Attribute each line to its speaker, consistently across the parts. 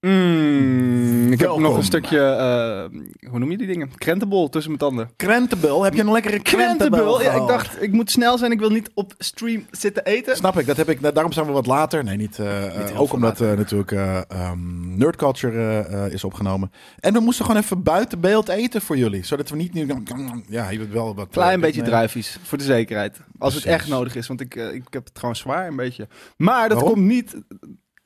Speaker 1: Mm, heb nog
Speaker 2: Welkom.
Speaker 1: een stukje, eh, hoe noem je die dingen? Krentenbol tussen mijn tanden.
Speaker 2: Krentenbul. Heb je een lekkere krentenbul?
Speaker 1: Krentenbul? Ja, ik
Speaker 2: gehad?
Speaker 1: dacht, ik moet snel zijn. Ik wil niet op stream zitten eten.
Speaker 2: oh. Snap ik, dat heb ik. Daarom zijn we wat later. Nee, niet. eh, eh,
Speaker 1: heel
Speaker 2: ook
Speaker 1: veel
Speaker 2: omdat eh, natuurlijk eh, ehm, Nerd Culture eh, eh, is opgenomen. En we moesten gewoon even buiten beeld eten voor jullie. Zodat we niet nu. Ja, je bent wel wat.
Speaker 1: Klein
Speaker 2: eh,
Speaker 1: beetje
Speaker 2: nee.
Speaker 1: druifies, voor de zekerheid. Als het
Speaker 2: Precies.
Speaker 1: echt nodig is, want ik, eh, ik heb het gewoon zwaar een beetje. Maar dat
Speaker 2: Waarom?
Speaker 1: komt niet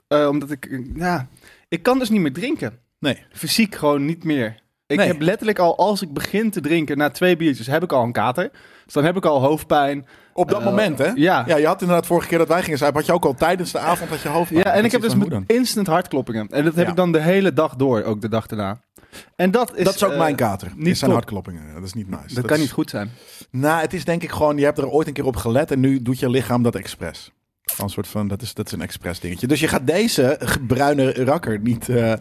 Speaker 1: eh, omdat ik... eh, ja, ik kan dus niet meer drinken.
Speaker 2: Nee.
Speaker 1: Fysiek gewoon niet meer. Ik
Speaker 2: Nee.
Speaker 1: heb letterlijk al, als ik begin te drinken na twee biertjes, heb ik al een kater. Dus dan heb ik al hoofdpijn.
Speaker 2: Op dat
Speaker 1: Eh,
Speaker 2: moment, hè?
Speaker 1: ja.
Speaker 2: ja. Je had inderdaad vorige keer dat wij gingen zuipen, had je ook al tijdens de avond dat je hoofd.
Speaker 1: Ja, en ik heb dus
Speaker 2: met.
Speaker 1: met instant hartkloppingen. En dat heb
Speaker 2: Ja.
Speaker 1: ik dan de hele dag door, ook de dag daarna. En dat is...
Speaker 2: Dat is ook
Speaker 1: eh,
Speaker 2: mijn kater.
Speaker 1: niet
Speaker 2: Niet zijn
Speaker 1: top.
Speaker 2: hartkloppingen. Dus Dat is niet nice.
Speaker 1: Dat, kan
Speaker 2: is-
Speaker 1: niet goed zijn.
Speaker 2: Nou, het is denk ik gewoon, je hebt er ooit een keer op gelet en nu doet je lichaam dat expres. Een soort van, dat is, dat is een expres dingetje. Dus je gaat deze ge- bruine rakker niet... eh,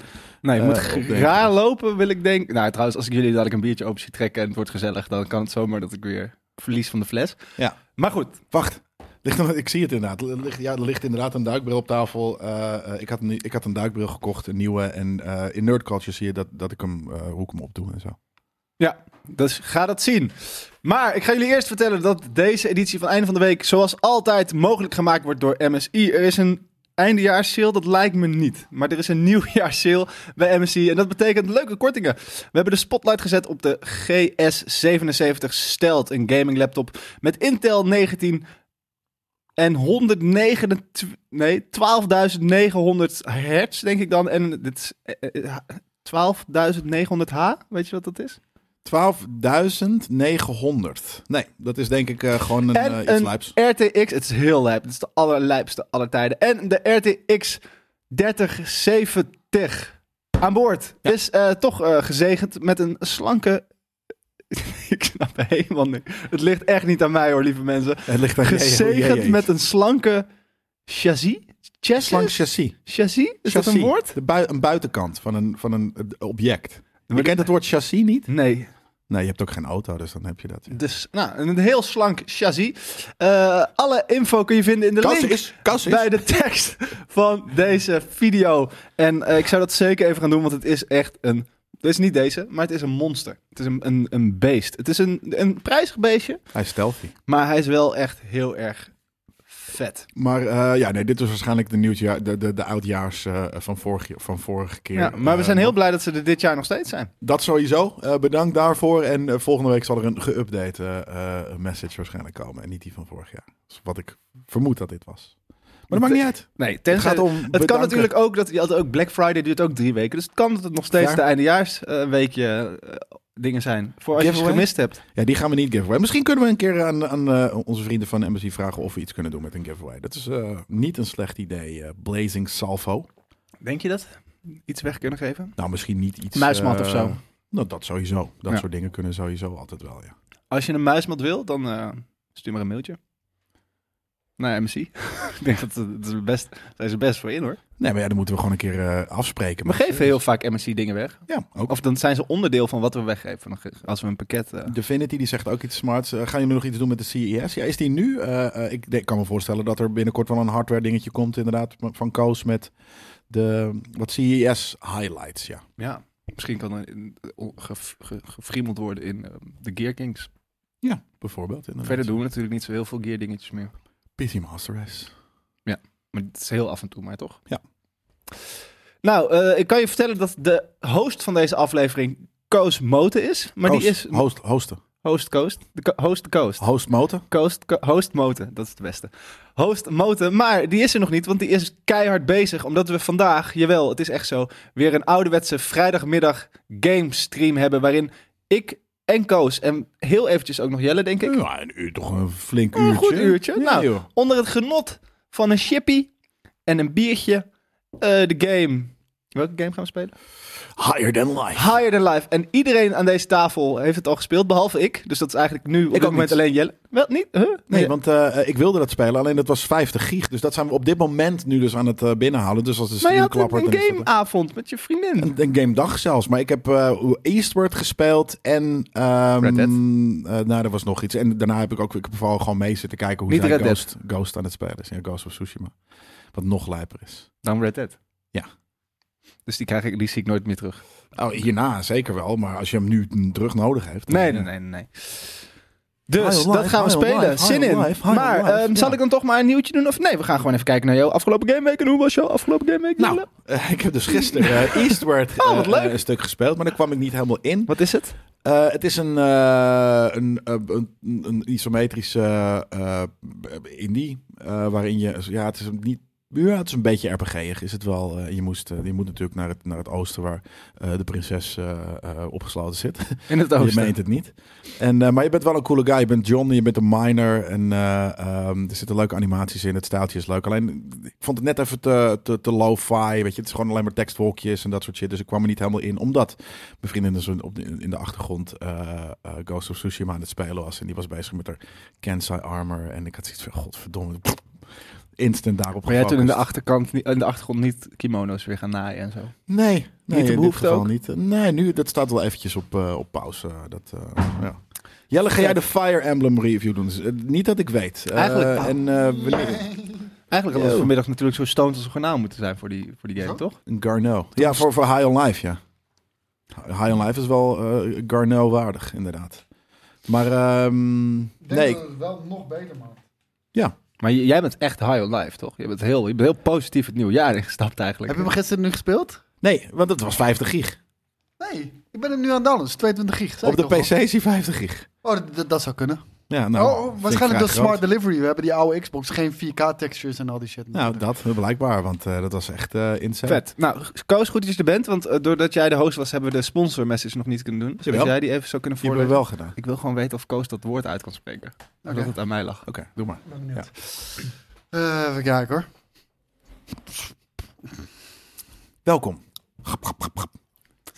Speaker 1: Nee, je
Speaker 2: Eh,
Speaker 1: moet
Speaker 2: opdenken.
Speaker 1: raar lopen, wil ik denken. Nou, trouwens, als ik jullie dadelijk een biertje open zie trekken en het wordt gezellig, dan kan het zomaar dat ik weer verlies van de fles.
Speaker 2: Ja.
Speaker 1: Maar goed,
Speaker 2: Wacht, ligt, nog- ik zie het inderdaad. Er ligt, ja, er ligt inderdaad een duikbril op tafel. Eh, eh, ik, had een, ik had een duikbril gekocht, een nieuwe. En eh, in Nerd Culture zie je dat, dat ik hem, eh, hoe ik hem opdoe en zo.
Speaker 1: dus ga dat zien. Maar ik ga jullie eerst vertellen dat deze editie van Einde van de Week, zoals altijd, mogelijk gemaakt wordt door MSI. Er is een eindejaarsseal, dat lijkt me niet. Maar er is een nieuwjaarsseal bij MSI en dat betekent leuke kortingen. We hebben de spotlight gezet op de GS77 Stealth, een gaming laptop met Intel 19 En 129, nee, 12.900 hertz, denk ik dan. En dit is eh, eh, eh, 12.900h, weet je wat dat is?
Speaker 2: 12.900. Nee, dat is denk ik eh, gewoon een,
Speaker 1: en
Speaker 2: eh, iets
Speaker 1: een
Speaker 2: lijps.
Speaker 1: RTX, het is heel lijp, het is de allerlijpste aller tijden. En de RTX 3070 aan boord is eh, toch eh, gezegend met een slanke... ik snap helemaal niks. Het ligt echt niet aan mij hoor, lieve mensen.
Speaker 2: Het ligt aan
Speaker 1: Gezegend met een slanke chassis? Chassis?
Speaker 2: Slank chassis.
Speaker 1: Chassis? Is dat een
Speaker 2: Chassis.
Speaker 1: woord?
Speaker 2: De bui- een buitenkant van een, van een eh, object. Je kent het woord chassis niet?
Speaker 1: Nee.
Speaker 2: Nee, je hebt ook geen auto, dus dan heb je dat. ja.
Speaker 1: Dus, nou, een heel slank chassis. Eh, alle info kun je vinden in de
Speaker 2: Kas
Speaker 1: link
Speaker 2: is, kas is.
Speaker 1: bij de tekst van deze video. En eh, ik zou dat zeker even gaan doen, want het is echt een... Het is niet deze, maar het is een monster. Het is een, een, een beest. Het is een, een prijzig beestje,
Speaker 2: Hij is stealthy.
Speaker 1: maar hij is wel echt heel erg vet.
Speaker 2: Maar eh, ja, nee, dit was waarschijnlijk de, nieuwtjaar, de, de, de oudjaars eh, van, vorige, van vorige keer.
Speaker 1: Ja, maar we
Speaker 2: Eh,
Speaker 1: zijn heel blij dat ze er dit jaar nog steeds zijn.
Speaker 2: Dat sowieso. Eh, bedankt daarvoor. En eh, volgende week zal er een geüpdate eh, eh, message waarschijnlijk komen. En niet die van vorig jaar. Dus wat ik vermoed dat dit was. Maar dat maakt niet uit.
Speaker 1: Nee,
Speaker 2: Het
Speaker 1: tenzij...
Speaker 2: gaat om
Speaker 1: Het
Speaker 2: bedanken.
Speaker 1: kan natuurlijk ook dat je had ook Black Friday duurt ook drie weken. Dus het kan dat het nog steeds
Speaker 2: Ja.
Speaker 1: de eindejaars eh, weekje eh, dingen zijn. Voor als je ze
Speaker 2: Giveaway?
Speaker 1: gemist hebt.
Speaker 2: Ja, die gaan we niet giveaway. Misschien kunnen we een keer aan, aan eh, onze vrienden van de Embassy vragen of we iets kunnen doen met een giveaway. Dat is eh, niet een slecht idee. eh, Blazing Salvo.
Speaker 1: Denk je dat? Iets weg kunnen geven?
Speaker 2: Nou, misschien niet iets.
Speaker 1: Muismat
Speaker 2: eh,
Speaker 1: of zo.
Speaker 2: Nou, dat sowieso. Dat
Speaker 1: Ja.
Speaker 2: soort dingen kunnen sowieso altijd wel. Ja.
Speaker 1: Als je een muismat wil, dan eh, stuur maar een mailtje. Naar MC. Ik denk dat dat is het best, daar zijn ze best voor in hoor.
Speaker 2: Nee, maar ja, dan moeten we gewoon een keer eh, afspreken.
Speaker 1: We
Speaker 2: Maar-
Speaker 1: geven heel vaak MC dingen weg.
Speaker 2: Ja, ook.
Speaker 1: Of dan zijn ze onderdeel van wat we weggeven. Dan ge- Als we een pakket. eh,
Speaker 2: Divinity die zegt ook iets smarts. Eh, gaan jullie nog iets doen met de CES? Ja, is die nu? Eh, eh, ik denk- kan me voorstellen dat er binnenkort wel een hardware dingetje komt inderdaad van Koos met de wat CES highlights. Ja.
Speaker 1: ja, misschien kan er in- ge- ge- gefriemeld worden in eh, de Gear Kings.
Speaker 2: Ja, bijvoorbeeld. Inderdaad.
Speaker 1: Verder doen we natuurlijk niet zo heel veel Gear dingetjes meer.
Speaker 2: PC Master Race.
Speaker 1: Maar het is heel af en toe, maar toch?
Speaker 2: Ja.
Speaker 1: Nou, eh, ik kan je vertellen dat de host van deze aflevering Koos Moten is. Maar die
Speaker 2: Host-
Speaker 1: is
Speaker 2: host, hosten.
Speaker 1: host Coast. De ko- host Coast.
Speaker 2: Host motor.
Speaker 1: Coast, co- host Moten, dat is het beste. Host Moten, maar die is er nog niet, want die is keihard bezig. Omdat we vandaag, jawel, het is echt zo, weer een ouderwetse vrijdagmiddag game stream hebben. Waarin ik en Koos en heel eventjes ook nog Jelle, denk ik.
Speaker 2: Ja, een uur, toch een flink
Speaker 1: Een
Speaker 2: uurtje.
Speaker 1: goed uurtje.
Speaker 2: Ja,
Speaker 1: nou,
Speaker 2: joh.
Speaker 1: onder het genot van een chippy en een biertje, eh, de game. Welke game gaan we spelen?
Speaker 2: Higher than life.
Speaker 1: Higher Than Life. En iedereen aan deze tafel heeft het al gespeeld, behalve ik. Dus dat is eigenlijk nu op dit
Speaker 2: ook
Speaker 1: moment
Speaker 2: niet.
Speaker 1: alleen Jelle. Wel, niet? Huh?
Speaker 2: Nee,
Speaker 1: Ja.
Speaker 2: want eh, ik wilde dat spelen, alleen dat was 50 gig. Dus dat zijn we op dit moment nu dus aan het eh, binnenhalen. Dus als de
Speaker 1: Maar je
Speaker 2: stream
Speaker 1: had
Speaker 2: klappert...
Speaker 1: een, een
Speaker 2: dan is dat-
Speaker 1: gameavond met je vriendin.
Speaker 2: Een, een game dag zelfs. Maar ik heb eh, Eastward gespeeld en... ehm,
Speaker 1: Red Dead.
Speaker 2: eh, nou, er was nog iets. En daarna heb ik ook ik heb vooral gewoon mee zitten kijken hoe
Speaker 1: Niet
Speaker 2: zij
Speaker 1: Red Dead.
Speaker 2: Ghost, Ghost aan het spelen is. Ja, Ghost of Tsushima. Wat nog lijper is.
Speaker 1: Dan Red Dead.
Speaker 2: Ja.
Speaker 1: Dus die, krijg ik, die zie ik nooit meer terug.
Speaker 2: Oh, hierna zeker wel, maar als je hem nu n- terug nodig hebt. dan-
Speaker 1: Nee, nee, nee, nee. nee. Dus
Speaker 2: High
Speaker 1: dat gaan we
Speaker 2: life, high
Speaker 1: spelen.
Speaker 2: life,
Speaker 1: Zin
Speaker 2: high
Speaker 1: in.
Speaker 2: life, high
Speaker 1: maar
Speaker 2: life,
Speaker 1: ehm,
Speaker 2: ja.
Speaker 1: zal ik dan toch maar een nieuwtje doen? Of nee, we gaan gewoon even kijken naar jouw afgelopen gameweek. En hoe was jouw afgelopen gameweek?
Speaker 2: Nou,
Speaker 1: Jelle?
Speaker 2: eh, ik heb dus gisteren eh, Eastward eh,
Speaker 1: Oh, wat leuk.
Speaker 2: eh, een stuk gespeeld, maar daar kwam ik niet helemaal in.
Speaker 1: wat is het?
Speaker 2: Eh, het is een, eh, een, eh, een, een isometrische eh, eh, indie, eh, waarin je, ja, het is een niet, ja, het is een beetje RPG'ig, is het wel. Eh, je, moest, eh, je moet natuurlijk naar het, naar het oosten waar eh, de prinses eh, eh, opgesloten zit.
Speaker 1: In het
Speaker 2: Je
Speaker 1: oosten.
Speaker 2: meent het niet. En, eh, maar je bent wel een coole guy. Je bent John, je bent een miner. En eh, ehm, er zitten leuke animaties in. Het staaltje is leuk. Alleen, ik vond het net even te, te, te lo-fi. Weet je, het is gewoon alleen maar tekstwolkjes en dat soort shit. Dus ik kwam er niet helemaal in. Omdat mijn vriendin dus op de- in de achtergrond eh, eh, Ghost of Tsushima aan het spelen was. En die was bezig met haar Kensai armor. En ik had zoiets van, godverdomme. Instant daarop
Speaker 1: Maar jij toen in de,
Speaker 2: gefocust.
Speaker 1: achterkant, niet- in de achtergrond niet kimono's weer gaan naaien en zo.
Speaker 2: Nee, nee
Speaker 1: de
Speaker 2: in dit
Speaker 1: behoefte
Speaker 2: geval
Speaker 1: ook?
Speaker 2: niet. Nee, nu, dat staat wel eventjes op, eh, op pauze. Dat, eh, ja. Jelle, ga jij de Fire Emblem review doen? Dus, eh, niet dat ik weet. Eh,
Speaker 1: Eigenlijk-
Speaker 2: en eh, wanneer?
Speaker 1: Eigenlijk hadden
Speaker 2: Yo.
Speaker 1: we vanmiddag natuurlijk zo stoned als we garnaal moeten zijn voor die, voor die game,
Speaker 3: Zo?
Speaker 1: toch?
Speaker 2: Een Garneau. Ja, voor, voor High on Life, ja. High on Life is wel eh Garneau waardig, inderdaad. Maar ehm,
Speaker 3: Ik denk
Speaker 2: nee,
Speaker 3: dat het wel nog beter maakt.
Speaker 1: Maar j- jij bent echt high on life, toch? Je bent heel, je bent heel positief het nieuwe jaar ingestapt eigenlijk.
Speaker 3: Heb je hem gisteren nu gespeeld?
Speaker 2: nee, want het was 50 gig.
Speaker 3: Nee, ik ben er nu aan het downloaden. Het is 22 gig. zei
Speaker 2: Op
Speaker 3: ik
Speaker 2: de
Speaker 3: toch
Speaker 2: PC is hij 50 gig.
Speaker 3: al. Oh, dat- dat, dat zou kunnen.
Speaker 2: Ja, nou,
Speaker 3: oh,
Speaker 2: vind
Speaker 3: oh,
Speaker 2: ik vrij
Speaker 3: waarschijnlijk dat
Speaker 2: groot.
Speaker 3: smart delivery. We hebben die oude Xbox, geen 4K textures en al die shit.
Speaker 2: Nou, dat blijkbaar, want eh, dat was echt eh insane.
Speaker 1: Vet. Nou, Koos, goed dat je er bent, want eh, doordat jij de host was, hebben we de sponsor message nog niet kunnen doen. Dus als
Speaker 2: Jawel.
Speaker 1: jij die even zou kunnen
Speaker 2: Die hebben
Speaker 1: voorlezen.
Speaker 2: we wel gedaan.
Speaker 1: Ik wil gewoon weten of Koos dat woord uit kan spreken.
Speaker 3: Oké.
Speaker 1: Dat het aan mij lag.
Speaker 2: Oké, doe maar.
Speaker 3: Ben benieuwd. Eh, even kijken hoor.
Speaker 2: Welkom.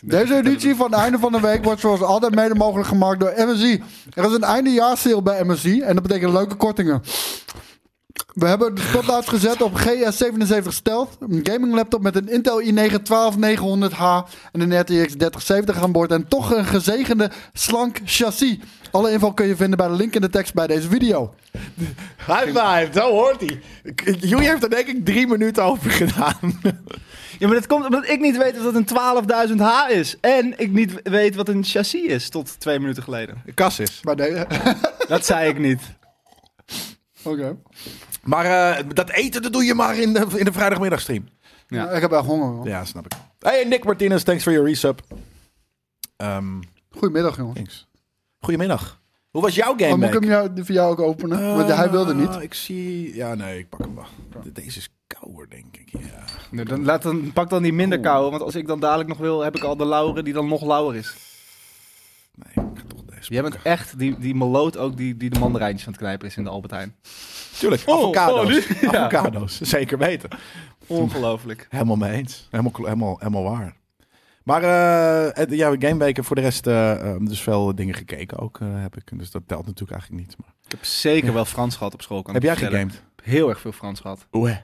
Speaker 3: Deze editie van het einde van de week wordt zoals altijd mede mogelijk gemaakt door MSI. Er is een eindejaarsseal bij MSI en dat betekent leuke kortingen. We hebben de spotlight gezet op GS77 Stealth, een gaming laptop met een Intel i9 12900H en een RTX 3070 aan boord en toch een gezegende slank chassis. Alle info kun je vinden bij de link in de tekst bij deze video.
Speaker 2: High five, zo hoort hij. Joey heeft er denk ik drie minuten over gedaan.
Speaker 1: Ja, maar dat komt omdat ik niet weet of dat een 12.000 H is. En ik niet weet wat een chassis is tot twee minuten geleden.
Speaker 2: Kas is.
Speaker 3: Maar nee, oké.
Speaker 1: Dat zei ik niet.
Speaker 2: Maar eh, dat eten dat doe je maar in de, in de vrijdagmiddagstream.
Speaker 1: Ja.
Speaker 3: Nou, Ik heb echt honger. man.
Speaker 2: Ja, snap ik. Hey Nick Martinez, thanks for your resub. Ehm,
Speaker 3: Goedemiddag jongens.
Speaker 2: thanks. Goedemiddag. Hoe was jouw game?
Speaker 3: Oh, moet ik
Speaker 2: week?
Speaker 3: hem jou, voor jou ook openen? Want
Speaker 2: Eh,
Speaker 3: hij wilde niet.
Speaker 2: Ik zie... Ja, nee, ik pak hem wel. De- Deze is kouder, denk ik. Ja.
Speaker 1: Nou, dan, laat dan, pak dan die minder koude, want als ik dan dadelijk nog wil, heb ik al de lauren die dan nog lauwer is.
Speaker 2: Nee, ik ga toch deze
Speaker 1: Jij bent echt die, die meloot ook die, die de mandarijntjes aan het knijpen is in de Albert Heijn.
Speaker 2: Tuurlijk,
Speaker 1: Oh,
Speaker 2: avocado's.
Speaker 1: oh, die- ja.
Speaker 2: Avocado's, zeker weten.
Speaker 1: Ongelooflijk.
Speaker 2: Helemaal mee eens. Helemaal, klo- helemaal, helemaal waar. Maar eh, het- ja, gameweken voor de rest eh, eh, dus veel dingen gekeken ook eh, heb ik. Dus dat telt natuurlijk eigenlijk niet. Maar.
Speaker 1: Ik heb zeker wel Frans gehad op school. Kan
Speaker 2: Heb
Speaker 1: ik
Speaker 2: jij
Speaker 1: vertellen.
Speaker 2: gegamed?
Speaker 1: Ik heb Heel erg veel Frans gehad.
Speaker 2: Oeh.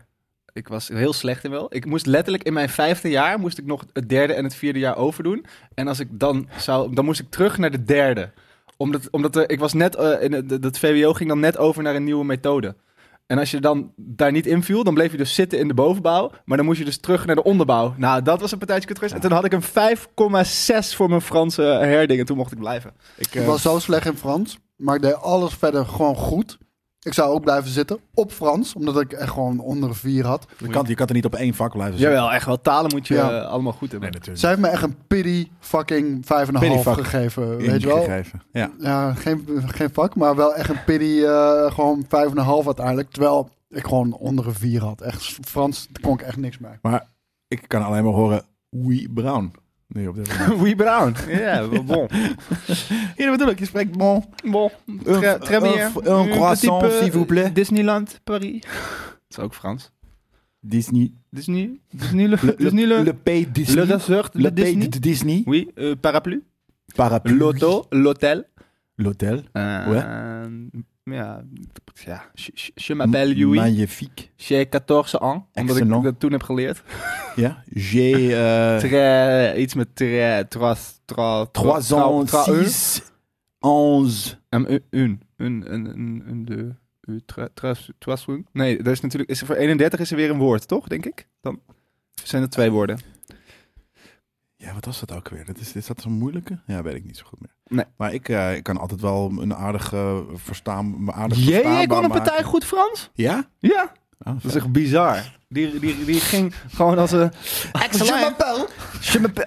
Speaker 1: Ik was er heel slecht in wel. Ik moest letterlijk in mijn vijfde jaar moest ik nog het derde en het vierde jaar overdoen. En als ik dan zou, dan moest ik terug naar de derde. Omdat, omdat er, ik was net, eh, in het, dat VWO ging dan net over naar een nieuwe methode. En als je dan daar niet in viel, dan bleef je dus zitten in de bovenbouw. Maar dan moest je dus terug naar de onderbouw. Nou, dat was een partijtje kutruis. En toen had ik een 5,6 voor mijn Franse herding. En toen mocht ik blijven.
Speaker 2: Ik,
Speaker 3: Ik
Speaker 2: eh,
Speaker 3: was zo slecht in Frans, maar ik deed alles verder gewoon goed. Ik zou ook blijven zitten op Frans, omdat ik echt gewoon onder een vier had.
Speaker 2: je, kan, je kan er niet op één vak blijven zitten.
Speaker 1: Jawel, echt wel. Talen moet je
Speaker 3: Ja.
Speaker 1: eh, allemaal goed hebben.
Speaker 2: Nee, natuurlijk.
Speaker 3: Zij heeft me echt een pity fucking 5,5
Speaker 2: Pity fuck.
Speaker 3: gegeven, weet je wel.
Speaker 2: Ingegeven. Ja.
Speaker 3: Ja, geen, geen vak, maar wel echt een pity eh, gewoon 5,5 uiteindelijk. Terwijl ik gewoon onder een vier had. Echt, Frans daar kon ik echt niks mee.
Speaker 2: Maar ik kan alleen maar horen Wee Brown. Nee, op dit moment.
Speaker 1: We Brown. Ja, bon.
Speaker 2: ja, natuurlijk. Je spreekt bon.
Speaker 1: Bon,
Speaker 2: Een-
Speaker 1: très bien.
Speaker 2: een- een croissant,
Speaker 1: Petit peu
Speaker 2: s'il vous plaît.
Speaker 1: Disneyland, Paris. Dat is ook Frans.
Speaker 2: Disney.
Speaker 1: Disney, Disney, le,
Speaker 2: Le,
Speaker 1: Disney, le, le,
Speaker 2: le, le P Disney.
Speaker 1: resort, le,
Speaker 2: Le
Speaker 1: Disney.
Speaker 2: P de Disney.
Speaker 1: Oui, euh, paraplu,
Speaker 2: Paraplu.
Speaker 1: l'auto, l'hôtel.
Speaker 2: L'hôtel.
Speaker 1: Euh, ja, ja, je, je- je m'appelle Yui,
Speaker 2: Magnifique.
Speaker 1: j'ai 14 ans, omdat
Speaker 2: Excellent.
Speaker 1: ik dat toen heb geleerd.
Speaker 2: Ja. J'ai...
Speaker 1: euh,
Speaker 2: eh,
Speaker 1: Très, iets met très, euh, trois, trois, E.
Speaker 2: 3 ans, 6, 11.
Speaker 1: Um, een, een, een, een, een, een, de, u, tra, tra, trasun. Nee, dat is natuurlijk, is er voor 31 is er weer een woord, toch, denk ik? Dan zijn er twee woorden.
Speaker 2: Ja, wat was dat ook weer? Dat is, is dat zo'n moeilijke? Ja, weet ik niet zo goed meer.
Speaker 1: Nee.
Speaker 2: Maar ik, eh, ik kan altijd wel een aardig eh, verstaan, aardig
Speaker 1: Jee,
Speaker 2: verstaanbaar
Speaker 1: ik kon een
Speaker 2: maken.
Speaker 1: partij goed Frans?
Speaker 2: Ja?
Speaker 1: Ja.
Speaker 2: Ah,
Speaker 1: Dat is echt bizar. Die, die, die ging gewoon als een...
Speaker 4: Excellent.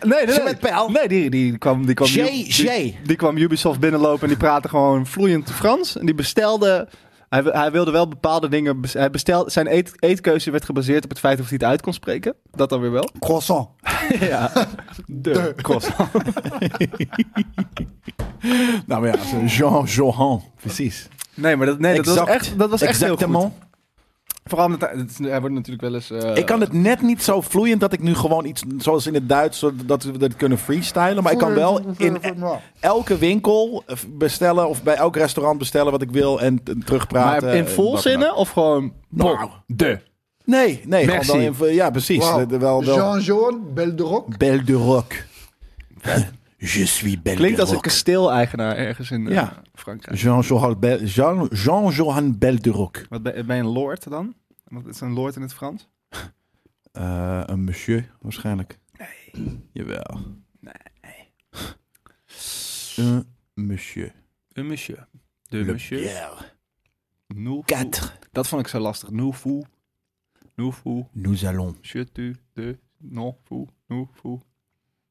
Speaker 1: Nee, nee,
Speaker 4: Simon Pijl.
Speaker 1: nee. nee die, die kwam... Die kwam,
Speaker 4: Jay,
Speaker 1: die,
Speaker 4: Jay.
Speaker 1: die, die kwam Ubisoft binnenlopen en die praatte gewoon vloeiend Frans. En die bestelde... Hij, wi- hij wilde wel bepaalde dingen... bes- Hij bestelde, zijn eet, eetkeuze werd gebaseerd op het feit of hij het uit kon spreken. Dat dan weer wel.
Speaker 3: Croissant.
Speaker 1: ja. De croissant.
Speaker 2: Nou maar ja, zo Jean Johan. Precies.
Speaker 1: Nee, maar dat, nee, dat was
Speaker 2: Exact.
Speaker 1: echt, dat was echt heel goed.
Speaker 2: Exactement.
Speaker 1: Vooral omdat hij, het is- hij wordt natuurlijk wel eens... eh,
Speaker 2: Ik kan het net niet zo vloeiend dat ik nu gewoon iets zoals in het Duits zodat- dat we dat kunnen freestylen, maar ik kan wel in e- elke winkel eh, bestellen of bij elk restaurant bestellen wat ik wil en t-
Speaker 1: Maar
Speaker 2: terugpraten.
Speaker 1: in
Speaker 2: eh,
Speaker 1: vol
Speaker 2: wat dan
Speaker 1: zinnen
Speaker 2: ook.
Speaker 1: of gewoon...
Speaker 2: Nou.
Speaker 1: De.
Speaker 2: Nee, nee,
Speaker 1: Merci.
Speaker 2: gewoon dan in- ja, precies.
Speaker 3: Wauw.
Speaker 2: De- Wel, wel.
Speaker 3: Jean-Jean Belderoc.
Speaker 2: Belle de Roc. Je suis Belle
Speaker 1: Klinkt
Speaker 2: de
Speaker 1: als een
Speaker 2: Roc.
Speaker 1: kasteel-eigenaar ergens in eh,
Speaker 2: Ja.
Speaker 1: Frankrijk.
Speaker 2: Jean-Johan Bel- Jean, Jean Belle de Roc.
Speaker 1: Wat ben, ben je een lord dan? Wat is een lord in het Frans?
Speaker 2: Eh, een monsieur, waarschijnlijk. Nee. Jawel. Nee. Een monsieur.
Speaker 1: Een monsieur. De
Speaker 2: Le
Speaker 1: monsieur.
Speaker 2: Pierre.
Speaker 1: Nous fou.
Speaker 2: Quatre.
Speaker 1: Dat vond ik zo lastig. Nous fou. Nous fou.
Speaker 2: Nous allons.
Speaker 1: Je tu de. Non fou. Nous fou.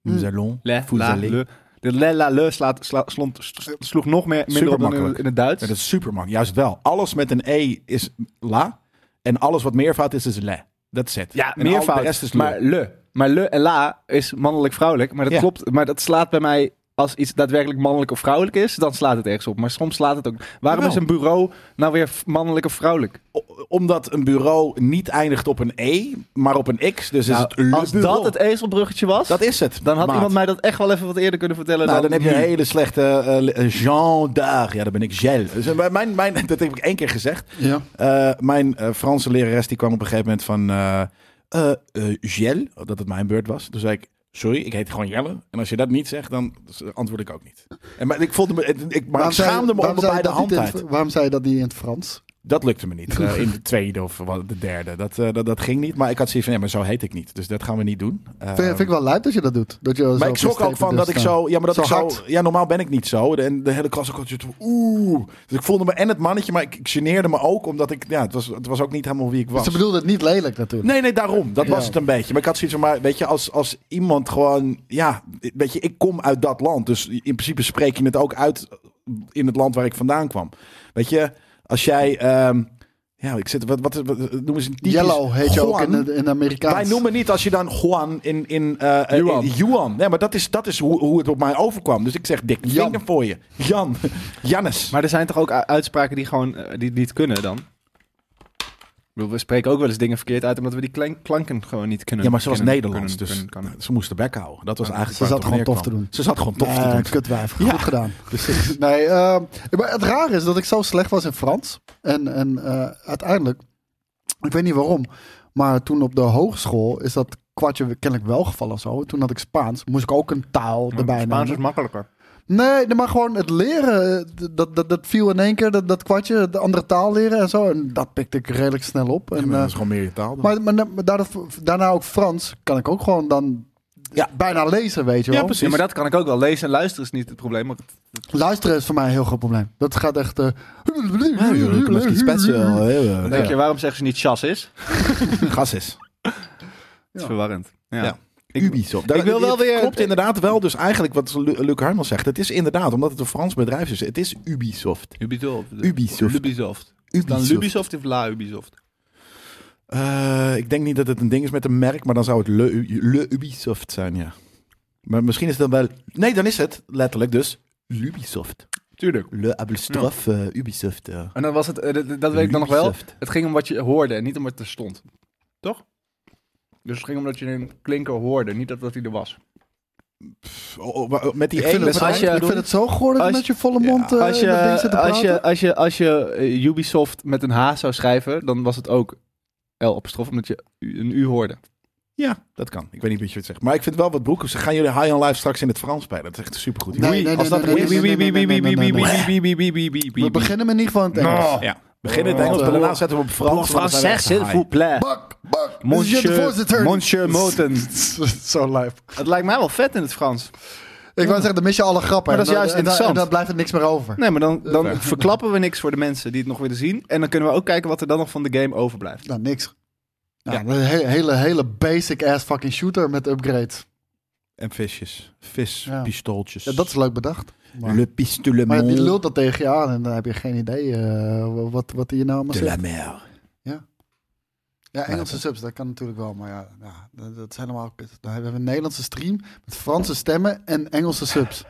Speaker 2: Nous
Speaker 3: Hmm.
Speaker 2: allons.
Speaker 1: Hm. Le,
Speaker 2: Vous
Speaker 1: la,
Speaker 2: allez.
Speaker 1: le. De le, la, le slaat, sla, slond- s- sloeg nog meer minder op dan in,
Speaker 2: Supermakkelijk.
Speaker 1: in het Duits.
Speaker 2: Ja, dat is super makkelijk. Juist wel. Alles met een E is la. En alles wat meervoud is, is le. Dat zit.
Speaker 1: Ja,
Speaker 2: en al-
Speaker 1: meervoud.
Speaker 2: De rest is le.
Speaker 1: maar le. Maar le en la is mannelijk-vrouwelijk. Maar dat
Speaker 2: Ja.
Speaker 1: klopt. Maar dat slaat bij mij... Als iets daadwerkelijk mannelijk of vrouwelijk is, dan slaat het ergens op. Maar soms slaat het ook. Waarom
Speaker 2: Jawel.
Speaker 1: is een bureau nou weer f- mannelijk of vrouwelijk?
Speaker 2: O- Omdat een bureau niet eindigt op een E, maar op een X. Dus
Speaker 1: Nou,
Speaker 2: is het le
Speaker 1: als
Speaker 2: bureau.
Speaker 1: dat het ezelbruggetje was,
Speaker 2: Dat is het.
Speaker 1: dan had
Speaker 2: maat.
Speaker 1: iemand mij dat echt wel even wat eerder kunnen vertellen.
Speaker 2: Nou, dan heb je een
Speaker 1: nu.
Speaker 2: hele slechte eh, le- eh, Jean d'Arc. Ja, dat ben ik Gel. Dus, eh, mijn, mijn, dat heb ik één keer gezegd.
Speaker 3: Ja.
Speaker 2: Eh, mijn eh, Franse lerares die kwam op een gegeven moment van... eh eh, eh, Gel, dat het mijn beurt was. Toen zei ik... Sorry, ik heet gewoon Jelle. En als je dat niet zegt, dan antwoord ik ook niet. En, maar ik, voelde me, het- ik, maar ik schaamde me onder beide handen uit.
Speaker 3: Waarom zei je dat niet in het Frans?
Speaker 2: Dat lukte me niet. Eh, in de tweede of wat- de derde. Dat, eh, dat, dat ging niet. Maar ik had zoiets van, nee, maar zo heet ik niet. Dus dat gaan we niet doen. Eh,
Speaker 3: Vind, vind ik wel leuk dat je dat doet. Dat je
Speaker 2: maar
Speaker 3: zo
Speaker 2: ik schrok ook
Speaker 3: gesteven
Speaker 2: van
Speaker 3: durft
Speaker 2: dat ik
Speaker 3: staan.
Speaker 2: zo... Ja, maar dat
Speaker 3: Zo
Speaker 2: ik zo...
Speaker 3: hard.
Speaker 2: Ja, normaal ben ik niet zo. En de hele klas ook altijd zo... Oeh. Dus ik voelde me en het mannetje, maar ik, ik geneerde me ook. Omdat ik... Ja, het was, het was ook niet helemaal wie ik was.
Speaker 3: Ze bedoelde het niet lelijk natuurlijk.
Speaker 2: Nee, nee, daarom. Dat
Speaker 3: Ja.
Speaker 2: was het een beetje. Maar ik had zoiets van, maar weet je, als, als iemand gewoon... Ja, weet je, ik kom uit dat land. Dus in principe spreek je het ook uit in het land waar ik vandaan kwam. Weet je, als jij... ehm, ja, ik zit... Wat, wat, wat noemen ze een typisch...
Speaker 3: Yellow heet je ook
Speaker 2: Juan?
Speaker 3: in, het- in Amerikaans.
Speaker 2: Wij noemen niet als je dan Juan in... in, eh, eh,
Speaker 1: Juan.
Speaker 2: in Juan. Nee, maar dat is, dat is hoe, hoe het op mij overkwam. Dus ik zeg dik
Speaker 3: Jan.
Speaker 2: vinger voor je. Jan. Jannes.
Speaker 1: Maar er zijn toch ook u- uitspraken die gewoon eh, die, die het kunnen dan? Ik bedoel, we spreken ook wel eens dingen verkeerd uit, omdat we die klank- klanken gewoon niet kunnen.
Speaker 2: ja, maar ze was
Speaker 1: kennen-
Speaker 2: Nederlands,
Speaker 1: kunnen-
Speaker 2: dus
Speaker 1: kunnen- kunnen.
Speaker 2: ze moest de bek houden. Dat was eigenlijk
Speaker 3: Ze
Speaker 2: waar
Speaker 3: zat
Speaker 2: het op
Speaker 3: gewoon
Speaker 2: neerkwam.
Speaker 3: tof te doen.
Speaker 2: Ze zat gewoon tof te
Speaker 3: Nee,
Speaker 2: doen.
Speaker 3: kutwijf.
Speaker 2: Ja.
Speaker 3: Goed gedaan. Nee, eh, maar het rare is dat ik zo slecht was in Frans. En, en eh, uiteindelijk, ik weet niet waarom, maar toen op de hogeschool is dat kwartje kennelijk wel gevallen of zo. Toen had ik Spaans, moest ik ook een taal erbij
Speaker 1: Spaans is
Speaker 3: nemen.
Speaker 1: makkelijker.
Speaker 3: Nee, nee, maar gewoon het leren, eh, dat, dat, dat viel in één keer, dat, dat kwartje, de andere taal leren en zo. En dat pikte ik redelijk snel op. En,
Speaker 2: Ja, maar
Speaker 3: eh,
Speaker 2: dat is gewoon meer je taal. dan.
Speaker 3: maar, maar, maar daarna, daarna ook Frans kan ik ook gewoon dan
Speaker 2: Ja.
Speaker 3: bijna lezen, weet je wel.
Speaker 2: ja, precies.
Speaker 1: Ja, maar dat kan ik ook wel. Lezen en luisteren is niet het probleem. Maar het-
Speaker 3: Luisteren is voor mij een heel groot probleem. Dat gaat echt... eh,
Speaker 1: dan denk je, waarom zeggen ze niet chas is?
Speaker 2: eh, Gas is.
Speaker 1: Het
Speaker 3: Ja.
Speaker 1: is verwarrend. Ja.
Speaker 2: Ja.
Speaker 1: Ik-
Speaker 2: Ubisoft. Dat,
Speaker 1: ik wil wel
Speaker 2: het
Speaker 1: weer-
Speaker 2: Klopt inderdaad wel. Dus eigenlijk wat Lu- Luc Harmel zegt. Het is inderdaad, omdat het een Frans bedrijf is. Het is Ubisoft.
Speaker 1: Ubisoft.
Speaker 2: Ubisoft.
Speaker 1: Ubisoft. Dan
Speaker 2: Ubisoft.
Speaker 1: Ubisoft of La Ubisoft?
Speaker 2: Eh, ik denk niet dat het een ding is met een merk, maar dan zou het Le, U- Le Ubisoft zijn, ja. Maar misschien is het dan wel... Nee, dan is het letterlijk dus Ubisoft.
Speaker 1: Tuurlijk.
Speaker 2: Le Abelstraf eh, Ubisoft. eh.
Speaker 1: En dan was het, eh, dat- dat weet ik dan nog wel.
Speaker 2: Ubisoft.
Speaker 1: Het ging om wat je hoorde en niet om wat er stond. Toch? Dus het ging om dat je een klinker hoorde, niet dat, dat hij er was.
Speaker 2: Oh, oh, maar met die
Speaker 3: Ik vind,
Speaker 2: ene...
Speaker 3: het,
Speaker 1: Als
Speaker 3: zo-
Speaker 1: je-
Speaker 3: Dus ik vind het zo goor dat je
Speaker 1: als-
Speaker 3: met je volle mond eh,
Speaker 1: als,
Speaker 3: in dat ding
Speaker 1: je,
Speaker 3: zit te
Speaker 1: als, je,
Speaker 3: praten.
Speaker 1: als je, als je eh, Ubisoft met een H zou schrijven, dan was het ook L apostrof, omdat je u- een U hoorde.
Speaker 2: Ja, dat kan. Ik weet niet wat je het zegt. Maar ik vind wel wat broeken. Ze gaan jullie High on Life straks in het Frans spelen. Dat is echt een supergoed idee.
Speaker 3: Nee, nee, nee,
Speaker 2: Als dat
Speaker 3: nee,
Speaker 2: er
Speaker 3: nee, nee, nee, nee, nee, nee, nee, nee.
Speaker 1: We Nou.
Speaker 3: We beginnen in ieder geval in het Engels.
Speaker 2: Ja. beginnen
Speaker 3: Oh.
Speaker 2: in het Engels, maar daarna zetten we op Frans. want dan zijn we echt
Speaker 4: Français, s'il
Speaker 2: high.
Speaker 4: vous plaît.
Speaker 3: Bak, bak. Monsieur de
Speaker 1: Monsieur,
Speaker 3: voorzitter.
Speaker 1: Monsieur Moten.
Speaker 3: Zo lijp.
Speaker 1: Het lijkt mij wel vet in het Frans.
Speaker 3: Ik wou zeggen, dan mis je alle grappen.
Speaker 1: Maar dat is
Speaker 3: En dan-
Speaker 1: juist
Speaker 3: en dan-
Speaker 1: interessant.
Speaker 3: En dan blijft er niks meer over.
Speaker 1: Nee, maar dan, dan verklappen we niks voor de mensen die het nog willen zien. En dan kunnen we ook kijken wat er dan nog van de game overblijft.
Speaker 3: Nou, niks. Nou, Een he- hele, hele basic ass fucking shooter met upgrades.
Speaker 2: En visjes. Vispistooltjes.
Speaker 3: Ja, dat is leuk bedacht. Maar,
Speaker 2: Le pistolet
Speaker 3: maar die lult dat tegen je aan en dan heb je geen idee eh, wat, wat die je nou allemaal
Speaker 2: de la
Speaker 3: zegt.
Speaker 2: mer.
Speaker 3: Ja, Engelse subs, dat kan natuurlijk wel. Maar ja, ja, dat, dat zijn allemaal kut. Dan hebben we een Nederlandse stream met Franse stemmen en Engelse subs.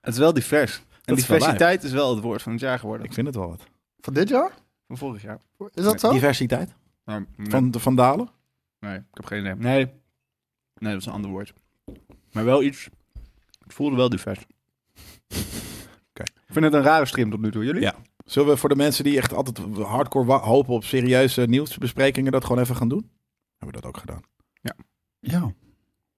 Speaker 1: Het is wel divers. En
Speaker 2: Dat is wel
Speaker 1: diversiteit is wel het woord van het jaar geworden.
Speaker 2: Ik vind het wel wat.
Speaker 3: Van dit jaar?
Speaker 1: Van vorig jaar.
Speaker 3: Is dat zo?
Speaker 2: Diversiteit.
Speaker 1: Nou, nee,
Speaker 2: Van, de- van Dalen.
Speaker 1: nee, ik heb geen idee. Nee. nee, dat is een ander woord. Maar wel iets. Het voelde wel divers.
Speaker 2: Oké.
Speaker 1: Ik vind het een rare stream tot nu toe. Jullie?
Speaker 2: Ja. Zullen we voor de mensen die echt altijd hardcore wa- hopen op serieuze nieuwsbesprekingen dat gewoon even gaan doen? Hebben we dat ook gedaan.
Speaker 3: Ja.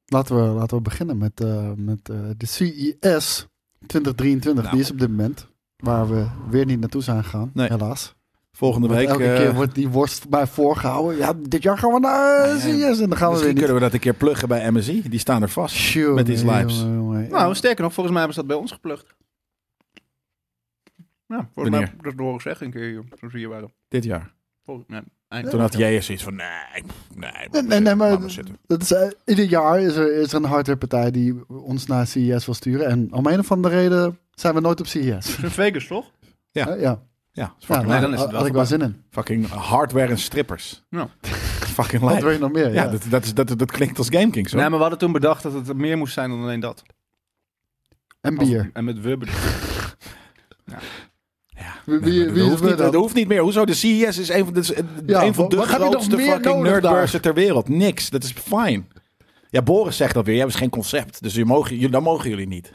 Speaker 3: Laten we, laten we beginnen met, eh, met eh, de CES 2023.
Speaker 2: Nou.
Speaker 3: Die is op dit moment. Waar we weer niet naartoe zijn gegaan,
Speaker 2: Nee.
Speaker 3: helaas.
Speaker 2: Volgende
Speaker 3: Want
Speaker 2: week
Speaker 3: elke
Speaker 2: eh,
Speaker 3: keer wordt die worst bij voorgehouden. Ja, dit jaar gaan we naar eh,
Speaker 2: ja,
Speaker 3: CES en dan gaan we weer
Speaker 2: misschien
Speaker 3: niet.
Speaker 2: kunnen we dat een keer pluggen bij MSI. Die staan er vast.
Speaker 3: Tjonge,
Speaker 2: met die lives.
Speaker 3: jonge, jonge.
Speaker 1: Nou, sterker nog, volgens mij hebben ze dat bij ons geplukt. Ja, volgens mij
Speaker 2: Wanneer?
Speaker 1: heb ik dat door gezegd een keer hier, toen ze hier waren.
Speaker 2: Dit jaar.
Speaker 1: Volgens, nee, eind-
Speaker 2: Toen had jij eens iets van, nee, pff, nee.
Speaker 3: Nee, nee, nee, maar-
Speaker 2: laat zitten.
Speaker 3: dat is, eh, ieder jaar is er, is er een hardwarepartij die ons naar CES wil sturen. En om een of andere reden zijn we nooit op CES.
Speaker 1: Het is in Vegas, toch?
Speaker 2: Ja.
Speaker 3: Eh, ja.
Speaker 2: Ja, is
Speaker 3: Ja, nou,
Speaker 2: fucking,
Speaker 1: nee,
Speaker 2: lijp.
Speaker 1: dan is het wel
Speaker 3: had ik wel zin in.
Speaker 2: fucking hardware en strippers.
Speaker 1: Ja.
Speaker 2: fucking
Speaker 3: Wat wil
Speaker 2: lijp.
Speaker 3: je nog meer? Ja,
Speaker 2: Ja, dat, dat, is, dat, dat klinkt als Game Kings. hoor.
Speaker 1: Nee, maar we hadden toen bedacht dat het meer moest zijn dan alleen dat.
Speaker 3: En bier.
Speaker 1: En met we bedoel
Speaker 2: Nee,
Speaker 3: Wie, wie,
Speaker 2: maar
Speaker 3: wie
Speaker 2: dat,
Speaker 3: is
Speaker 2: hoeft niet,
Speaker 3: dat?
Speaker 2: dat hoeft niet meer. Hoezo? De CES is een van de,
Speaker 3: Ja,
Speaker 2: een van de
Speaker 3: wat heb je nog
Speaker 2: grootste
Speaker 3: meer
Speaker 2: fucking
Speaker 3: nodig
Speaker 2: nerdbeurzen ter wereld. Niks. Dat is fijn. Ja, Boris zegt dat weer. Jij hebt geen concept. Dus je mogen, je, dan mogen jullie niet.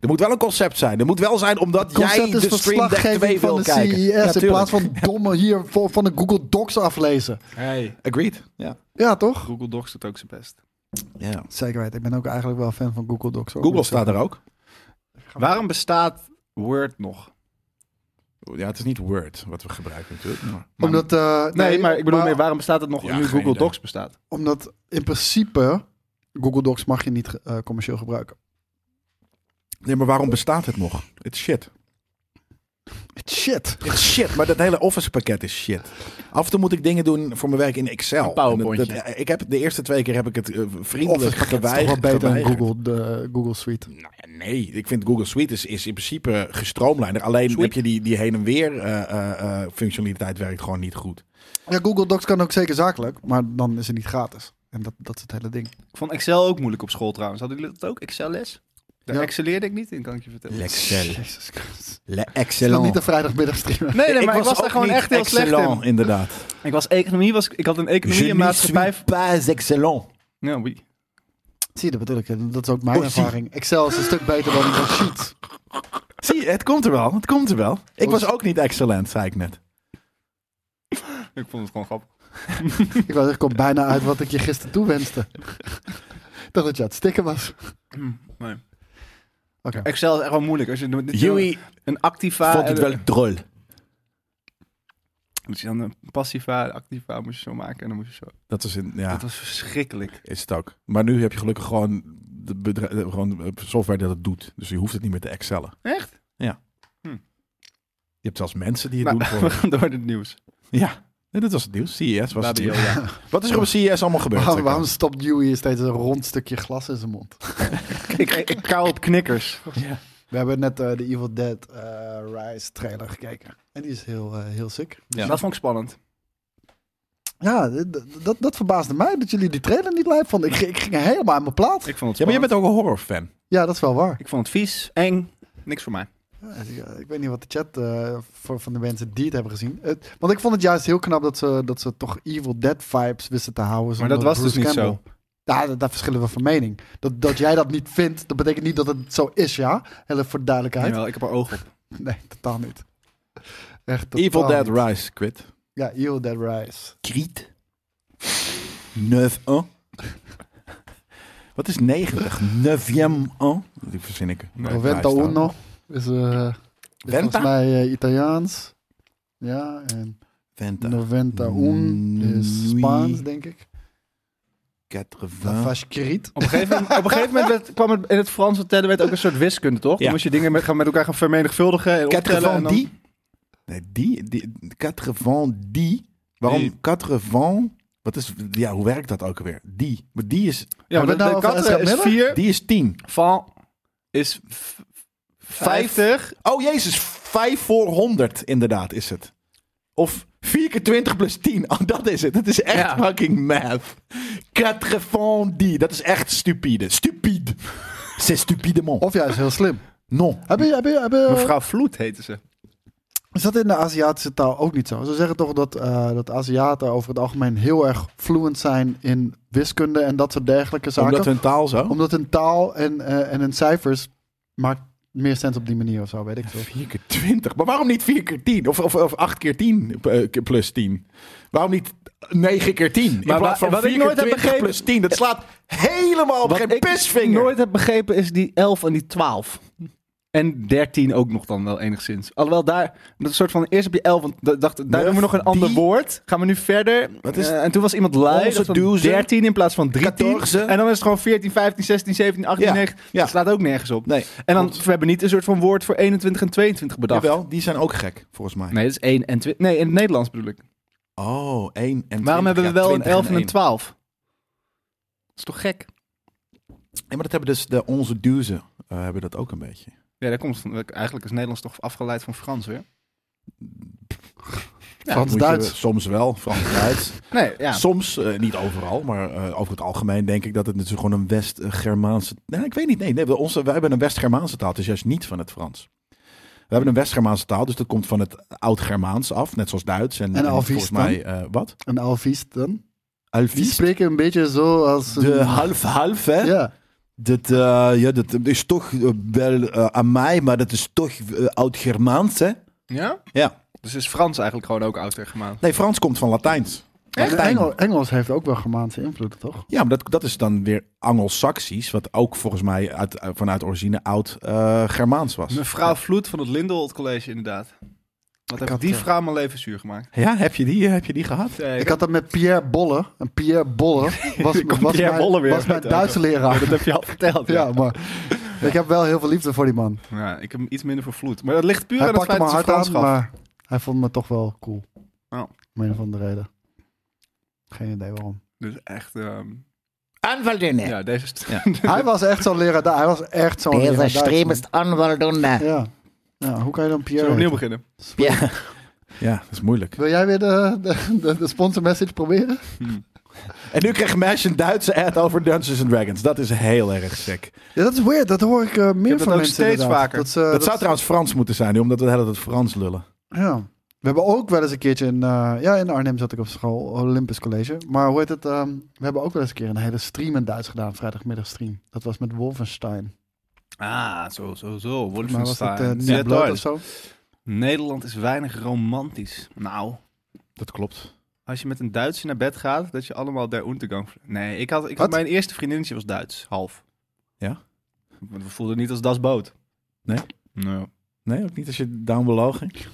Speaker 2: Er moet wel een concept zijn. Er moet wel zijn omdat
Speaker 3: Het concept
Speaker 2: jij dus
Speaker 3: is
Speaker 2: de Stream Deck 2
Speaker 3: verslaggeving van
Speaker 2: wil
Speaker 3: de
Speaker 2: kijken.
Speaker 3: CES
Speaker 2: Ja,
Speaker 3: in plaats
Speaker 2: tuurlijk.
Speaker 3: van domme hier voor- van de Google Docs aflezen.
Speaker 1: Hey.
Speaker 2: Agreed. Ja.
Speaker 3: Ja, toch?
Speaker 1: Google Docs doet ook zijn best.
Speaker 2: ja.
Speaker 3: Zeker weten. Ik ben ook eigenlijk wel fan van Google Docs. hoor.
Speaker 2: Google Dus, staat er ook.
Speaker 1: Waarom bestaat Word nog?
Speaker 2: Ja, het is niet Word wat we gebruiken natuurlijk. maar-
Speaker 3: Omdat, eh,
Speaker 1: Nee, maar ik bedoel meer, waarom bestaat het nog
Speaker 2: Ja,
Speaker 1: nu
Speaker 2: geen
Speaker 1: Google
Speaker 2: idee.
Speaker 1: Docs bestaat?
Speaker 3: Omdat in principe Google Docs mag je niet eh, commercieel gebruiken.
Speaker 2: Nee, maar waarom bestaat het nog? Het is shit.
Speaker 3: Shit.
Speaker 2: Het is shit, maar dat hele office pakket is shit. Af en toe moet ik dingen doen voor mijn werk in Excel.
Speaker 1: Een PowerPointje.
Speaker 2: En dat- dat- ik heb de eerste twee keer heb ik het eh, vriendelijk
Speaker 3: Office pakket is toch wel
Speaker 2: geweigerd.
Speaker 3: beter dan
Speaker 2: geweigerd.
Speaker 3: Google, de, eh, Google Suite.
Speaker 2: Nou ja, nee, ik vind Google Suite is, is in principe gestroomlijnder. Alleen
Speaker 1: Suite.
Speaker 2: heb je die, die heen en weer eh, eh, eh, functionaliteit werkt gewoon niet goed.
Speaker 3: Ja, Google Docs kan ook zeker zakelijk, maar dan is het niet gratis. En dat, dat is het hele ding.
Speaker 1: Ik vond Excel ook moeilijk op school trouwens. Hadden jullie dat ook? Excel-les? Daar
Speaker 3: Ja.
Speaker 1: excelleerde ik niet in, kan ik je vertellen.
Speaker 2: Excel.
Speaker 3: Jezus Christus.
Speaker 2: Le
Speaker 3: Ik wil
Speaker 2: Excellent.
Speaker 3: niet de vrijdagmiddag streamen.
Speaker 1: Nee, nee, maar ik was,
Speaker 2: ook
Speaker 1: daar gewoon
Speaker 2: niet
Speaker 1: echt heel slecht
Speaker 2: excellent,
Speaker 1: in.
Speaker 2: inderdaad.
Speaker 1: Ik was economie, was, ik- ik had een economie
Speaker 2: Je
Speaker 1: en
Speaker 2: ne
Speaker 1: maatschappij...
Speaker 2: suis pas excellent.
Speaker 1: Ja, wie?
Speaker 3: Zie je, dat bedoel ik. hè. Dat is ook mijn
Speaker 2: Oh, zie.
Speaker 3: ervaring. Excel is een stuk beter dan dan Sheets.
Speaker 2: Zie je, het komt er wel. Het komt er wel. Ik was ook niet excellent, zei ik net.
Speaker 1: Ik vond het gewoon grappig.
Speaker 3: Ik was echt kom bijna uit wat ik je gisteren toewenste. Ik dacht dat je aan het stikken was.
Speaker 1: Hm, Nee.
Speaker 3: Oké.
Speaker 1: Excel is echt wel moeilijk. Als je dit-
Speaker 2: Joey
Speaker 1: een activa...
Speaker 2: vond het
Speaker 1: en-
Speaker 2: wel drol.
Speaker 1: Moet je dan een passiva, een activa moest je zo maken en dan moest je zo...
Speaker 2: Dat is in, ja.
Speaker 1: Dat was verschrikkelijk.
Speaker 2: Is het ook. Maar nu heb je gelukkig gewoon, de bedrijf, gewoon eh, software dat het doet. Dus je hoeft het niet meer te excellen.
Speaker 1: Echt? Hm.
Speaker 2: Je hebt zelfs mensen die het
Speaker 1: Nou,
Speaker 2: doen voor
Speaker 1: we
Speaker 2: je.
Speaker 1: gaan door het nieuws.
Speaker 2: Ja, nee, dat was het nieuws. CES was het
Speaker 1: Babi
Speaker 2: nieuws.
Speaker 1: Yoda.
Speaker 2: Wat is er op CES allemaal gebeurd?
Speaker 3: Waarom, waarom stopt Dewey steeds een rond stukje glas in zijn mond?
Speaker 1: ik, ik, ik kauw op knikkers.
Speaker 2: Ja.
Speaker 3: We hebben net eh, de Evil Dead eh, Rise trailer gekeken. En die is heel, eh, heel sick.
Speaker 2: Ja.
Speaker 1: Dat vond ik spannend.
Speaker 3: Ja, d- d- dat, dat verbaasde mij dat jullie die trailer niet live vonden. Ik, ging- ik ging helemaal aan mijn plaat.
Speaker 1: Ik vond het
Speaker 2: ja, maar je
Speaker 1: spannend.
Speaker 2: bent ook een horrorfan.
Speaker 3: Ja, dat is wel waar.
Speaker 1: Ik vond het vies, eng, niks voor mij.
Speaker 3: Ja, ik, ik weet niet wat de chat eh, voor, van de mensen die het hebben gezien. Het- want ik vond het juist heel knap dat ze, dat ze toch Evil Dead vibes wisten te houden.
Speaker 1: Maar dat was dus niet
Speaker 3: zo. Ja, da- daar verschillen we van mening. Dat, dat jij dat niet vindt, dat betekent niet dat het zo is, ja? Heel even voor de duidelijkheid.
Speaker 1: Jawel, ik heb er oog op.
Speaker 3: Nee, totaal niet. Echt
Speaker 2: Evil
Speaker 3: totaal
Speaker 2: Dead
Speaker 3: niet.
Speaker 2: Rise, quit.
Speaker 3: Ja, Evil Dead Rise.
Speaker 2: Kriet. 9 1 Wat is 90? 9 1 Die verzin ik.
Speaker 3: Venta Uno is, eh, is volgens
Speaker 2: Venta?
Speaker 3: mij eh, Italiaans. Ja, en
Speaker 2: Venta.
Speaker 3: 90 un is Spaans, denk ik.
Speaker 1: Nou,
Speaker 2: 80.
Speaker 3: Vashkiriet.
Speaker 1: Op een gegeven moment, op een gegeven moment werd- kwam het in het Franse tellen werd ook een soort wiskunde, toch?
Speaker 2: Ja.
Speaker 1: Dan moest je dingen met, gaan met elkaar gaan vermenigvuldigen en optellen. En dan-
Speaker 2: 90. Nee, die, die, 90. Waarom
Speaker 1: Die.
Speaker 2: 80? Wat is, ja, hoe werkt dat ook alweer? Die. Maar die is,
Speaker 1: Ja, maar
Speaker 3: Hebben we het
Speaker 1: de,
Speaker 3: nou
Speaker 1: de
Speaker 3: over
Speaker 1: katten
Speaker 3: Ezra
Speaker 1: is
Speaker 3: Miller?
Speaker 1: 4,
Speaker 2: die is 10.
Speaker 1: van is v- 50.
Speaker 2: Oh jezus, 5 voor 100 inderdaad is het. Of 4 keer 20 plus 10. Oh, dat is het. Het is echt
Speaker 1: Ja.
Speaker 2: fucking math. 80 van die. Dat is echt stupide. Stupide. C'est stupidement.
Speaker 3: Of juist heel slim.
Speaker 2: Non.
Speaker 3: Heb je, heb je, heb je-
Speaker 1: Mevrouw Vloed heette ze.
Speaker 3: Is dat in de Aziatische taal ook niet zo? Ze zeggen toch dat, eh, dat Aziaten over het algemeen heel erg fluent zijn in wiskunde en dat soort dergelijke zaken.
Speaker 2: Omdat hun taal zo.
Speaker 3: Omdat hun taal en, eh, en hun cijfers maakt meer sens op die manier of zo, weet ik veel.
Speaker 2: 4 keer 20. Maar waarom niet 4 keer 10? Of, of, of 8 keer 10 eh, keer plus 10? Waarom niet 9 keer 10? In
Speaker 1: Maar
Speaker 2: plaats
Speaker 1: wa-
Speaker 2: van
Speaker 1: wat ik
Speaker 2: 4 keer
Speaker 1: nooit heb
Speaker 2: 20
Speaker 1: begrepen-
Speaker 2: plus 10. Dat slaat helemaal op geen pisvinger.
Speaker 1: nooit heb begrepen is die 11 en die 12. En 13 ook nog dan wel enigszins. Alhoewel daar, dat soort van, eerst heb je 11, en d- dacht, daar
Speaker 2: Nuf,
Speaker 1: doen we nog een ander
Speaker 2: die-
Speaker 1: woord. Gaan we nu verder.
Speaker 2: Wat is-
Speaker 1: Eh, en toen was iemand lui,
Speaker 2: Onze
Speaker 1: dacht van
Speaker 2: douze.
Speaker 1: 13 in plaats van 13.
Speaker 2: Katorze.
Speaker 1: En dan is het gewoon 14, 15, 16, 17, 18,
Speaker 2: Ja,
Speaker 1: 19.
Speaker 2: ja.
Speaker 1: Dat slaat ook nergens op.
Speaker 2: Nee.
Speaker 1: En dan,
Speaker 2: klopt.
Speaker 1: we hebben niet een soort van woord voor 21 en 22 bedacht.
Speaker 2: Jawel, die zijn ook gek, volgens mij.
Speaker 1: Nee, dat is 1 en 20. Nee, in het Nederlands bedoel ik.
Speaker 2: Oh, 1 en
Speaker 1: Waarom
Speaker 2: 20,
Speaker 1: hebben we
Speaker 2: ja,
Speaker 1: wel een
Speaker 2: 20 en
Speaker 1: 11 en een
Speaker 2: één.
Speaker 1: 12? Dat is toch gek?
Speaker 2: Ja, maar dat hebben dus de onze duzen eh, hebben dat ook een beetje.
Speaker 1: Ja, daar komt het van. Eigenlijk is Nederlands toch afgeleid van Frans weer? Ja,
Speaker 2: Moet je
Speaker 3: Frans-Duits.
Speaker 2: Soms wel, Frans-Duits.
Speaker 1: Nee, ja.
Speaker 2: Soms, eh, niet overal, maar eh, over het algemeen denk ik dat het natuurlijk gewoon een West-Germaanse... Nee, ik weet niet. Nee, nee we- onze, wij hebben een West-Germaanse taal, het is juist niet van het Frans. We hebben een West-Germaanse taal, dus dat komt van het Oud-Germaans af, net zoals Duits. En,
Speaker 3: En Alviest
Speaker 2: volgens mij, eh, wat?
Speaker 3: En Alviest dan? Die
Speaker 2: Alviest?
Speaker 3: spreken een beetje zo als... een-
Speaker 2: De half-half, hè?
Speaker 3: Ja,
Speaker 2: Dat, eh, ja, dat is toch eh, wel eh, aan mij, maar dat is toch eh, oud-Germaans, hè?
Speaker 1: Ja?
Speaker 2: Ja.
Speaker 1: Dus is Frans eigenlijk gewoon ook ouder gemaakt?
Speaker 2: Nee, Frans komt van Latijns.
Speaker 3: maar
Speaker 2: Latijn.
Speaker 3: Engels, Engels heeft ook wel Germaanse invloeden, toch?
Speaker 2: Ja, maar dat, dat is dan weer Angelsaksisch, wat ook volgens mij uit, eh, vanuit origine oud-Germaans was.
Speaker 1: Mevrouw Vloed van het Lindelholt College, inderdaad. Wat heeft
Speaker 3: had,
Speaker 1: die
Speaker 3: eh,
Speaker 1: vrouw mijn leven zuur gemaakt?
Speaker 2: Ja, heb je die, eh, heb je die gehad?
Speaker 1: Nee,
Speaker 3: Ik had dat met Pierre Bolle. En Pierre Bolle was,
Speaker 1: Pierre
Speaker 3: was, mijn,
Speaker 1: Bolle weer
Speaker 3: was mijn
Speaker 1: uit de
Speaker 3: Duitse leraar.
Speaker 1: dat heb je al verteld.
Speaker 3: Ja, maar ik heb wel heel veel liefde voor die man.
Speaker 1: Ja, ik heb hem iets minder voor Vloed. Maar dat ligt puur
Speaker 3: Hij
Speaker 1: aan het
Speaker 3: pakte
Speaker 1: feit
Speaker 3: me
Speaker 1: dat ze
Speaker 3: hard
Speaker 1: Frans
Speaker 3: aan,
Speaker 1: gaf.
Speaker 3: maar hij vond me toch wel cool.
Speaker 1: Oh.
Speaker 3: Om een of andere reden. Geen idee waarom.
Speaker 1: Dus echt, ehm,
Speaker 4: Anwaldunne.
Speaker 1: ja, deze is...
Speaker 2: Ja.
Speaker 3: Hij was echt zo'n leraar. Hij was echt zo'n leraar.
Speaker 4: Deze
Speaker 3: Duits,
Speaker 4: stream
Speaker 3: man.
Speaker 4: is Anwaldunne.
Speaker 3: Ja. ja. Hoe kan je
Speaker 1: Zullen
Speaker 3: dan
Speaker 1: we
Speaker 3: Pierre...
Speaker 1: opnieuw
Speaker 3: heten?
Speaker 1: beginnen?
Speaker 4: Ja.
Speaker 2: Ja, dat is moeilijk.
Speaker 3: Wil jij weer de, de, de, de sponsor message proberen?
Speaker 2: En nu krijgt Mash een Duitse ad over Dungeons and Dragons. Dat is heel erg sick.
Speaker 3: Ja, dat is weird. Dat hoor ik eh, meer
Speaker 1: heb dat
Speaker 3: van
Speaker 1: ook
Speaker 3: mensen
Speaker 1: steeds
Speaker 3: inderdaad.
Speaker 1: vaker.
Speaker 3: Dat, ze-
Speaker 2: Dat,
Speaker 3: dat
Speaker 2: zou trouwens Frans moeten zijn, nu, omdat we de hele tijd Frans lullen.
Speaker 3: Ja. We hebben ook wel eens een keertje in, eh, ja, in Arnhem zat ik op school, Olympus College. Maar hoe heet het? ehm, we hebben ook wel eens een keer een hele stream in Duits gedaan, vrijdagmiddag stream. Dat was met Wolfenstein.
Speaker 1: Ah, zo, zo, zo.
Speaker 3: Maar was dat
Speaker 1: Wolfenstein.
Speaker 3: uh,
Speaker 1: Zet door.
Speaker 3: of zo?
Speaker 1: Nederland is weinig romantisch. Nou,
Speaker 2: Dat klopt.
Speaker 1: Als je met een Duitser naar bed gaat, dat je allemaal der Untergang... vl- Nee, ik had, ik had
Speaker 3: Wat?
Speaker 1: mijn eerste vriendinnetje was Duits, half.
Speaker 2: Ja?
Speaker 1: Want we voelden niet als das boot.
Speaker 2: Nee?
Speaker 1: Nee.
Speaker 2: Nee, ook niet als je down below ging.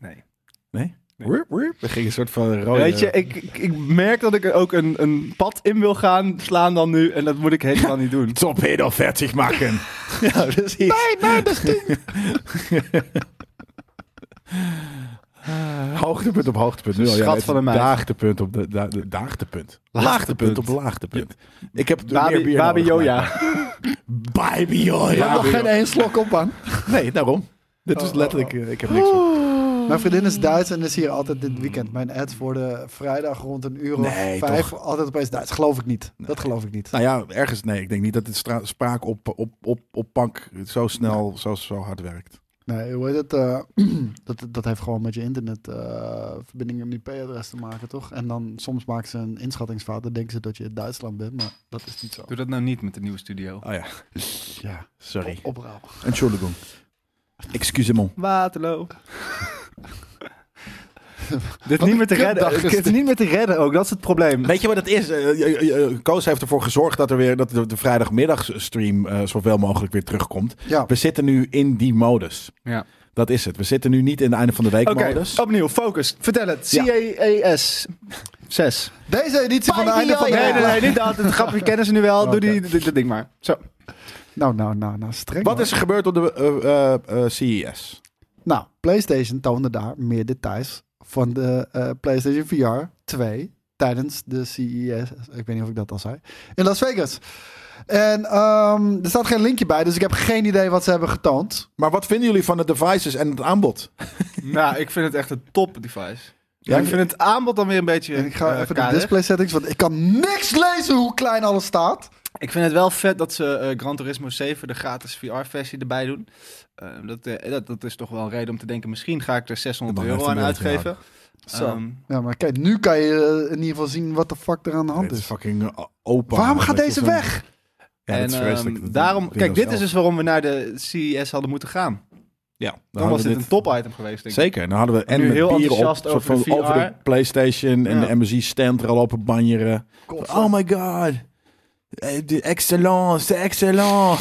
Speaker 1: nee. Nee.
Speaker 2: Wurp, wurp. We gingen een soort van rode...
Speaker 1: Weet je, ik, ik, ik merk dat ik er ook een, een pad in wil gaan slaan dan nu. En dat moet ik helemaal niet doen.
Speaker 2: Torpedo fertig maken. ja, precies. Nee, nee, dat stinkt. hoogtepunt op hoogtepunt. Nu al,
Speaker 1: Schat
Speaker 2: het
Speaker 1: van een meid.
Speaker 2: Daagtepunt op de, da, de- daagtepunt.
Speaker 1: Laagtepunt.
Speaker 2: Laagtepunt op laagtepunt. Ik heb meer
Speaker 1: Babi,
Speaker 2: bier
Speaker 1: Babi
Speaker 2: nodig,
Speaker 1: Joja.
Speaker 2: maar- Babi Joja.
Speaker 3: Ik heb nog geen één slok op aan.
Speaker 2: Nee, daarom. Dit is letterlijk... eh, Ik heb niks op.
Speaker 3: Mijn vriendin is Duits en is hier altijd dit weekend. Mijn ads worden vrijdag rond een uur of
Speaker 2: Nee,
Speaker 3: vijf altijd opeens Duits. Geloof ik niet. Dat geloof ik niet.
Speaker 2: Nou ja, ergens... Nee, ik denk niet dat dit stra- spraak op, op, op, op pank zo snel, zo, zo hard werkt.
Speaker 3: Nee, hoe heet het? eh, dat, dat heeft gewoon met je eh, internetverbinding en IP-adres te maken, toch? En dan soms maken ze een inschattingsfout. Dan denken ze dat je in Duitsland bent, maar dat is niet zo.
Speaker 1: Doe dat nou niet met de nieuwe studio.
Speaker 2: Oh ja,
Speaker 3: Ja,
Speaker 2: sorry.
Speaker 3: oprouw.
Speaker 2: Entschuldigung. Excusez-moi.
Speaker 1: Waterloo. Dit niet
Speaker 3: Wat een
Speaker 1: meer te redden.
Speaker 3: kutdag
Speaker 1: Het
Speaker 3: is
Speaker 1: is
Speaker 3: dit.
Speaker 1: niet meer te redden ook, dat is het probleem.
Speaker 2: Weet je wat het is? Eh, eh, eh, eh, Koos heeft ervoor gezorgd dat er weer dat de, de vrijdagmiddagstream eh, zoveel mogelijk weer terugkomt.
Speaker 3: Ja.
Speaker 2: We zitten nu in die modus.
Speaker 1: Ja.
Speaker 2: Dat is het. We zitten nu niet in de einde van de week
Speaker 1: Oké,
Speaker 2: modus.
Speaker 1: opnieuw, focus. Vertel het.
Speaker 2: dus. Ja.
Speaker 1: C-A-E-S. 6.
Speaker 3: Deze editie van het einde van de
Speaker 1: Nee, nee,
Speaker 3: week.
Speaker 1: nee, niet dat. Het grapje kennen ze nu wel. Doe die, dit, dit ding maar. Zo.
Speaker 3: Nou, nou, nou, nou, streng.
Speaker 2: Wat
Speaker 3: hoor.
Speaker 2: is er gebeurd op de eh, eh, eh, CES?
Speaker 3: Nou, PlayStation toonde daar meer details van de eh, PlayStation VR 2 tijdens de CES. Ik weet niet of ik dat al zei. In Las Vegas. En ehm, er staat geen linkje bij, dus ik heb geen idee wat ze hebben getoond.
Speaker 2: Maar wat vinden jullie van de devices en het aanbod?
Speaker 1: Nou, ik vind het echt een top device.
Speaker 2: Ja,
Speaker 1: Ja, ik vind het aanbod dan weer een beetje.
Speaker 3: En ik ga
Speaker 1: eh,
Speaker 3: even de
Speaker 1: karig.
Speaker 3: display settings, want ik kan niks lezen hoe klein alles staat.
Speaker 1: Ik vind het wel vet dat ze eh Gran Turismo 7, de gratis VR-versie, erbij doen. Eh, dat, eh, dat, dat is toch wel een reden om te denken: misschien ga ik er 600
Speaker 2: Dan
Speaker 1: euro
Speaker 2: heeft
Speaker 1: aan
Speaker 2: hij nooit
Speaker 1: uitgeven.
Speaker 3: Zo.
Speaker 1: Ehm,
Speaker 3: Ja, maar kijk, nu kan je eh, in ieder geval zien wat de fuck er aan de hand
Speaker 2: Dit is
Speaker 3: is.
Speaker 2: fucking eh, opa.
Speaker 3: Waarom
Speaker 2: Dat
Speaker 3: gaat
Speaker 2: je
Speaker 3: deze
Speaker 2: zo'n-
Speaker 3: weg?
Speaker 2: Ja,
Speaker 1: en
Speaker 2: dat is vreselijk.
Speaker 1: ehm,
Speaker 2: Dat-
Speaker 1: daarom,
Speaker 2: dat-
Speaker 1: kijk, dit is
Speaker 2: zelf.
Speaker 1: dus waarom we naar de CES hadden moeten gaan.
Speaker 2: Ja,
Speaker 1: Dan,
Speaker 2: hadden
Speaker 1: was
Speaker 2: we
Speaker 1: dit een top-item geweest, denk ik.
Speaker 2: Zeker, dan hadden we en
Speaker 1: Nu
Speaker 2: met
Speaker 1: heel
Speaker 2: bieren op,
Speaker 1: enthousiast
Speaker 2: soort
Speaker 1: over de
Speaker 2: van over de
Speaker 1: VR.
Speaker 2: PlayStation en
Speaker 1: Ja.
Speaker 2: de MSI stand er al op banjeren.
Speaker 3: God,
Speaker 2: Oh my god. Eh, de Excellent, c'est excellent.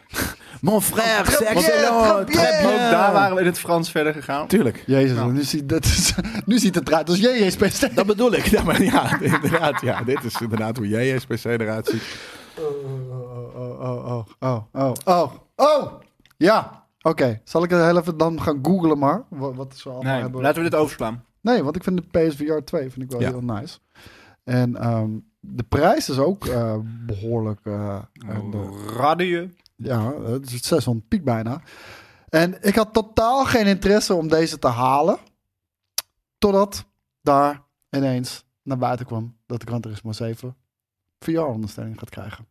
Speaker 2: Mon frère, c'est
Speaker 3: Très bien,
Speaker 2: excellent.
Speaker 3: très
Speaker 2: Très
Speaker 3: bien.
Speaker 1: Ook
Speaker 2: bien.
Speaker 1: daar waren we in het Frans verder gegaan.
Speaker 2: Tuurlijk.
Speaker 3: Jezus,
Speaker 1: Nou.
Speaker 3: nu, zie, dat is, nu ziet het eruit als JJ Space
Speaker 2: Dat bedoel ik. Ja, maar ja, inderdaad. Ja, dit is inderdaad hoe jij SPC eruit ziet.
Speaker 3: Oh, oh, oh, oh, oh, oh, oh. Ja, oké. Zal ik het heel even dan gaan googlen maar? Wat, wat ze allemaal
Speaker 1: Nee,
Speaker 3: hebben.
Speaker 1: laten we dit overslaan.
Speaker 3: Nee, want ik vind de PSVR 2 vind ik wel
Speaker 2: Ja.
Speaker 3: heel nice. En ehm, de prijs is ook eh, behoorlijk... eh,
Speaker 1: Oh,
Speaker 3: en, eh,
Speaker 1: Radio.
Speaker 3: ja, het is 600 piek bijna. En ik had totaal geen interesse om deze te halen. Totdat daar ineens naar buiten kwam dat de Gran Turismo 7 VR-ondersteuning gaat krijgen.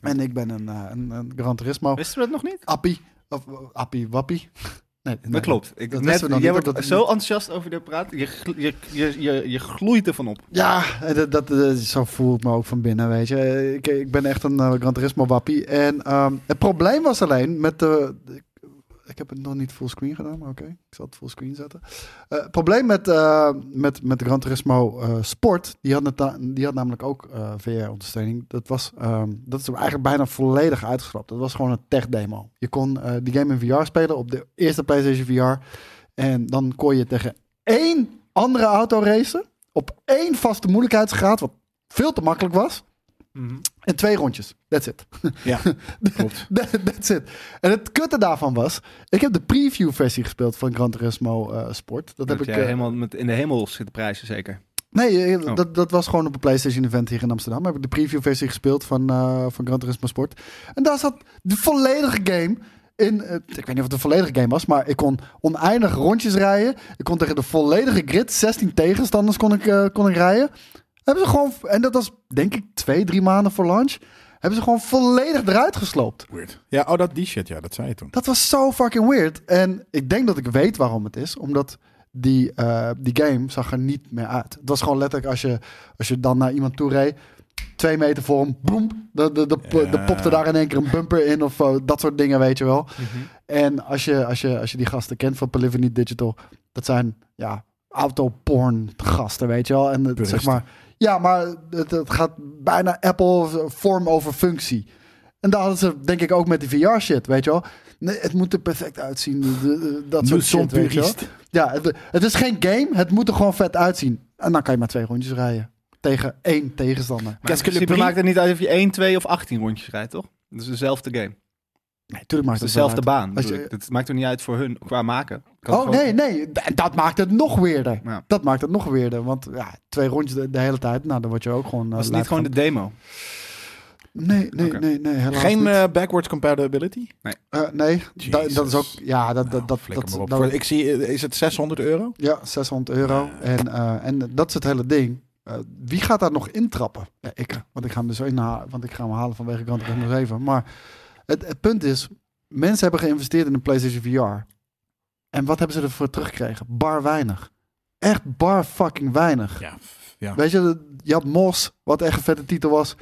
Speaker 3: En ik ben een, eh, een, een Gran Turismo
Speaker 1: Wisten we dat nog niet?
Speaker 3: appie. Of eh, appie, wappie. Nee, nee.
Speaker 1: dat klopt. Ik,
Speaker 3: dat
Speaker 1: net,
Speaker 3: wisten we nog
Speaker 1: jij
Speaker 3: niet,
Speaker 1: wordt
Speaker 3: dat-
Speaker 1: zo enthousiast over dit praat. Je, gl- je, je, je, je gloeit ervan op.
Speaker 3: Ja, eh, dat, dat, eh, zo voel ik me ook van binnen, weet je. Eh, Ik, ik ben echt een eh, Gran Turismo wappie. En ehm, het probleem was alleen met de... de- ik heb het nog niet fullscreen gedaan, maar oké. Ik zal het fullscreen zetten. Eh, het probleem met, eh, met, met de Gran Turismo eh, Sport, die had, neta- die had namelijk ook VR-ondersteuning. Dat, was, ehm, dat is hem eigenlijk bijna volledig uitgeschrapt. Dat was gewoon een tech-demo. Je kon eh, die game in VR spelen op de eerste PlayStation VR. En dan kon je tegen één andere auto racen op één vaste moeilijkheidsgraad, wat veel te makkelijk was. En twee rondjes. That's it.
Speaker 2: Ja, klopt.
Speaker 3: That- That's it. En het kutte daarvan was, ik heb de preview versie gespeeld van Gran Turismo eh, Sport. Dat,
Speaker 1: Dat
Speaker 3: heb ik.
Speaker 1: jij
Speaker 3: eh,
Speaker 1: helemaal met in de hemel zit prijzen, zeker.
Speaker 3: Nee, eh,
Speaker 1: Oh.
Speaker 3: dat, dat was gewoon op een PlayStation event hier in Amsterdam. Heb ik de preview versie gespeeld van, eh, van Gran Turismo Sport. En daar zat de volledige game in. eh, ik weet niet of het een volledige game was, maar ik kon oneindig rondjes rijden. Ik kon tegen de volledige grid, 16 tegenstanders kon ik, eh, kon ik rijden. Hebben ze gewoon, en dat was denk ik twee, drie maanden voor launch. Hebben ze gewoon volledig eruit gesloopt.
Speaker 2: Weird. Ja, oh, dat die shit. Ja, dat zei je toen.
Speaker 3: Dat was zo fucking weird. En ik denk dat ik weet waarom het is. Omdat die, eh, die game zag er niet meer uit. Het was gewoon letterlijk als je, als je dan naar iemand toe reed. Twee meter voor hem, boem. De, de, de,
Speaker 2: Ja.
Speaker 3: de popte daar in één keer een bumper in of eh, dat soort dingen, weet je wel.
Speaker 2: Mhm.
Speaker 3: En als je, als, je, als je die gasten kent van Polyphony Digital, dat zijn ja, autoporn gasten, weet je wel. En het, zeg
Speaker 2: Puristen.
Speaker 3: maar, ja, maar het, het gaat bijna Apple vorm over functie. En daar hadden ze denk ik ook met die VR shit, weet je wel. Nee, het moet er perfect uitzien. de- de- dat soort
Speaker 2: Nous
Speaker 3: shit,
Speaker 2: sommes
Speaker 3: weet je wel.
Speaker 2: puristes.
Speaker 3: Ja, het, het is geen game, het moet er gewoon vet uitzien. En dan kan je maar twee rondjes rijden. Tegen één tegenstander.
Speaker 1: Maar in principe maakt het niet uit of je 1, 2 of 18 rondjes rijdt, toch? Het is dezelfde game. Het
Speaker 3: Nee, tuurlijk maakt
Speaker 1: is
Speaker 3: het wel
Speaker 1: dezelfde
Speaker 3: uit.
Speaker 1: baan.
Speaker 3: Als
Speaker 1: bedoel
Speaker 3: je-
Speaker 1: ik. Het maakt er niet uit voor hun qua maken. Kan
Speaker 3: Oh
Speaker 1: gewoon-
Speaker 3: nee, nee, d- dat maakt het nog weerder.
Speaker 1: Ja.
Speaker 3: Dat maakt het nog weerder, want ja, twee rondjes de, de hele tijd, nou dan word je ook gewoon... eh,
Speaker 1: Was het
Speaker 3: lijp
Speaker 1: niet gewoon de
Speaker 3: van.
Speaker 1: demo?
Speaker 3: Nee, nee,
Speaker 1: Oké.
Speaker 3: nee, nee, helaas
Speaker 2: Geen
Speaker 3: niet.
Speaker 2: eh, backwards compatibility?
Speaker 3: Eh, nee, da- dat is ook...
Speaker 2: Jezus. Nou,
Speaker 3: Ja, dat... dat, dat,
Speaker 2: Flikker
Speaker 3: dat,
Speaker 2: maar op.
Speaker 3: dat-
Speaker 2: Voor- ik zie, eh, is het 600 euro?
Speaker 3: ja, 600 euro. En, eh, en dat is het hele ding. Eh, wie gaat daar nog intrappen? Ja, ik, want ik ga hem dus inhalen, want ik ga hem halen vanwege Gran Turismo 7. Maar het, het punt is, mensen hebben geïnvesteerd in een PlayStation VR. En wat hebben ze ervoor teruggekregen? Bar weinig. Echt bar fucking weinig.
Speaker 2: Ja. f- ja.
Speaker 3: Weet je, je had Mos, wat echt een vette titel was.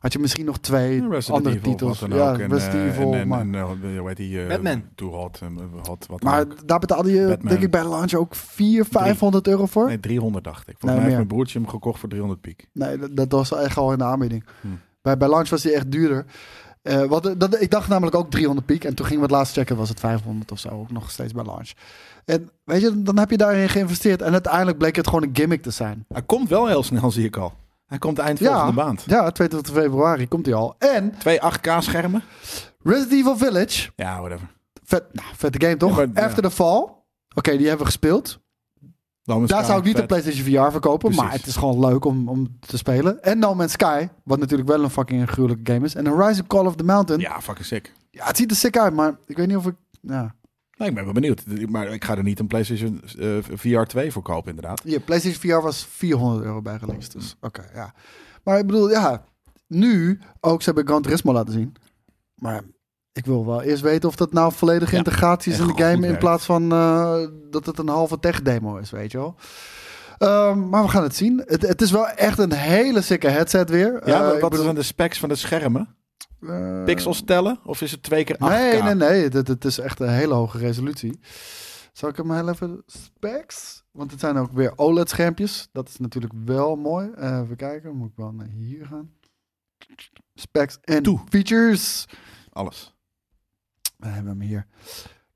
Speaker 3: had je misschien nog twee
Speaker 2: Resident
Speaker 3: andere
Speaker 2: Evil,
Speaker 3: titels.
Speaker 2: wat dan
Speaker 3: Ja,
Speaker 2: ook. En,
Speaker 3: Resident
Speaker 2: eh, en-
Speaker 3: Evil.
Speaker 2: En,
Speaker 3: maar
Speaker 2: en, eh, hoe heet die? eh,
Speaker 1: Batman.
Speaker 2: Too Hot. en hot wat dan
Speaker 3: maar
Speaker 2: ook.
Speaker 3: daar betaalde je,
Speaker 2: Batman.
Speaker 3: denk ik, bij de launch ook 400, 500 euro voor. Nee,
Speaker 2: Nee, 300 dacht ik. Volgens
Speaker 3: Nee,
Speaker 2: mij heeft
Speaker 3: meer.
Speaker 2: mijn broertje hem gekocht voor 300 piek.
Speaker 3: dat, dat was echt al in de aanbieding.
Speaker 2: Hm.
Speaker 3: Bij, bij launch was die echt duurder. Eh, wat, dat, ik dacht namelijk ook 300 piek. En toen ging we het laatst checken, was het 500 of zo. Ook nog steeds bij launch. En weet je, dan heb je daarin geïnvesteerd. En uiteindelijk bleek het gewoon een gimmick te zijn.
Speaker 2: Hij komt wel heel snel, zie ik al. Hij komt eind volgende maand.
Speaker 3: Ja, 22 februari komt hij al. En
Speaker 2: Twee 8K schermen.
Speaker 3: Resident Evil Village.
Speaker 2: Ja, whatever.
Speaker 3: Vet, nou, vette game toch?
Speaker 2: Ja, maar-
Speaker 3: After the Fall. Oké, die hebben we gespeeld.
Speaker 2: Dan
Speaker 3: Daar zou ik niet de PlayStation VR verkopen.
Speaker 2: Precies.
Speaker 3: Maar het is gewoon leuk om, om te spelen. En No Man's Sky. Wat natuurlijk wel een fucking gruwelijke game is. En Horizon Call of the Mountain. Ja.
Speaker 2: Ja, fucking sick.
Speaker 3: het ziet er sick uit. Maar ik weet niet of ik... Ja.
Speaker 2: Nee, ik ben wel benieuwd. Maar ik ga er niet een PlayStation eh, VR 2 voor kopen, inderdaad.
Speaker 3: Hier, PlayStation VR was 400 euro bijgelinkt. Dus
Speaker 2: Mm.
Speaker 3: oké, ja. Maar ik bedoel, ja. Nu ook, ze hebben Gran Turismo laten zien. Maar ik wil wel eerst weten of dat nou volledige
Speaker 2: Ja,
Speaker 3: integratie is
Speaker 2: echt
Speaker 3: in de
Speaker 2: goed
Speaker 3: game. In
Speaker 2: werkt.
Speaker 3: plaats van eh, dat het een halve tech demo is, weet je wel. Ehm, maar we gaan het zien. Het, het is wel echt een hele sikke headset weer.
Speaker 2: Ja,
Speaker 3: Eh,
Speaker 2: wat-
Speaker 3: ik
Speaker 2: wat
Speaker 3: bedoel,
Speaker 2: zijn de specs van de schermen?
Speaker 3: eh,
Speaker 2: Pixels tellen? Of is het twee keer 8K?
Speaker 3: Nee, nee, nee. Het, het is echt een hele hoge resolutie. Zal ik hem heel even... Specs? Want het zijn ook weer OLED-schermpjes. Dat is natuurlijk wel mooi. Eh, even kijken. Moet ik wel naar hier gaan. Specs en
Speaker 2: Toe.
Speaker 3: features.
Speaker 2: Alles.
Speaker 3: We hebben hem hier.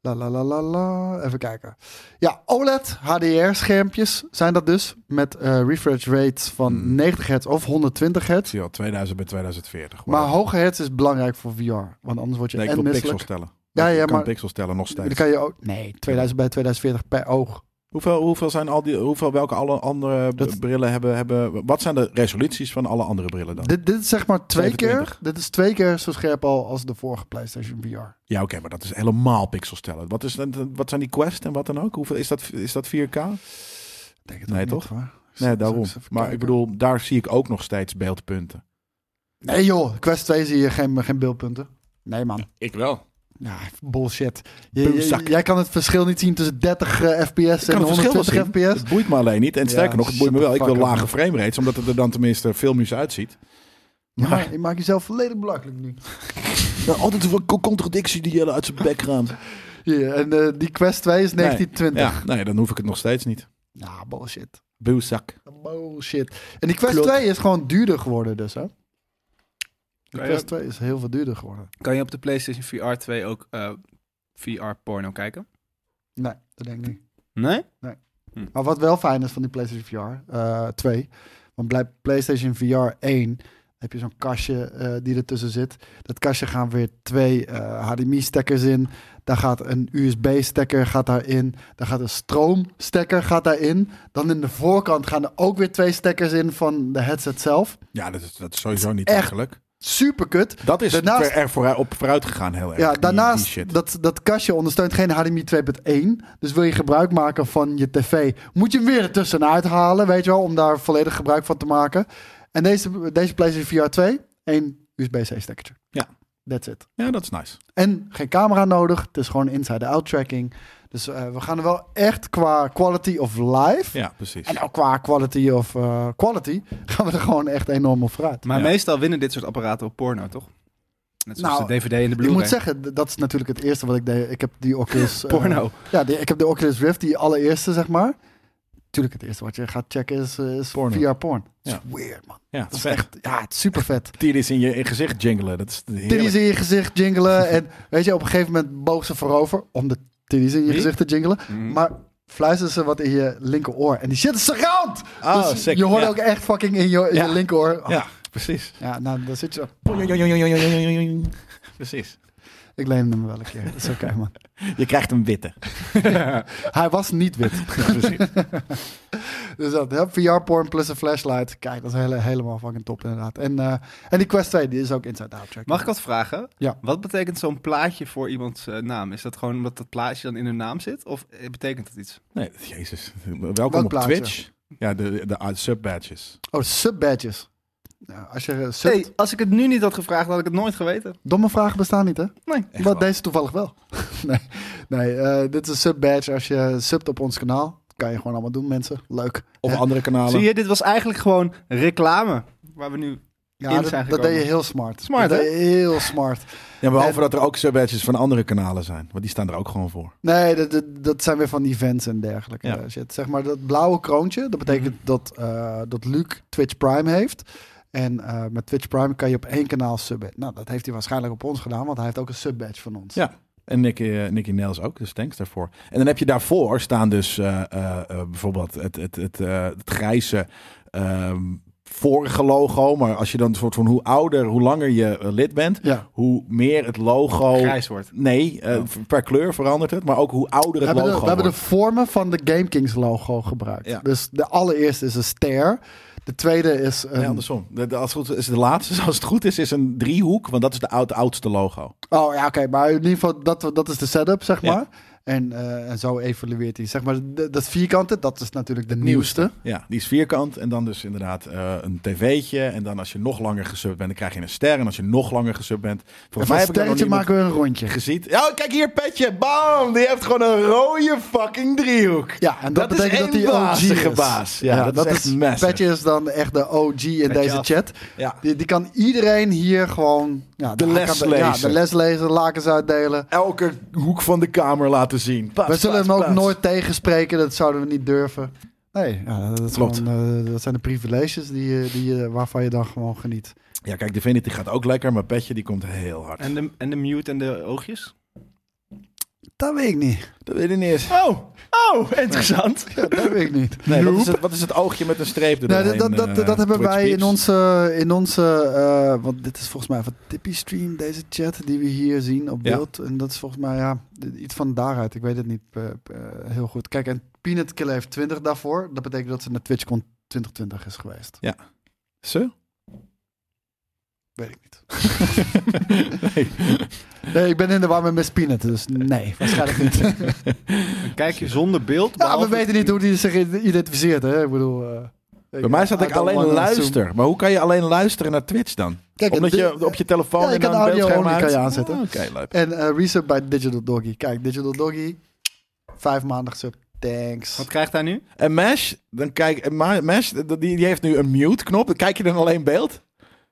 Speaker 3: La la la la la. Even kijken. Ja, OLED HDR-schermpjes zijn dat dus. Met eh, refresh rates van
Speaker 2: Hmm.
Speaker 3: 90 hertz of 120 hertz.
Speaker 2: Ik zie al 2000 bij 2040.
Speaker 3: Maar
Speaker 2: Wow.
Speaker 3: hoge hertz is belangrijk voor VR. Want anders word je
Speaker 2: Nee, ik
Speaker 3: en
Speaker 2: wil
Speaker 3: misselijk.
Speaker 2: pixels tellen.
Speaker 3: Ja,
Speaker 2: Ik
Speaker 3: ja,
Speaker 2: kan
Speaker 3: maar-
Speaker 2: pixels tellen nog
Speaker 3: Dan
Speaker 2: steeds.
Speaker 3: kan je ook... Nee, 2000 bij 2040 per oog.
Speaker 2: Hoeveel, hoeveel zijn al die, hoeveel, welke alle andere
Speaker 3: Dat-
Speaker 2: brillen hebben, hebben, wat zijn de resoluties van alle andere brillen dan?
Speaker 3: Dit, dit is zeg maar twee
Speaker 2: 27.
Speaker 3: keer... Dit is twee keer zo scherp al als de vorige PlayStation VR.
Speaker 2: Ja, oké, maar dat is helemaal pixels tellen. Wat, is, wat zijn die Quest en wat dan ook? Hoeveel, is, dat, is dat 4K?
Speaker 3: Ik Denk het
Speaker 2: Nee,
Speaker 3: ook niet,
Speaker 2: toch?
Speaker 3: hoor. Zal
Speaker 2: Nee,
Speaker 3: ik
Speaker 2: daarom.
Speaker 3: eens even
Speaker 2: Maar ik
Speaker 3: kijken?
Speaker 2: bedoel, daar zie ik ook nog steeds beeldpunten.
Speaker 3: Nee joh, Quest 2 zie je geen, geen beeldpunten. Nee man.
Speaker 2: Ik wel.
Speaker 3: Ja, bullshit. Je- je-
Speaker 2: Boomzak.
Speaker 3: jij kan het verschil niet zien tussen 30 eh, fps
Speaker 2: Ik
Speaker 3: en
Speaker 2: kan het verschil wel
Speaker 3: 120
Speaker 2: zien.
Speaker 3: fps.
Speaker 2: Het boeit me alleen niet. En
Speaker 3: Ja,
Speaker 2: sterker nog, het boeit me
Speaker 3: shut
Speaker 2: wel.
Speaker 3: the
Speaker 2: Ik wil
Speaker 3: fuck up,
Speaker 2: lage frame rates, omdat het er dan tenminste filmisch uitziet.
Speaker 3: Ja, maar je maakt jezelf volledig belachelijk nu.
Speaker 2: altijd een contradictie die jelle uit zijn bek raamt.
Speaker 3: Hier, en eh, die Quest 2 is 1920.
Speaker 2: Ja, nee, dan hoef ik het nog steeds niet.
Speaker 3: Ja, bullshit.
Speaker 2: Boezak.
Speaker 3: Bullshit. En die Quest
Speaker 2: Klopt.
Speaker 3: 2 is gewoon duurder geworden dus, hè? De
Speaker 1: Kan je-
Speaker 3: Quest 2 is heel veel duurder geworden.
Speaker 1: Kan je op de PlayStation VR 2 ook eh, VR-porno kijken?
Speaker 3: Nee, dat denk ik niet.
Speaker 1: Nee?
Speaker 3: Maar wat wel fijn is van die PlayStation VR eh 2, want bij PlayStation VR 1 heb je zo'n kastje eh, die ertussen zit. Dat kastje gaan weer twee eh, HDMI-stekkers in. Daar gaat een USB-stekker gaat daarin. Daar gaat een stroomstekker gaat daarin. Dan in de voorkant gaan er ook weer twee stekkers in van de headset zelf.
Speaker 2: Ja, dat is, dat is sowieso niet
Speaker 3: Echt.
Speaker 2: eigenlijk.
Speaker 3: Super kut.
Speaker 2: Dat is
Speaker 3: Daarnaast-
Speaker 2: er vooruit, op vooruit gegaan heel erg.
Speaker 3: Ja,
Speaker 2: die- die
Speaker 3: daarnaast,
Speaker 2: shit.
Speaker 3: dat, dat kastje ondersteunt geen HDMI 2.1. Dus wil je gebruik maken van je tv, moet je hem weer ertussenuit halen, weet je wel, om daar volledig gebruik van te maken. En deze, deze PlayStation VR 2, één USB-C stekkertje.
Speaker 2: Ja.
Speaker 3: That's it.
Speaker 2: Ja, dat is nice.
Speaker 3: En geen camera nodig, het is gewoon inside-out tracking. Dus eh, we gaan er wel echt qua quality of life,
Speaker 2: Ja, precies.
Speaker 3: en ook qua quality of eh, quality, gaan we er gewoon echt enorm op vooruit.
Speaker 1: Maar
Speaker 2: Ja.
Speaker 1: meestal winnen dit soort apparaten op porno, toch? Net zoals
Speaker 3: Nou,
Speaker 1: de DVD en de
Speaker 3: Ik
Speaker 1: Blu-ray.
Speaker 3: moet zeggen, d- dat is natuurlijk het eerste wat ik deed. Ik heb die Oculus... eh,
Speaker 1: porno.
Speaker 3: Ja, die- ik heb de Oculus Rift, die allereerste, zeg maar. Tuurlijk, het eerste wat je gaat checken is, eh, is
Speaker 2: Porno.
Speaker 3: via porn. Dat
Speaker 2: Ja.
Speaker 3: is weird, man.
Speaker 2: ja,
Speaker 3: Dat is echt, ja, het is super vet.
Speaker 2: Titties in je in gezicht jingelen. Dat is heerlijk.
Speaker 3: Tiddies in je gezicht jingelen. En weet je, op een gegeven moment boog ze voorover om de tiddies in je
Speaker 1: Wie?
Speaker 3: gezicht te jingelen.
Speaker 1: Mm.
Speaker 3: Maar fluisteren ze wat in je linkeroor. En die shit is surround!
Speaker 2: Ah,
Speaker 3: Dus
Speaker 2: sick.
Speaker 3: je hoort
Speaker 2: Ja.
Speaker 3: ook echt fucking in je, in
Speaker 2: Ja.
Speaker 3: je linkeroor. Oh, ja.
Speaker 2: Ja, precies.
Speaker 3: nou, daar zit je.
Speaker 2: Precies.
Speaker 3: Ik leen hem wel een keer. Dat is oké, man.
Speaker 2: Je krijgt een witte.
Speaker 3: Hij was niet wit.
Speaker 2: precies.
Speaker 3: Dus dat, hè, VR-porn plus een flashlight. Kijk, dat is hele, helemaal fucking top inderdaad. En, eh, en die Quest 2, die is ook inside-out track.
Speaker 1: Mag ik wat vragen?
Speaker 3: Ja.
Speaker 1: Wat betekent zo'n plaatje voor iemands eh, naam? Is dat gewoon omdat dat plaatje dan in hun naam zit? Of eh, betekent dat iets?
Speaker 2: Nee, jezus. Welkom
Speaker 3: Welk
Speaker 2: op
Speaker 3: plaatje?
Speaker 2: Twitch. Ja, de, de ah, subbadges.
Speaker 3: Oh, sub-badges. Ja, als je eh, sub...
Speaker 1: Nee, als ik het nu niet had gevraagd, had ik het nooit geweten.
Speaker 3: Domme vragen bestaan niet, hè?
Speaker 1: Nee.
Speaker 2: Echt
Speaker 3: maar
Speaker 2: wel.
Speaker 3: deze toevallig wel. nee, nee eh, dit is een sub-badge. Als je subt op ons kanaal, kan je gewoon allemaal doen, mensen. Leuk.
Speaker 2: Of andere kanalen.
Speaker 1: Zie je, dit was eigenlijk gewoon reclame. Waar we nu
Speaker 3: Ja,
Speaker 1: in
Speaker 3: dat,
Speaker 1: zijn
Speaker 3: dat
Speaker 1: gekomen.
Speaker 3: deed je heel smart.
Speaker 1: Smart,
Speaker 3: dat
Speaker 1: hè?
Speaker 3: deed je heel smart.
Speaker 2: Ja, behalve dat er ook badges van andere kanalen zijn. Want die staan er ook gewoon voor.
Speaker 3: Nee, dat, dat, dat zijn weer van events en dergelijke
Speaker 2: Ja. Mhm.
Speaker 3: eh, shit. Zeg maar dat blauwe kroontje, dat betekent dat, eh, dat Luc Twitch Prime heeft. En eh, met Twitch Prime kan je op één kanaal subben. Nou, dat heeft hij waarschijnlijk op ons gedaan, want hij heeft ook een subbadge van ons.
Speaker 2: Ja. En Nicky, eh, Nicky Nails ook, dus thanks daarvoor. En dan heb je daarvoor staan dus eh, eh, eh, bijvoorbeeld het, het, het, eh, het grijze ehm, vorige logo. Maar als je dan een soort van hoe ouder, hoe langer je eh, lid bent,
Speaker 3: Ja.
Speaker 2: hoe meer het
Speaker 3: Oh.
Speaker 2: logo...
Speaker 1: Grijs wordt.
Speaker 2: Nee, eh, per kleur verandert het, maar ook hoe ouder
Speaker 3: We
Speaker 2: het
Speaker 3: hebben, de,
Speaker 2: logo
Speaker 3: we hebben de
Speaker 2: wordt.
Speaker 3: vormen van de Game Kings logo gebruikt.
Speaker 2: Ja.
Speaker 3: Dus de allereerste is een ster. De tweede is een...
Speaker 2: Nee, andersom. De, de- als het goed is de laatste, als het goed is, is een driehoek, want dat is de oud, oudste logo.
Speaker 3: Oh ja, oké, maar in ieder geval, dat, dat is de setup, zeg
Speaker 2: Ja.
Speaker 3: maar. En, eh, en zo evolueert hij. Zeg maar, de- dat vierkante, dat is natuurlijk de
Speaker 2: Nieuwste.
Speaker 3: nieuwste.
Speaker 2: Ja, die is vierkant en dan dus inderdaad eh, een tv'tje. En dan als je nog langer gesub bent, dan krijg je een ster. En als je nog langer gesub bent,
Speaker 3: En
Speaker 2: volgens
Speaker 3: van
Speaker 2: mij heb ik daar nog
Speaker 3: sterretje
Speaker 2: niemand
Speaker 3: maken we een rondje.
Speaker 2: gezien. Ja, oh, kijk hier, Petje, bam! Die heeft gewoon een rode fucking driehoek.
Speaker 3: Ja, en dat,
Speaker 2: Dat is
Speaker 3: betekent dat
Speaker 2: één
Speaker 3: hij OG
Speaker 2: bazige
Speaker 3: is.
Speaker 2: baas. Ja, dat is echt massive.
Speaker 3: Petje is dan echt de OG in deze
Speaker 2: af.
Speaker 3: chat.
Speaker 2: Ja.
Speaker 3: Die, die kan iedereen hier gewoon... Ja,
Speaker 2: De
Speaker 3: hij
Speaker 2: les
Speaker 3: kan Ja,
Speaker 2: lezen.
Speaker 3: de les lezen, lakens uitdelen.
Speaker 2: Elke hoek van de kamer laten zien. Pats,
Speaker 3: We zullen
Speaker 2: pats,
Speaker 3: hem ook
Speaker 2: pats.
Speaker 3: nooit tegenspreken, dat zouden we niet durven. Nee, ja, dat, is
Speaker 2: Klopt.
Speaker 3: gewoon, eh, dat zijn de privileges die, je- die, je- waarvan je dan gewoon geniet.
Speaker 2: Ja, kijk, Divinity gaat ook lekker, maar Petje die komt heel hard.
Speaker 1: En de, en de mute en de oogjes?
Speaker 3: Dat weet ik niet.
Speaker 2: dat weet ik niet eens.
Speaker 1: Oh, oh, interessant.
Speaker 3: Ja, dat weet ik niet.
Speaker 2: Nee, wat, is het, wat is het oogje met een streep
Speaker 3: Nee,
Speaker 2: erdoorheen?
Speaker 3: Nou, dat, dat, dat,
Speaker 2: eh,
Speaker 3: dat hebben
Speaker 2: Twitch
Speaker 3: wij in
Speaker 2: peeps?
Speaker 3: onze, in onze eh, want dit is volgens mij van Tippy Stream, deze chat die we hier zien op
Speaker 2: Ja.
Speaker 3: beeld. En dat is volgens mij ja, iets van daaruit. Ik weet het niet eh, eh, heel goed. Kijk, en Peanut Killer heeft 20 daarvoor. Dat betekent dat ze naar TwitchCon 2020 is geweest.
Speaker 2: Ze?
Speaker 3: Weet ik niet.
Speaker 2: nee.
Speaker 3: Nee, ik ben in de war met Miss Peanut, dus nee, waarschijnlijk niet.
Speaker 1: Een kijkje zonder beeld.
Speaker 3: ja, we
Speaker 1: behalve-
Speaker 3: weten niet hoe die zich identificeert, hè. Ik bedoel... eh,
Speaker 2: Bij mij staat
Speaker 3: I
Speaker 2: ik
Speaker 3: don't
Speaker 2: alleen
Speaker 3: wanna
Speaker 2: luister. Maar hoe kan je alleen luisteren naar Twitch dan?
Speaker 3: Kijk,
Speaker 2: Omdat
Speaker 3: dit-
Speaker 2: je op je telefoon
Speaker 3: Ja, je
Speaker 2: en
Speaker 3: kan
Speaker 2: dan
Speaker 3: audio
Speaker 2: beeldscherm
Speaker 3: only kan je
Speaker 2: uit-
Speaker 3: aanzetten.
Speaker 2: Ah, Oké, leuk.
Speaker 3: En eh resub bij Digital Doggy. Kijk, Digital Doggy, vijf maandag sub. Thanks.
Speaker 1: Wat krijgt hij nu?
Speaker 2: En Mesh, dan kijk, en Ma- Mesh die, die heeft nu een mute knop. Dan kijk je dan alleen beeld.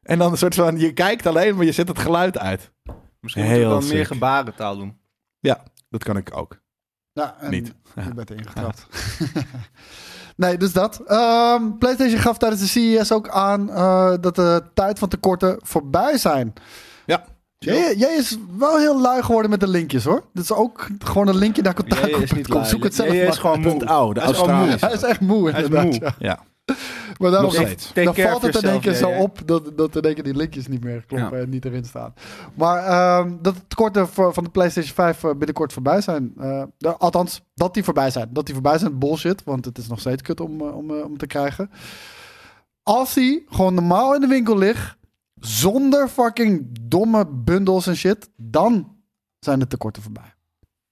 Speaker 2: En dan een soort van, je kijkt alleen, maar je zet het geluid uit.
Speaker 1: Misschien moet ik
Speaker 2: Heel
Speaker 1: dan
Speaker 2: sick.
Speaker 1: meer gebarentaal doen.
Speaker 2: Ja, dat kan ik ook.
Speaker 3: Ja, Nou, en
Speaker 2: Niet.
Speaker 3: Je bent ingetrapt. nee, dus dat. Ehm, PlayStation gaf tijdens de CES ook aan eh, dat de tijd van tekorten voorbij zijn.
Speaker 2: Ja.
Speaker 3: Jij, jij is wel heel lui geworden met de linkjes hoor. Dit is ook gewoon een linkje naar
Speaker 1: Jij is niet
Speaker 3: contact.
Speaker 1: lui.
Speaker 3: Zoek het zelf
Speaker 1: Jij
Speaker 3: maar.
Speaker 1: is gewoon moe.
Speaker 2: Punt oude, de
Speaker 1: Hij is gewoon moe.
Speaker 2: Australische.
Speaker 3: Hij is echt moe
Speaker 1: Hij is
Speaker 3: inderdaad.
Speaker 1: moe.
Speaker 3: ja.
Speaker 2: Ja,
Speaker 3: Maar daarom
Speaker 2: nog steeds.
Speaker 1: Take
Speaker 3: dan
Speaker 1: care
Speaker 3: valt
Speaker 1: of
Speaker 3: het in één
Speaker 1: yourself,
Speaker 3: keer zo
Speaker 1: JJ.
Speaker 3: op dat, dat in één keer die linkjes niet meer kloppen
Speaker 1: Ja.
Speaker 3: en niet erin staan. Maar ehm, dat het tekorten voor- van de PlayStation 5 eh, binnenkort voorbij zijn. eh, nou, althans, dat die voorbij zijn. Dat die voorbij zijn, bullshit. Want het is nog steeds kut om, eh, om, eh, om te krijgen. Als die gewoon normaal in de winkel ligt, zonder fucking domme bundels en shit, dan zijn de tekorten voorbij.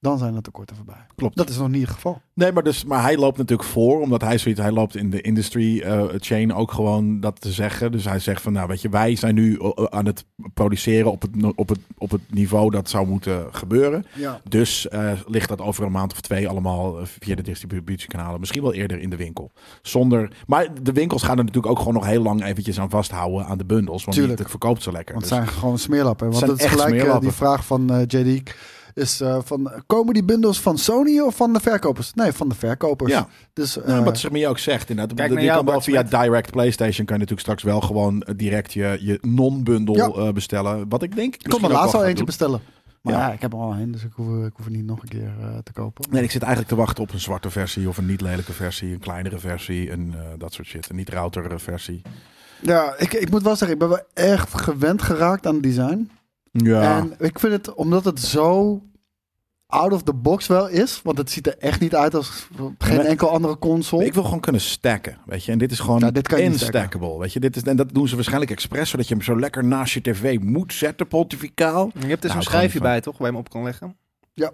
Speaker 3: Dan zijn de tekorten voorbij.
Speaker 2: klopt.
Speaker 3: Dat is nog niet het geval.
Speaker 2: Nee, maar, dus, maar hij loopt natuurlijk voor, omdat hij zoiets, hij loopt in de industry eh, chain ook gewoon dat te zeggen. Dus hij zegt van, nou weet je, wij zijn nu eh, aan het produceren op het, op het, op het niveau dat zou moeten gebeuren.
Speaker 3: Ja.
Speaker 2: Dus eh, ligt dat over een maand of twee allemaal eh, via de distributiekanalen, misschien wel eerder in de winkel. Zonder, maar de winkels gaan er natuurlijk ook gewoon nog heel lang eventjes aan vasthouden aan de bundels, want
Speaker 3: Tuurlijk.
Speaker 2: die- het verkoopt zo lekker.
Speaker 3: Want het
Speaker 2: Dus-
Speaker 3: zijn gewoon smeerlappen. Want
Speaker 2: zijn
Speaker 3: dat is
Speaker 2: echt
Speaker 3: gelijk eh, die
Speaker 2: smeerlappen.
Speaker 3: vraag van eh, JD. Is eh, van, komen die bundels van Sony of van de verkopers? Nee, van de verkopers.
Speaker 2: Ja.
Speaker 3: Dus, eh,
Speaker 2: Ja, wat Samir ook zegt inderdaad.
Speaker 1: Kijk
Speaker 2: Die
Speaker 1: naar jou,
Speaker 2: kan wel
Speaker 1: Bart
Speaker 2: via
Speaker 1: Smet.
Speaker 2: Direct PlayStation kan je natuurlijk straks wel gewoon eh, direct je, je non-bundel
Speaker 3: Ja.
Speaker 2: eh, bestellen. Wat ik denk.
Speaker 3: ik kon er laatst al eentje bestellen. Maar ja.
Speaker 2: Ja.
Speaker 3: ik heb er al een, dus ik hoef, ik hoef er niet nog een keer eh, te kopen.
Speaker 2: Nee, ik zit eigenlijk te wachten op een zwarte versie of een niet lelijke versie, een kleinere versie en eh, dat soort shit. Een niet router versie.
Speaker 3: Ja, ik, ik moet wel zeggen, ik ben wel echt gewend geraakt aan het design.
Speaker 2: Ja.
Speaker 3: En ik vind het, omdat het zo out of the box wel is, want het ziet er echt niet uit als geen
Speaker 2: maar-
Speaker 3: enkel andere console.
Speaker 2: Ik wil gewoon kunnen stacken, weet je. En dit is gewoon
Speaker 3: Ja, dit kan je niet stacken.
Speaker 2: instackable, weet je. Dit is, en dat doen ze waarschijnlijk expres, zodat je hem zo lekker naast je tv moet zetten, pontificaal.
Speaker 1: Je hebt dus
Speaker 2: Nou,
Speaker 1: een
Speaker 2: ik hou niet
Speaker 1: schijfje
Speaker 2: van.
Speaker 1: bij, toch? Waar je hem op kan leggen.
Speaker 3: Nee,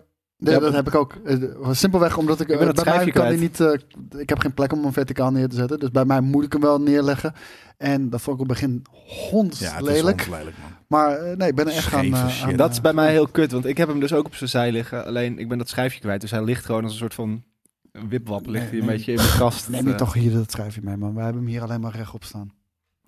Speaker 2: Ja,
Speaker 3: dat
Speaker 2: maar-
Speaker 3: heb ik ook. Eh, Simpelweg omdat ik,
Speaker 1: Ik ben
Speaker 3: eh,
Speaker 1: het
Speaker 3: bij mij
Speaker 1: schijfje
Speaker 3: kan die niet. eh, ik heb geen plek om hem verticaal neer te zetten. Dus bij mij moet ik hem wel neerleggen. En dat vond ik op het begin honds
Speaker 2: Ja, het
Speaker 3: lelijk.
Speaker 2: is lelijk, man.
Speaker 3: Maar eh, nee, ik ben er echt aan,
Speaker 2: Scheve
Speaker 3: eh,
Speaker 2: shit.
Speaker 3: aan,
Speaker 1: Dat is
Speaker 3: eh,
Speaker 1: bij mij heel kut, want ik heb hem dus ook op zijn zij liggen. Alleen ik ben dat schijfje kwijt, dus hij ligt gewoon als een soort van wipwap. Ligt
Speaker 3: Nee,
Speaker 1: hij een
Speaker 3: nee.
Speaker 1: beetje in mijn kast. Eh,
Speaker 3: Neem je toch hier dat schrijfje mee, man. Wij hebben hem hier alleen maar rechtop staan.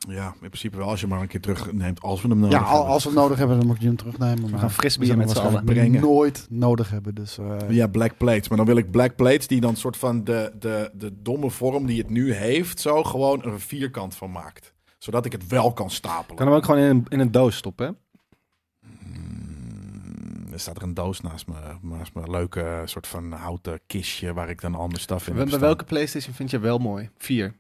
Speaker 2: Ja, in principe wel. Als je maar een keer terugneemt. Als we hem nodig
Speaker 3: Ja, al-
Speaker 2: hebben.
Speaker 3: als we hem nodig hebben, dan moet je hem terugnemen. maar
Speaker 1: We gaan fris bier
Speaker 3: zullen
Speaker 1: met
Speaker 3: hem
Speaker 1: z'n allen.
Speaker 3: waarschijnlijk
Speaker 2: brengen.
Speaker 3: nooit nodig hebben. Dus, eh,
Speaker 2: Ja, black plates. Maar dan wil ik black plates die dan soort van de, de, de domme vorm die het nu heeft, zo gewoon er een vierkant van maakt. Zodat ik het wel kan stapelen.
Speaker 1: Kan hem ook gewoon in een, in een doos stoppen, hè?
Speaker 2: Mm, Er staat er een doos naast me, naast me. Een leuke eh, soort van houten kistje waar ik dan al mijn staf in
Speaker 1: Bij
Speaker 2: heb staan.
Speaker 1: welke PlayStation vind je wel mooi? Vier.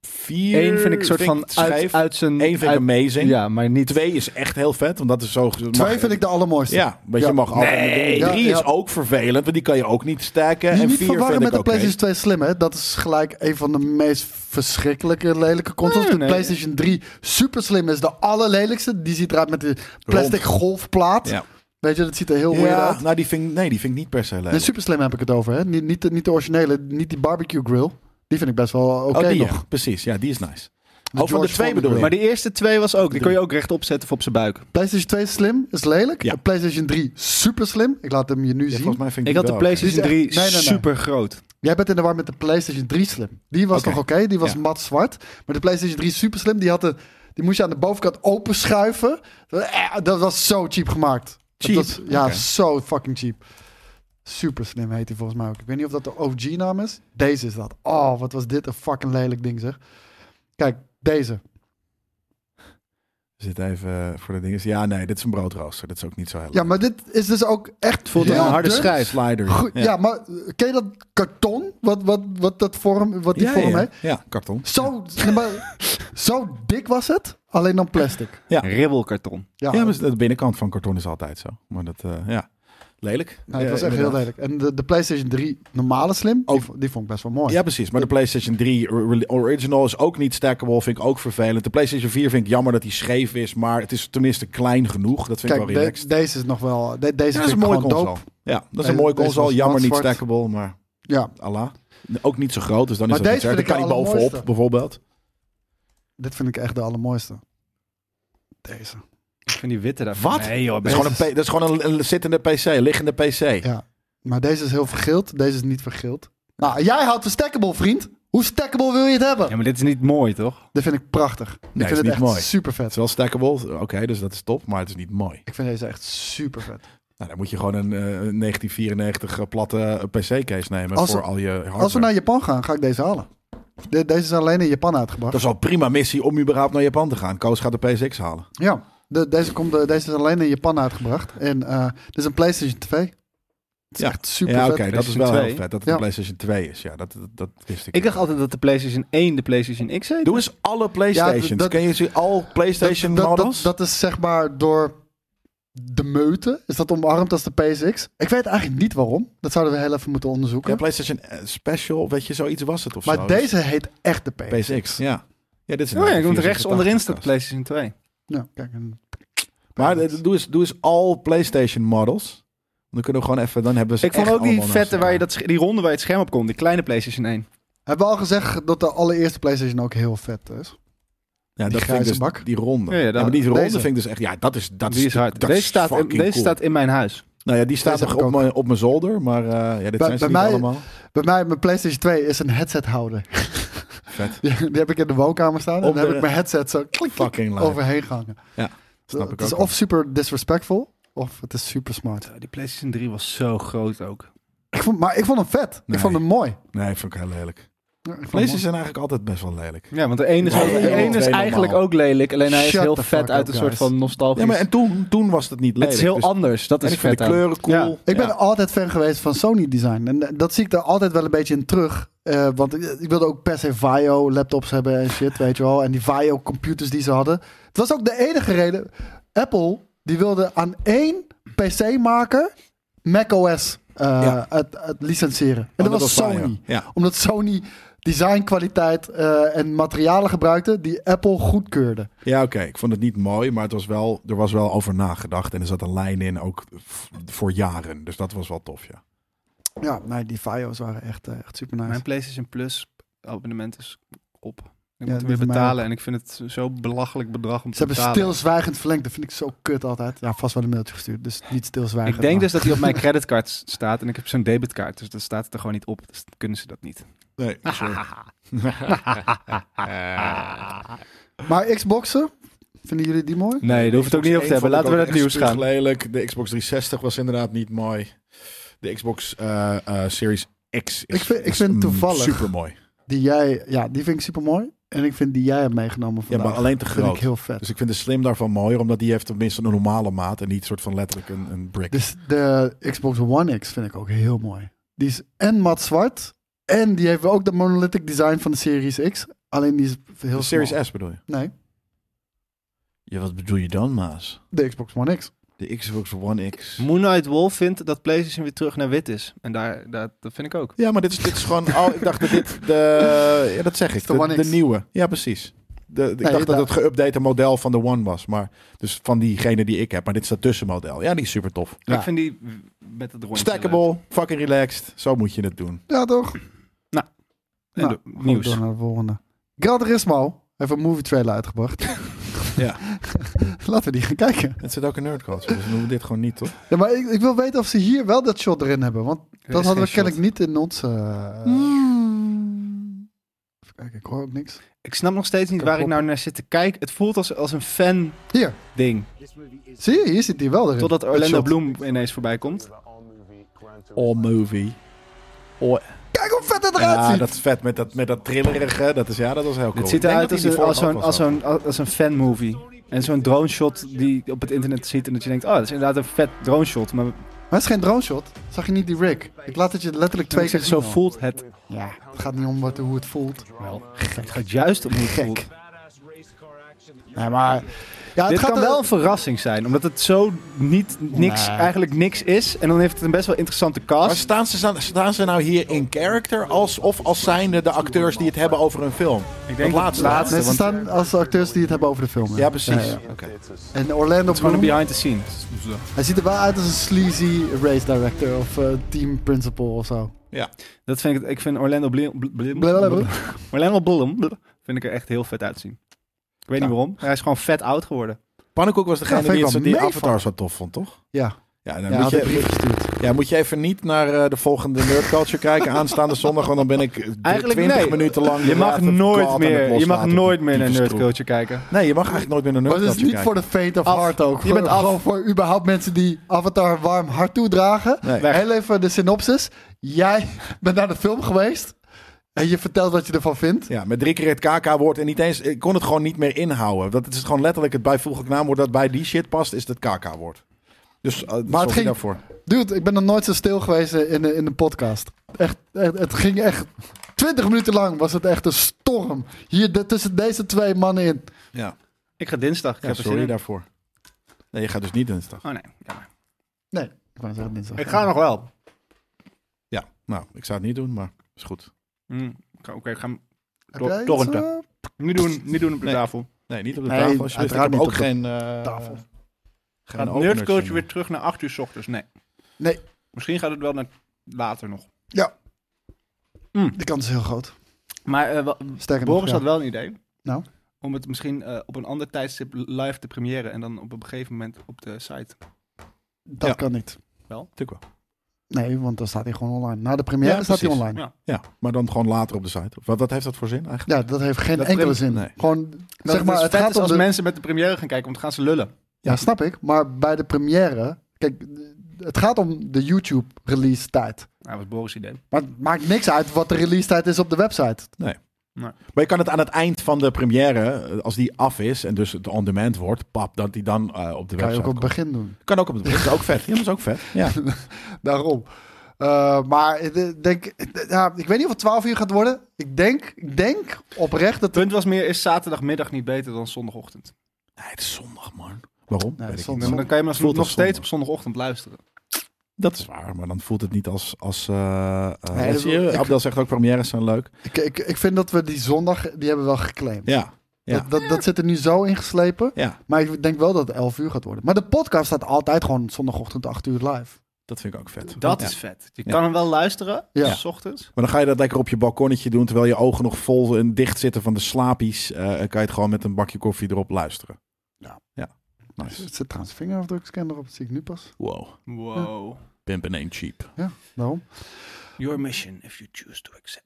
Speaker 2: Vier
Speaker 1: Eén vind ik soort van uit,
Speaker 2: schijf.
Speaker 1: uit zijn...
Speaker 2: Eén vind ik
Speaker 1: uit-
Speaker 2: amazing.
Speaker 1: Ja, maar niet...
Speaker 2: Twee is echt heel vet, want dat is zo...
Speaker 3: twee vind ik de allermooiste.
Speaker 2: Ja, want je
Speaker 3: Ja.
Speaker 2: mag altijd...
Speaker 3: Nee.
Speaker 2: Drie
Speaker 3: Ja,
Speaker 2: is
Speaker 3: ja.
Speaker 2: ook vervelend, want die kan je ook niet stacken.
Speaker 3: Die
Speaker 2: en
Speaker 3: niet
Speaker 2: vier vind
Speaker 3: verwarren
Speaker 2: ik
Speaker 3: met de
Speaker 2: oké.
Speaker 3: PlayStation 2 Slim, hè? Dat is gelijk een van de meest verschrikkelijke lelijke consoles.
Speaker 1: Nee,
Speaker 3: de
Speaker 1: nee.
Speaker 3: PlayStation 3 Super Slim is de allerlelijkste. Die ziet eruit met die plastic golfplaat.
Speaker 2: Ja.
Speaker 3: Weet je, dat ziet er heel weird
Speaker 2: Ja,
Speaker 3: uit.
Speaker 2: nou, die vind, ik- nee, die vind ik niet per se leuk.
Speaker 3: De Super Slim heb ik het over, hè? Niet, niet, de, niet de originele, niet die barbecue grill. Die vind ik best wel oké
Speaker 2: oh, die,
Speaker 3: nog.
Speaker 2: ja. Precies, ja, die is nice.
Speaker 3: De
Speaker 2: oh, van de
Speaker 3: George
Speaker 2: twee
Speaker 3: Foreman
Speaker 2: bedoel je?
Speaker 1: Maar die eerste twee was ook... Die kon je ook rechtop zetten of op zijn buik.
Speaker 3: PlayStation 2 Slim is lelijk.
Speaker 2: Ja.
Speaker 3: De PlayStation 3 Super Slim. Ik laat hem je nu
Speaker 2: Ja,
Speaker 3: zien.
Speaker 2: volgens mij vind ik,
Speaker 1: Ik had de
Speaker 2: die wel oké.
Speaker 1: PlayStation
Speaker 3: Die is
Speaker 1: 3
Speaker 3: echt- nee, nee, nee.
Speaker 1: super groot.
Speaker 3: Jij bent in de war met de PlayStation 3 Slim. Die was
Speaker 2: Oké.
Speaker 3: nog oké, die was
Speaker 2: Ja.
Speaker 3: mat zwart. Maar de PlayStation 3 Super Slim, die, had een, die moest je aan de bovenkant openschuiven. Eh, Dat was zo cheap gemaakt. Dat
Speaker 2: Cheap?
Speaker 3: was- ja,
Speaker 2: Oké.
Speaker 3: zo fucking cheap. Super Slim heet hij volgens mij ook. Ik weet niet of dat de OG-naam is. Deze is dat. Oh, wat was dit een fucking lelijk ding zeg. Kijk, deze.
Speaker 2: Zit even eh, voor de dingen. Ja, nee, dit is een broodrooster. Dat is ook niet zo heel
Speaker 3: Ja, maar dit is dus ook echt
Speaker 1: voelt als
Speaker 3: heel
Speaker 1: een harde
Speaker 3: dun.
Speaker 1: schijf.
Speaker 2: Slider.
Speaker 3: Goed, ja. maar eh, ken je dat karton? Wat, wat, wat, dat vorm, wat die
Speaker 2: ja,
Speaker 3: vorm
Speaker 2: ja.
Speaker 3: heeft?
Speaker 2: Ja, karton.
Speaker 3: Zo, nee, maar zo dik was het, alleen dan plastic.
Speaker 2: Ja.
Speaker 1: Ribbelkarton.
Speaker 3: Ja,
Speaker 2: Ja, maar de binnenkant van karton is altijd zo. Maar dat, eh, ja, lelijk.
Speaker 3: nou, het was
Speaker 2: Ja,
Speaker 3: echt heel
Speaker 2: inderdaad.
Speaker 3: lelijk. En de, de PlayStation 3 normale slim, die,
Speaker 2: Ook-
Speaker 3: vo- die vond ik best wel mooi.
Speaker 2: Ja, precies. Maar de PlayStation 3 ori- Original is ook niet stackable. Vind ik ook vervelend. De PlayStation 4 vind ik jammer dat die scheef is. Maar het is tenminste klein genoeg. Dat vind
Speaker 3: Kijk,
Speaker 2: ik
Speaker 3: de-
Speaker 2: wel relaxed.
Speaker 3: deze is nog wel. de- deze
Speaker 2: Ja, dat
Speaker 3: vind
Speaker 2: is
Speaker 3: ik
Speaker 2: een mooie
Speaker 3: gewoon
Speaker 2: console.
Speaker 3: dope.
Speaker 2: Ja, dat is
Speaker 3: Deze-
Speaker 2: een mooie
Speaker 3: deze
Speaker 2: console.
Speaker 3: was
Speaker 2: Jammer niet
Speaker 3: matzwart.
Speaker 2: stackable, maar
Speaker 3: Ja,
Speaker 2: Allah. Ook niet zo groot, dus dan
Speaker 3: Maar
Speaker 2: is dat niet
Speaker 3: deze
Speaker 2: erg. Dan
Speaker 3: vind
Speaker 2: kan hij
Speaker 3: ik de
Speaker 2: bovenop,
Speaker 3: allermooiste.
Speaker 2: bijvoorbeeld.
Speaker 3: dit vind ik echt de allermooiste. Deze.
Speaker 1: Ik vind die witte daarvan.
Speaker 2: Wat?
Speaker 1: Nee, joh.
Speaker 2: Dat is gewoon
Speaker 1: best-
Speaker 2: een, P- dat is gewoon een, een zittende PC, liggende PC.
Speaker 3: Ja. Maar deze is heel vergild, deze is niet vergild. Nou, jij houdt de stackable, vriend. Hoe stackable wil je het hebben?
Speaker 1: Ja, maar dit is niet mooi, toch?
Speaker 3: Dit vind ik prachtig.
Speaker 2: Nee,
Speaker 3: ik
Speaker 2: is
Speaker 3: vind
Speaker 2: niet
Speaker 3: het echt
Speaker 2: mooi.
Speaker 3: super
Speaker 2: Het is
Speaker 3: vet.
Speaker 2: wel stackable, oké, dus dat is top, maar het is niet mooi.
Speaker 3: Ik vind deze echt super vet.
Speaker 2: Nou, dan moet je gewoon een eh, 1994 platte PC-case nemen
Speaker 3: Als-
Speaker 2: voor al je hardware.
Speaker 3: Als we naar Japan gaan, ga ik deze halen. De- deze is alleen in Japan uitgebracht.
Speaker 2: Dat is al een prima missie om überhaupt naar Japan te gaan. Koos gaat de PSX halen.
Speaker 3: Ja, de- deze, komt, eh, deze is alleen in Japan uitgebracht. En eh dit is een PlayStation 2. Het is
Speaker 2: Ja.
Speaker 3: echt super
Speaker 2: ja,
Speaker 3: vet.
Speaker 2: oké, dat is wel
Speaker 1: PlayStation
Speaker 2: heel vet. Dat het
Speaker 3: Ja.
Speaker 2: een PlayStation 2 is, ja, dat, dat, dat wist ik.
Speaker 1: Ik dacht altijd dat de PlayStation 1 de PlayStation X heet.
Speaker 2: Doe eens alle PlayStations.
Speaker 3: dat-
Speaker 2: Ken je ze al PlayStation
Speaker 3: dat, dat,
Speaker 2: models?
Speaker 3: dat, dat is zeg maar door de meute. Is dat omarmd als de PSX? Ik weet eigenlijk niet waarom. Dat zouden we heel even moeten onderzoeken.
Speaker 2: ja, PlayStation eh, Special, weet je, zoiets was het of
Speaker 3: maar
Speaker 2: zo. Dus-
Speaker 3: deze heet echt de PSX.
Speaker 2: PSX, ja. Ja, dit is een
Speaker 1: Oh ja, ik moet
Speaker 2: 1984
Speaker 1: rechts onderin staat de
Speaker 2: kast.
Speaker 1: PlayStation 2.
Speaker 3: Ja, kijk. en-
Speaker 2: Maar eh, doe eens, doe eens al PlayStation models. Dan kunnen we gewoon even, dan hebben we ze
Speaker 1: Ik vond
Speaker 2: echt
Speaker 1: ook die
Speaker 2: allemaal naast
Speaker 1: vette waar je
Speaker 2: elkaar.
Speaker 1: dat, sch- die ronde waar je het scherm op kon. Die kleine PlayStation 1.
Speaker 3: Hebben we al gezegd dat de allereerste PlayStation ook heel vet
Speaker 2: Ja,
Speaker 3: is? Die
Speaker 2: dat vind ik
Speaker 3: grijze
Speaker 2: dus
Speaker 3: bak.
Speaker 2: die ronde.
Speaker 1: Ja,
Speaker 2: Ja,
Speaker 1: ja, dat-
Speaker 2: maar die ronde
Speaker 3: deze.
Speaker 2: vind ik dus echt... Ja, dat is... Dat
Speaker 1: Die is hard.
Speaker 2: dat
Speaker 1: Deze,
Speaker 2: is
Speaker 1: staat in,
Speaker 2: fucking
Speaker 1: deze
Speaker 2: cool.
Speaker 1: staat in mijn huis.
Speaker 2: Nou ja, die staat
Speaker 3: Deze
Speaker 2: nog
Speaker 3: heb ik
Speaker 2: op
Speaker 3: ook.
Speaker 2: mijn, op mijn zolder. Maar eh, ja, dit
Speaker 3: Bij-
Speaker 2: zijn ze niet
Speaker 3: bij mij-
Speaker 2: allemaal.
Speaker 3: Bij mij, mijn PlayStation 2 is een headset-houder.
Speaker 2: Vet.
Speaker 3: Die, die heb ik in de woonkamer staan. En
Speaker 2: Op
Speaker 3: dan heb
Speaker 2: de-
Speaker 3: ik mijn headset zo klik, klik,
Speaker 2: Fucking live.
Speaker 3: overheen gehangen.
Speaker 2: Snap ik
Speaker 3: het is
Speaker 2: ook.
Speaker 3: of super disrespectful, of het is super smart.
Speaker 1: Die PlayStation 3 was zo groot ook.
Speaker 3: Ik vond, maar ik vond hem vet.
Speaker 2: Nee.
Speaker 3: Ik vond hem mooi.
Speaker 2: Nee, ik vond ik heel lelijk.
Speaker 3: Ja, ik vond hem
Speaker 2: Deze zijn eigenlijk altijd best wel lelijk.
Speaker 1: Ja, want de ene is,
Speaker 2: Ja,
Speaker 1: ook-
Speaker 2: ja,
Speaker 1: de
Speaker 2: ja.
Speaker 1: ene is
Speaker 2: Twee
Speaker 1: eigenlijk
Speaker 2: normaal.
Speaker 1: ook lelijk. Alleen hij is
Speaker 3: Shut
Speaker 1: heel
Speaker 3: the fuck
Speaker 1: vet uit
Speaker 3: up,
Speaker 1: een soort
Speaker 3: guys.
Speaker 1: van nostalgisch...
Speaker 2: Ja, maar en toen, toen was het niet
Speaker 1: het
Speaker 2: lelijk.
Speaker 1: is heel
Speaker 2: dus-
Speaker 1: anders. Dat
Speaker 2: En
Speaker 1: is
Speaker 2: ik vind
Speaker 1: vet
Speaker 2: de
Speaker 1: aan.
Speaker 2: kleuren cool.
Speaker 1: Ja.
Speaker 3: mooi. Ik ben
Speaker 2: Ja.
Speaker 3: altijd fan geweest van Sony design. En eh, dat zie ik er altijd wel een beetje in terug. Eh, want ik, ik wilde ook per se VAIO laptops hebben en shit, weet je wel. En die VAIO computers die ze hadden. Het was ook de enige reden. Apple, die wilde aan één PC-maker macOS eh
Speaker 2: Ja.
Speaker 3: het, het licenseren. En Oh, dat,
Speaker 2: dat
Speaker 3: was
Speaker 2: was
Speaker 3: Sony.
Speaker 2: VAIO. Ja.
Speaker 3: Omdat Sony designkwaliteit eh, en materialen gebruikte die Apple goedkeurde.
Speaker 2: Ja, oké. Ik vond het niet mooi, maar het was wel, er was wel over nagedacht. En er zat een lijn in, ook f- voor jaren. Dus dat was wel tof, ja.
Speaker 3: Ja, nee, die FIO's waren echt, eh, echt super nice.
Speaker 1: Mijn PlayStation Plus abonnement is op. Ik
Speaker 3: Ja,
Speaker 1: moet
Speaker 3: die
Speaker 1: weer
Speaker 3: van mij
Speaker 1: betalen en ik vind het zo belachelijk bedrag om te
Speaker 3: Ze hebben
Speaker 1: betalen.
Speaker 3: stilzwijgend verlengd. Dat vind ik zo kut altijd. Ja, vast wel een mailtje gestuurd. Dus niet stilzwijgend.
Speaker 1: Ik denk
Speaker 3: maar-
Speaker 1: dus dat die op mijn creditcard s- staat en ik heb zo'n debitkaart. Dus dat staat het er gewoon niet op. Dus dan kunnen ze dat niet.
Speaker 2: Nee, sorry.
Speaker 3: Maar Xboxen, vinden jullie die mooi?
Speaker 1: Nee, daar hoef je het ook niet over te hebben. Laten we naar het nieuws gaan.
Speaker 2: Lelijk. De Xbox 360 was inderdaad niet mooi. De Xbox eh, eh, Series X is mm,
Speaker 3: Ik vind- ik vind het toevallig.
Speaker 2: super mooi.
Speaker 3: Die jij, ja, die vind ik super mooi. En ik vind die jij hebt meegenomen
Speaker 2: Ja,
Speaker 3: vandaag.
Speaker 2: maar alleen te
Speaker 3: Dat vind
Speaker 2: groot.
Speaker 3: ik heel vet.
Speaker 2: Dus ik vind de Slim daarvan mooier, omdat die heeft tenminste een normale maat en niet soort van letterlijk een, een brick.
Speaker 3: Dus de Xbox One X vind ik ook heel mooi. Die is en mat zwart. En die heeft ook dat monolithic design van de Series X. Alleen die is heel
Speaker 2: de Series
Speaker 3: smal.
Speaker 2: S bedoel je?
Speaker 3: Nee,
Speaker 2: Ja, wat bedoel je dan, Maas?
Speaker 3: de Xbox One X.
Speaker 2: De Xbox One X.
Speaker 1: Moon Knight Wolf vindt dat PlayStation weer terug naar wit is. En daar, daar, dat vind ik ook.
Speaker 2: Ja, maar dit is, dit is gewoon... Oh, ik dacht dat dit de... Ja, dat zeg ik.
Speaker 3: de
Speaker 2: De,
Speaker 3: One
Speaker 2: de
Speaker 3: X.
Speaker 2: nieuwe. Ja, precies. De, de- ik
Speaker 3: Nee,
Speaker 2: dacht dat
Speaker 3: da-
Speaker 2: het geüpdate model van de One was. Maar, dus van diegene die ik heb. Maar dit is dat tussenmodel. Ja, die is super tof.
Speaker 3: Ja.
Speaker 1: Ik vind die met het rondje. eh,
Speaker 2: Stackable, fucking relaxed. Zo moet je het doen.
Speaker 3: Ja, toch?
Speaker 1: leuk.
Speaker 3: Nou,
Speaker 1: En de-
Speaker 3: gewoon
Speaker 1: nieuws.
Speaker 3: door naar de volgende. Gran Turismo heeft een movie trailer uitgebracht.
Speaker 2: Ja.
Speaker 3: Laten we die gaan kijken.
Speaker 2: Het zit ook een nerdcode. Dus we doen dit gewoon niet, toch?
Speaker 3: Ja, maar ik, ik wil weten of ze hier wel dat shot erin hebben. Want
Speaker 1: Er
Speaker 3: dat
Speaker 1: is
Speaker 3: hadden we
Speaker 1: geen
Speaker 3: kennelijk niet in onze... eh, Even kijken, ik hoor ook niks.
Speaker 1: Ik snap nog steeds niet
Speaker 3: Kan
Speaker 1: waar ik
Speaker 3: kloppen.
Speaker 1: nou naar zit te kijken. Het voelt als, als een fan-ding.
Speaker 3: Hier, zie je? Hier zit hij wel erin.
Speaker 1: Totdat Orlando
Speaker 3: shot.
Speaker 1: Bloom ineens voorbij komt.
Speaker 2: All movie. Oh,
Speaker 3: Kijk hoe vet het eruit
Speaker 2: ja,
Speaker 3: ziet!
Speaker 2: dat is vet met dat, met dat trillerige. Dat is, ja, dat was heel cool.
Speaker 1: Het ziet
Speaker 2: Ik denk
Speaker 1: eruit
Speaker 2: dat
Speaker 1: als
Speaker 2: die
Speaker 1: een,
Speaker 2: die
Speaker 1: als,
Speaker 2: vorige
Speaker 1: zo'n,
Speaker 2: ook
Speaker 1: als,
Speaker 2: was.
Speaker 1: zo'n, als een fan-movie. En zo'n drone-shot die je op het internet ziet. En dat je denkt, oh, dat is inderdaad een vet drone-shot. Maar
Speaker 3: Maar het is geen drone shot. Zag je niet die rig? Ik laat het je letterlijk twee
Speaker 1: ik
Speaker 3: keer
Speaker 1: zeg, zo
Speaker 3: zien al.
Speaker 1: voelt het.
Speaker 3: Ja, het gaat niet om wat, hoe het voelt. Wel.
Speaker 1: Het gaat juist om hoe het
Speaker 3: Gek.
Speaker 1: voelt.
Speaker 3: Nee, maar... Ja,
Speaker 1: Dit
Speaker 3: het gaat
Speaker 1: kan
Speaker 3: er-
Speaker 1: wel een verrassing zijn, omdat het zo niet, niks,
Speaker 3: Nee.
Speaker 1: eigenlijk niks is. En dan heeft het een best wel interessante
Speaker 2: Maar
Speaker 1: cast.
Speaker 2: staan ze, staan, staan ze nou hier in character als, of als zijnde de acteurs die het hebben over hun film? Ik
Speaker 1: dat
Speaker 2: laatste.
Speaker 1: het
Speaker 3: Nee, ze
Speaker 1: want-
Speaker 3: staan als de acteurs die het hebben over de film. hè.
Speaker 2: Ja, precies.
Speaker 3: Ja, ja.
Speaker 2: Oké.
Speaker 3: En Orlando
Speaker 1: Gewoon een
Speaker 3: Bloom,
Speaker 1: behind the scenes.
Speaker 3: hij ziet er wel uit als een sleazy race director of eh, team principal of zo.
Speaker 2: Ja.
Speaker 1: Dat vind ik, het- ik vind Orlando Bloom, Bl- Bloom-
Speaker 3: Blablabla.
Speaker 1: Orlando Bloom bl- vind ik er echt heel vet uitzien. Ik weet
Speaker 2: Ja.
Speaker 1: niet waarom, maar hij is gewoon vet oud geworden.
Speaker 2: Pannenkoek was
Speaker 3: Ja,
Speaker 2: degene
Speaker 3: vind ik
Speaker 2: die, het-
Speaker 3: wel
Speaker 2: die
Speaker 3: meevallen.
Speaker 2: Avatar zo tof vond, toch?
Speaker 3: Ja,
Speaker 2: Ja, dan
Speaker 3: ja
Speaker 2: moet,
Speaker 3: had een
Speaker 2: je,
Speaker 3: brief gestuurd.
Speaker 2: ja, moet je even niet naar eh, de volgende Nerd Culture kijken aanstaande zondag, want dan ben ik eh,
Speaker 1: Eigenlijk
Speaker 2: 20
Speaker 1: nee.
Speaker 2: minuten lang...
Speaker 1: Je
Speaker 2: de
Speaker 1: mag
Speaker 2: Wrath of God
Speaker 1: nooit
Speaker 2: aan het
Speaker 1: meer, je mag
Speaker 2: loslaten.
Speaker 1: nooit meer naar
Speaker 2: Diepe
Speaker 1: Nerd
Speaker 2: stroef.
Speaker 1: Culture kijken.
Speaker 2: Nee, je mag eigenlijk nooit meer naar Nerd
Speaker 3: Maar het is
Speaker 2: Culture
Speaker 3: niet
Speaker 2: kijken.
Speaker 3: voor de faint of
Speaker 1: Af.
Speaker 3: heart ook.
Speaker 1: Je bent
Speaker 3: Gewoon-
Speaker 1: af.
Speaker 3: Gewoon voor überhaupt mensen die Avatar een warm hart toedragen.
Speaker 2: Nee.
Speaker 1: Weg.
Speaker 3: Heel even de synopsis. Jij bent naar de film geweest en je vertelt wat je ervan vindt.
Speaker 2: Ja, met drie keer het KK-woord en niet eens... Ik kon het gewoon niet meer inhouden. Dat het is gewoon letterlijk het bijvoeglijk naamwoord dat bij die shit past, is het KK-woord. Dus eh, sorry
Speaker 3: ging-
Speaker 2: daarvoor.
Speaker 3: Dude, ik ben nog nooit zo stil geweest in de, in de podcast. Echt, echt, het ging echt... Twintig minuten lang was het echt een storm. Hier de- tussen deze twee mannen in.
Speaker 2: Ja,
Speaker 1: Ik ga dinsdag, ik
Speaker 2: ja
Speaker 1: heb er zin
Speaker 2: sorry
Speaker 1: in.
Speaker 2: daarvoor. Nee, je gaat dus niet dinsdag.
Speaker 1: Oh nee, jammer.
Speaker 3: Nee, ik wou zeggen dinsdag.
Speaker 1: ik ga nog wel.
Speaker 2: Ja, nou, ik zou het niet doen, maar is goed.
Speaker 1: Hm, Oké, ik ga hem
Speaker 3: Heb jij iets,
Speaker 1: torrenten.
Speaker 3: eh,
Speaker 1: niet doen, niet doen op de
Speaker 2: Nee.
Speaker 1: tafel.
Speaker 2: Nee, niet op de
Speaker 3: Nee,
Speaker 2: tafel. alsjeblieft. ik
Speaker 3: uiteraard
Speaker 2: heb ook
Speaker 3: niet op de
Speaker 2: geen eh,
Speaker 3: tafel.
Speaker 2: Geen
Speaker 1: Gaat
Speaker 2: openertje
Speaker 1: Nerd Culture
Speaker 2: meer.
Speaker 1: weer terug naar 8 uur 's ochtends? Nee.
Speaker 3: Nee,
Speaker 1: Misschien gaat het wel naar later nog.
Speaker 3: ja.
Speaker 1: Mm.
Speaker 3: De kans is heel groot.
Speaker 1: Maar eh, wa-
Speaker 3: Sterker
Speaker 1: Boris
Speaker 3: nog,
Speaker 1: had
Speaker 3: ja.
Speaker 1: wel een idee.
Speaker 3: Nou?
Speaker 1: Om het misschien eh, op een ander tijdstip live te premiëren en dan op een gegeven moment op de site.
Speaker 3: dat
Speaker 2: Ja.
Speaker 3: kan niet.
Speaker 2: Natuurlijk wel.
Speaker 3: Nee, want dan staat hij gewoon online. Na de première
Speaker 2: Ja,
Speaker 3: staat hij
Speaker 2: precies.
Speaker 3: online.
Speaker 1: Ja.
Speaker 2: Ja, maar dan gewoon later op de site. Wat, wat heeft dat voor zin eigenlijk?
Speaker 3: Ja, dat heeft geen
Speaker 1: Dat
Speaker 3: enkele
Speaker 1: prim-
Speaker 3: zin.
Speaker 2: nee.
Speaker 3: Gewoon, zeg maar, het
Speaker 1: vet
Speaker 3: gaat
Speaker 1: is
Speaker 3: om
Speaker 1: als
Speaker 3: de...
Speaker 1: mensen met de première gaan kijken, want dan gaan ze lullen. Nou,
Speaker 3: Ja, snap ik. Maar bij de première... Kijk, het gaat om de YouTube-release tijd.
Speaker 1: Nou, dat was Boris' idee.
Speaker 3: Maar het maakt niks uit wat de release tijd is op de website.
Speaker 2: Maar je kan het aan het eind van de première, eh, als die af is en dus het on-demand wordt, pap, dat die dan eh, op de
Speaker 3: Dat kan je
Speaker 2: website
Speaker 3: ook op
Speaker 2: komt.
Speaker 3: het begin doen.
Speaker 2: Kan ook op het begin. Dat is ook vet. Ja, dat is ook vet. Ja.
Speaker 3: Daarom. Eh, maar ik denk, ja, ik weet niet of het 12 uur gaat worden. Ik denk, ik denk oprecht dat...
Speaker 1: Het punt was meer, is zaterdagmiddag niet beter dan zondagochtend?
Speaker 2: Nee, het is zondag, man. Waarom?
Speaker 3: Nee,
Speaker 2: Weet ik
Speaker 3: zondag.
Speaker 2: niet.
Speaker 1: Dan kan je maar nog
Speaker 2: Voelt als
Speaker 1: steeds
Speaker 2: zondag.
Speaker 1: op zondagochtend luisteren.
Speaker 2: Dat is waar, maar dan voelt het niet als... als eh eh,
Speaker 3: Nee, dat-
Speaker 2: zie je,
Speaker 3: ik-
Speaker 2: Abdel zegt ook, premières zijn leuk.
Speaker 3: Ik, ik, ik vind dat we die zondag, die hebben we wel geclaimd.
Speaker 2: Ja, ja.
Speaker 3: Dat, dat, dat zit er nu zo ingeslepen.
Speaker 2: ja.
Speaker 3: Maar ik denk wel dat het 11 uur gaat worden. Maar de podcast staat altijd gewoon zondagochtend 8 uur live.
Speaker 2: Dat vind ik ook vet.
Speaker 1: Dat
Speaker 2: Ja.
Speaker 1: is vet. Je
Speaker 2: Ja.
Speaker 1: kan hem wel luisteren,
Speaker 3: Ja.
Speaker 1: s ochtends.
Speaker 2: Maar dan ga je dat lekker op je balkonnetje doen, terwijl je ogen nog vol en dicht zitten van de slaapies. eh, kan je het gewoon met een bakje koffie erop luisteren.
Speaker 3: Ja.
Speaker 2: Ja. Nice.
Speaker 3: Het zit trouwens vingerafdrukscanner op, dat zie ik nu pas.
Speaker 2: Wow.
Speaker 1: Wow.
Speaker 2: Pimp and ain't cheap.
Speaker 3: Ja, daarom.
Speaker 1: Your mission, if you choose to accept.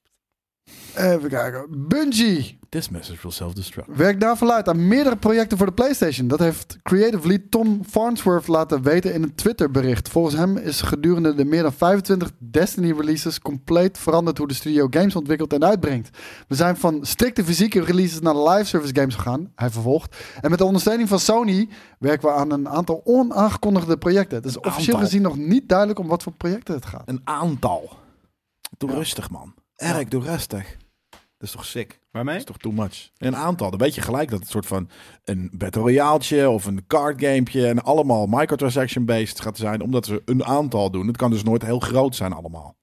Speaker 3: Even kijken. Bungie
Speaker 2: This message will self-destruct.
Speaker 3: werkt daar verluid aan meerdere projecten voor de PlayStation. Dat heeft creative lead Tom Farnsworth laten weten in een Twitterbericht. Volgens hem is gedurende de meer dan 25 Destiny-releases compleet veranderd hoe de studio games ontwikkelt en uitbrengt. We zijn van strikte fysieke releases naar live service games gegaan, hij vervolgt. En met de ondersteuning van Sony werken we aan een aantal onaangekondigde projecten. Het is officieel
Speaker 2: aantal.
Speaker 3: gezien nog niet duidelijk om wat voor projecten het gaat.
Speaker 2: Een aantal. Doe rustig, man. Erik, doe rustig. Dat is toch sick?
Speaker 1: Waarmee?
Speaker 2: Dat is toch too much. Een aantal. Dan weet je gelijk dat het soort van een battle royaaltje of een card gamepje en allemaal microtransaction based gaat zijn, omdat ze een aantal doen. Het kan dus nooit heel groot zijn allemaal.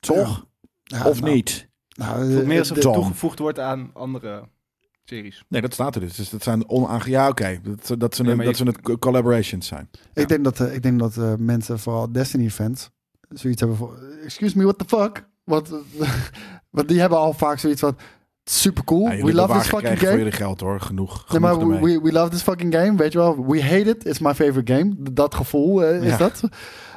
Speaker 2: Toch?
Speaker 3: Ja,
Speaker 2: of
Speaker 3: nou,
Speaker 2: niet?
Speaker 3: nou,
Speaker 1: Voor
Speaker 3: eh,
Speaker 1: meer als het
Speaker 2: Tom.
Speaker 1: toegevoegd wordt aan andere series.
Speaker 2: Nee, dat staat er dus. Dus dat zijn onaange... Ja, oké. Dat, dat, ze
Speaker 1: Nee,
Speaker 2: een-
Speaker 1: maar
Speaker 2: dat
Speaker 1: je-
Speaker 2: ze het co- collaborations zijn.
Speaker 3: Ik denk dat, eh, ik denk dat eh, mensen, vooral Destiny-fans, zoiets hebben van... Excuse me, what the fuck? Want, eh, want die hebben al vaak zoiets van... Super cool,
Speaker 2: Ja, jullie
Speaker 3: we love
Speaker 2: hebben
Speaker 3: this
Speaker 2: waar gekregen
Speaker 3: fucking
Speaker 2: voor
Speaker 3: game.
Speaker 2: jullie geld hoor. Genoeg.
Speaker 3: Nee,
Speaker 2: genoeg
Speaker 3: maar we,
Speaker 2: ermee.
Speaker 3: we, we love this fucking game, weet je wel. We hate it, it's my favorite game. D- Dat gevoel eh, is
Speaker 2: Ja.
Speaker 3: dat.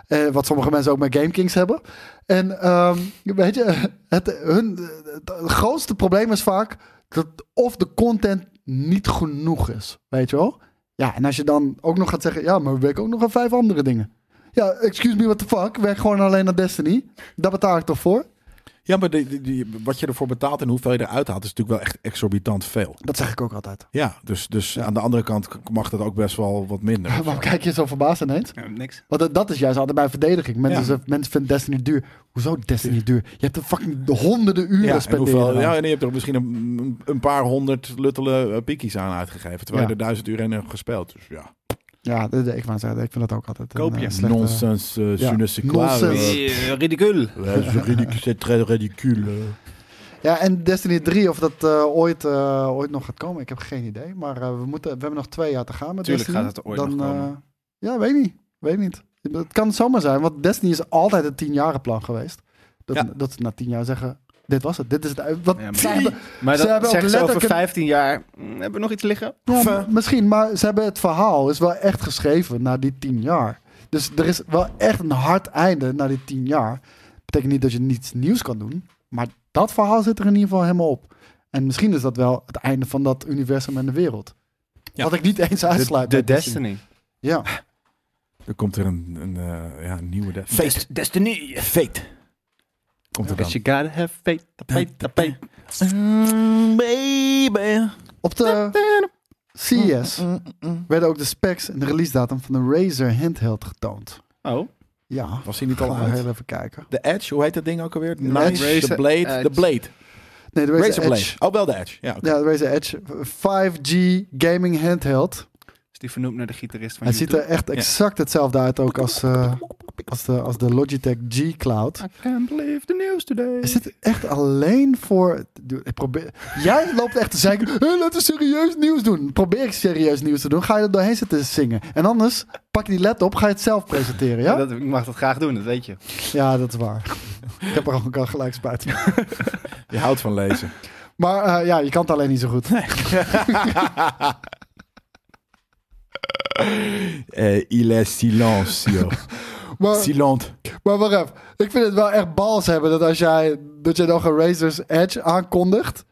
Speaker 3: Eh, wat sommige mensen ook met Game Kings hebben. En ehm, weet je, het, hun, het grootste probleem is vaak dat of de content niet genoeg is, weet je wel. Ja, en als je dan ook nog gaat zeggen, ja, maar we werken ook nog aan vijf andere dingen. Ja, excuse me, what the fuck, werk gewoon alleen aan Destiny. Daar betaal ik toch voor?
Speaker 2: Ja, maar die, die, die- wat je ervoor betaalt en hoeveel je eruit haalt, is natuurlijk wel echt exorbitant veel.
Speaker 3: Dat zeg ik ook altijd.
Speaker 2: Ja, dus, dus aan de andere kant mag dat ook best wel wat minder.
Speaker 3: Waarom kijk je zo verbaasd ineens?
Speaker 1: Ja, niks.
Speaker 3: Want dat- dat is juist altijd mijn verdediging. Mensen,
Speaker 2: Ja.
Speaker 3: zeggen- mensen vinden Destiny duur. Hoezo Destiny duur? Je hebt er fucking honderden uren
Speaker 2: Ja, en
Speaker 3: spenderen. Nou,
Speaker 2: hoeveel-
Speaker 3: aan.
Speaker 2: ja, en je hebt er misschien een, een paar honderd luttele eh, piekies aan uitgegeven. Terwijl
Speaker 3: Ja.
Speaker 2: je er duizend uur in hebt gespeeld. Dus ja.
Speaker 3: Ja, dat- dat- ik, wou zeggen, ik vind dat ook altijd.
Speaker 1: Koop je.
Speaker 3: eh, slechte-
Speaker 2: Nonsense, uh,
Speaker 3: Ja,
Speaker 2: cynische eh,
Speaker 3: nonsens.
Speaker 1: eh, ridicule.
Speaker 2: C'est très ridicule.
Speaker 3: Ja, en Destiny 3, of dat eh, ooit, eh, ooit nog gaat komen, ik heb geen idee. Maar eh, we, moeten, we hebben nog twee jaar te gaan met
Speaker 1: Tuurlijk
Speaker 3: Destiny.
Speaker 1: gaat het er ooit nog komen.
Speaker 3: eh, ja, weet niet. Weet niet. Het kan zomaar zijn, want Destiny is altijd een tienjarenplan geweest. Dat,
Speaker 2: Ja.
Speaker 3: dat ze na tien jaar zeggen, dit was het. Dit is het. uit- Wat,
Speaker 1: Ja, maar-
Speaker 3: ze hebben-
Speaker 1: Maar
Speaker 3: Ze hebben
Speaker 1: dat
Speaker 3: ook
Speaker 1: zegt ze over
Speaker 3: letterlijk een-
Speaker 1: 15 jaar. "Mm, Hebben we nog iets liggen?
Speaker 3: Ja,
Speaker 2: Enfin.
Speaker 3: m- misschien, maar ze hebben het verhaal is wel echt geschreven na die tien jaar. Dus er is wel echt een hard einde na die tien jaar. Betekent niet dat je niets nieuws kan doen, maar dat verhaal zit er in ieder geval helemaal op. En misschien is dat wel het einde van dat universum en de wereld.
Speaker 2: Ja.
Speaker 3: Wat ik niet eens
Speaker 1: De,
Speaker 3: uitsluit.
Speaker 1: de
Speaker 3: bij
Speaker 1: Destiny.
Speaker 3: Ja.
Speaker 2: Er komt er een, een eh, ja, een nieuwe... De
Speaker 1: Fate. Destiny. Fate.
Speaker 2: Komt er dan.
Speaker 1: Because you gotta have fate. Fate. Fate. Mm,
Speaker 2: baby.
Speaker 3: Op de
Speaker 1: Mm,
Speaker 3: CES
Speaker 4: Mm,
Speaker 3: werden ook de specs en de release datum van de Razer handheld getoond.
Speaker 1: Oh.
Speaker 3: Ja,
Speaker 2: Was hij niet al
Speaker 3: gaan we
Speaker 2: uit?
Speaker 3: heel even kijken.
Speaker 2: De Edge, hoe heet dat ding ook alweer? De
Speaker 3: Edge.
Speaker 2: Nice, de
Speaker 1: Razer
Speaker 2: Blade,
Speaker 1: Edge.
Speaker 2: de Blade.
Speaker 3: Nee, de Razer,
Speaker 2: Razor Blade.
Speaker 3: Edge.
Speaker 2: Oh, wel de Edge. Ja, oké.
Speaker 3: Ja, de Razer Edge 5G gaming handheld.
Speaker 1: Is die vernoemd naar de gitarist van
Speaker 3: Hij ziet er echt exact hetzelfde uit ook als, eh, als, de, als de Logitech G Cloud.
Speaker 1: I can't believe the news today.
Speaker 3: Is dit echt alleen voor... Dude, ik probeer... Jij loopt echt te zeggen, "Hé, laten we serieus nieuws doen. Probeer ik serieus nieuws te doen, ga je er doorheen zitten zingen. En anders, pak je die let op, ga je het zelf presenteren, ja?
Speaker 1: Ja, dat, ik mag dat graag doen, dat weet je.
Speaker 3: Ja, dat is waar. ik heb er ook al gelijk spijt van.
Speaker 2: Je houdt van lezen.
Speaker 3: Maar eh, ja, je kan het alleen niet zo goed.
Speaker 2: Eh, il est silencio.
Speaker 3: Maar,
Speaker 2: Silent.
Speaker 3: Maar wacht even. Ik vind het wel echt bals hebben dat als jij, dat jij nog een Razer's Edge aankondigt.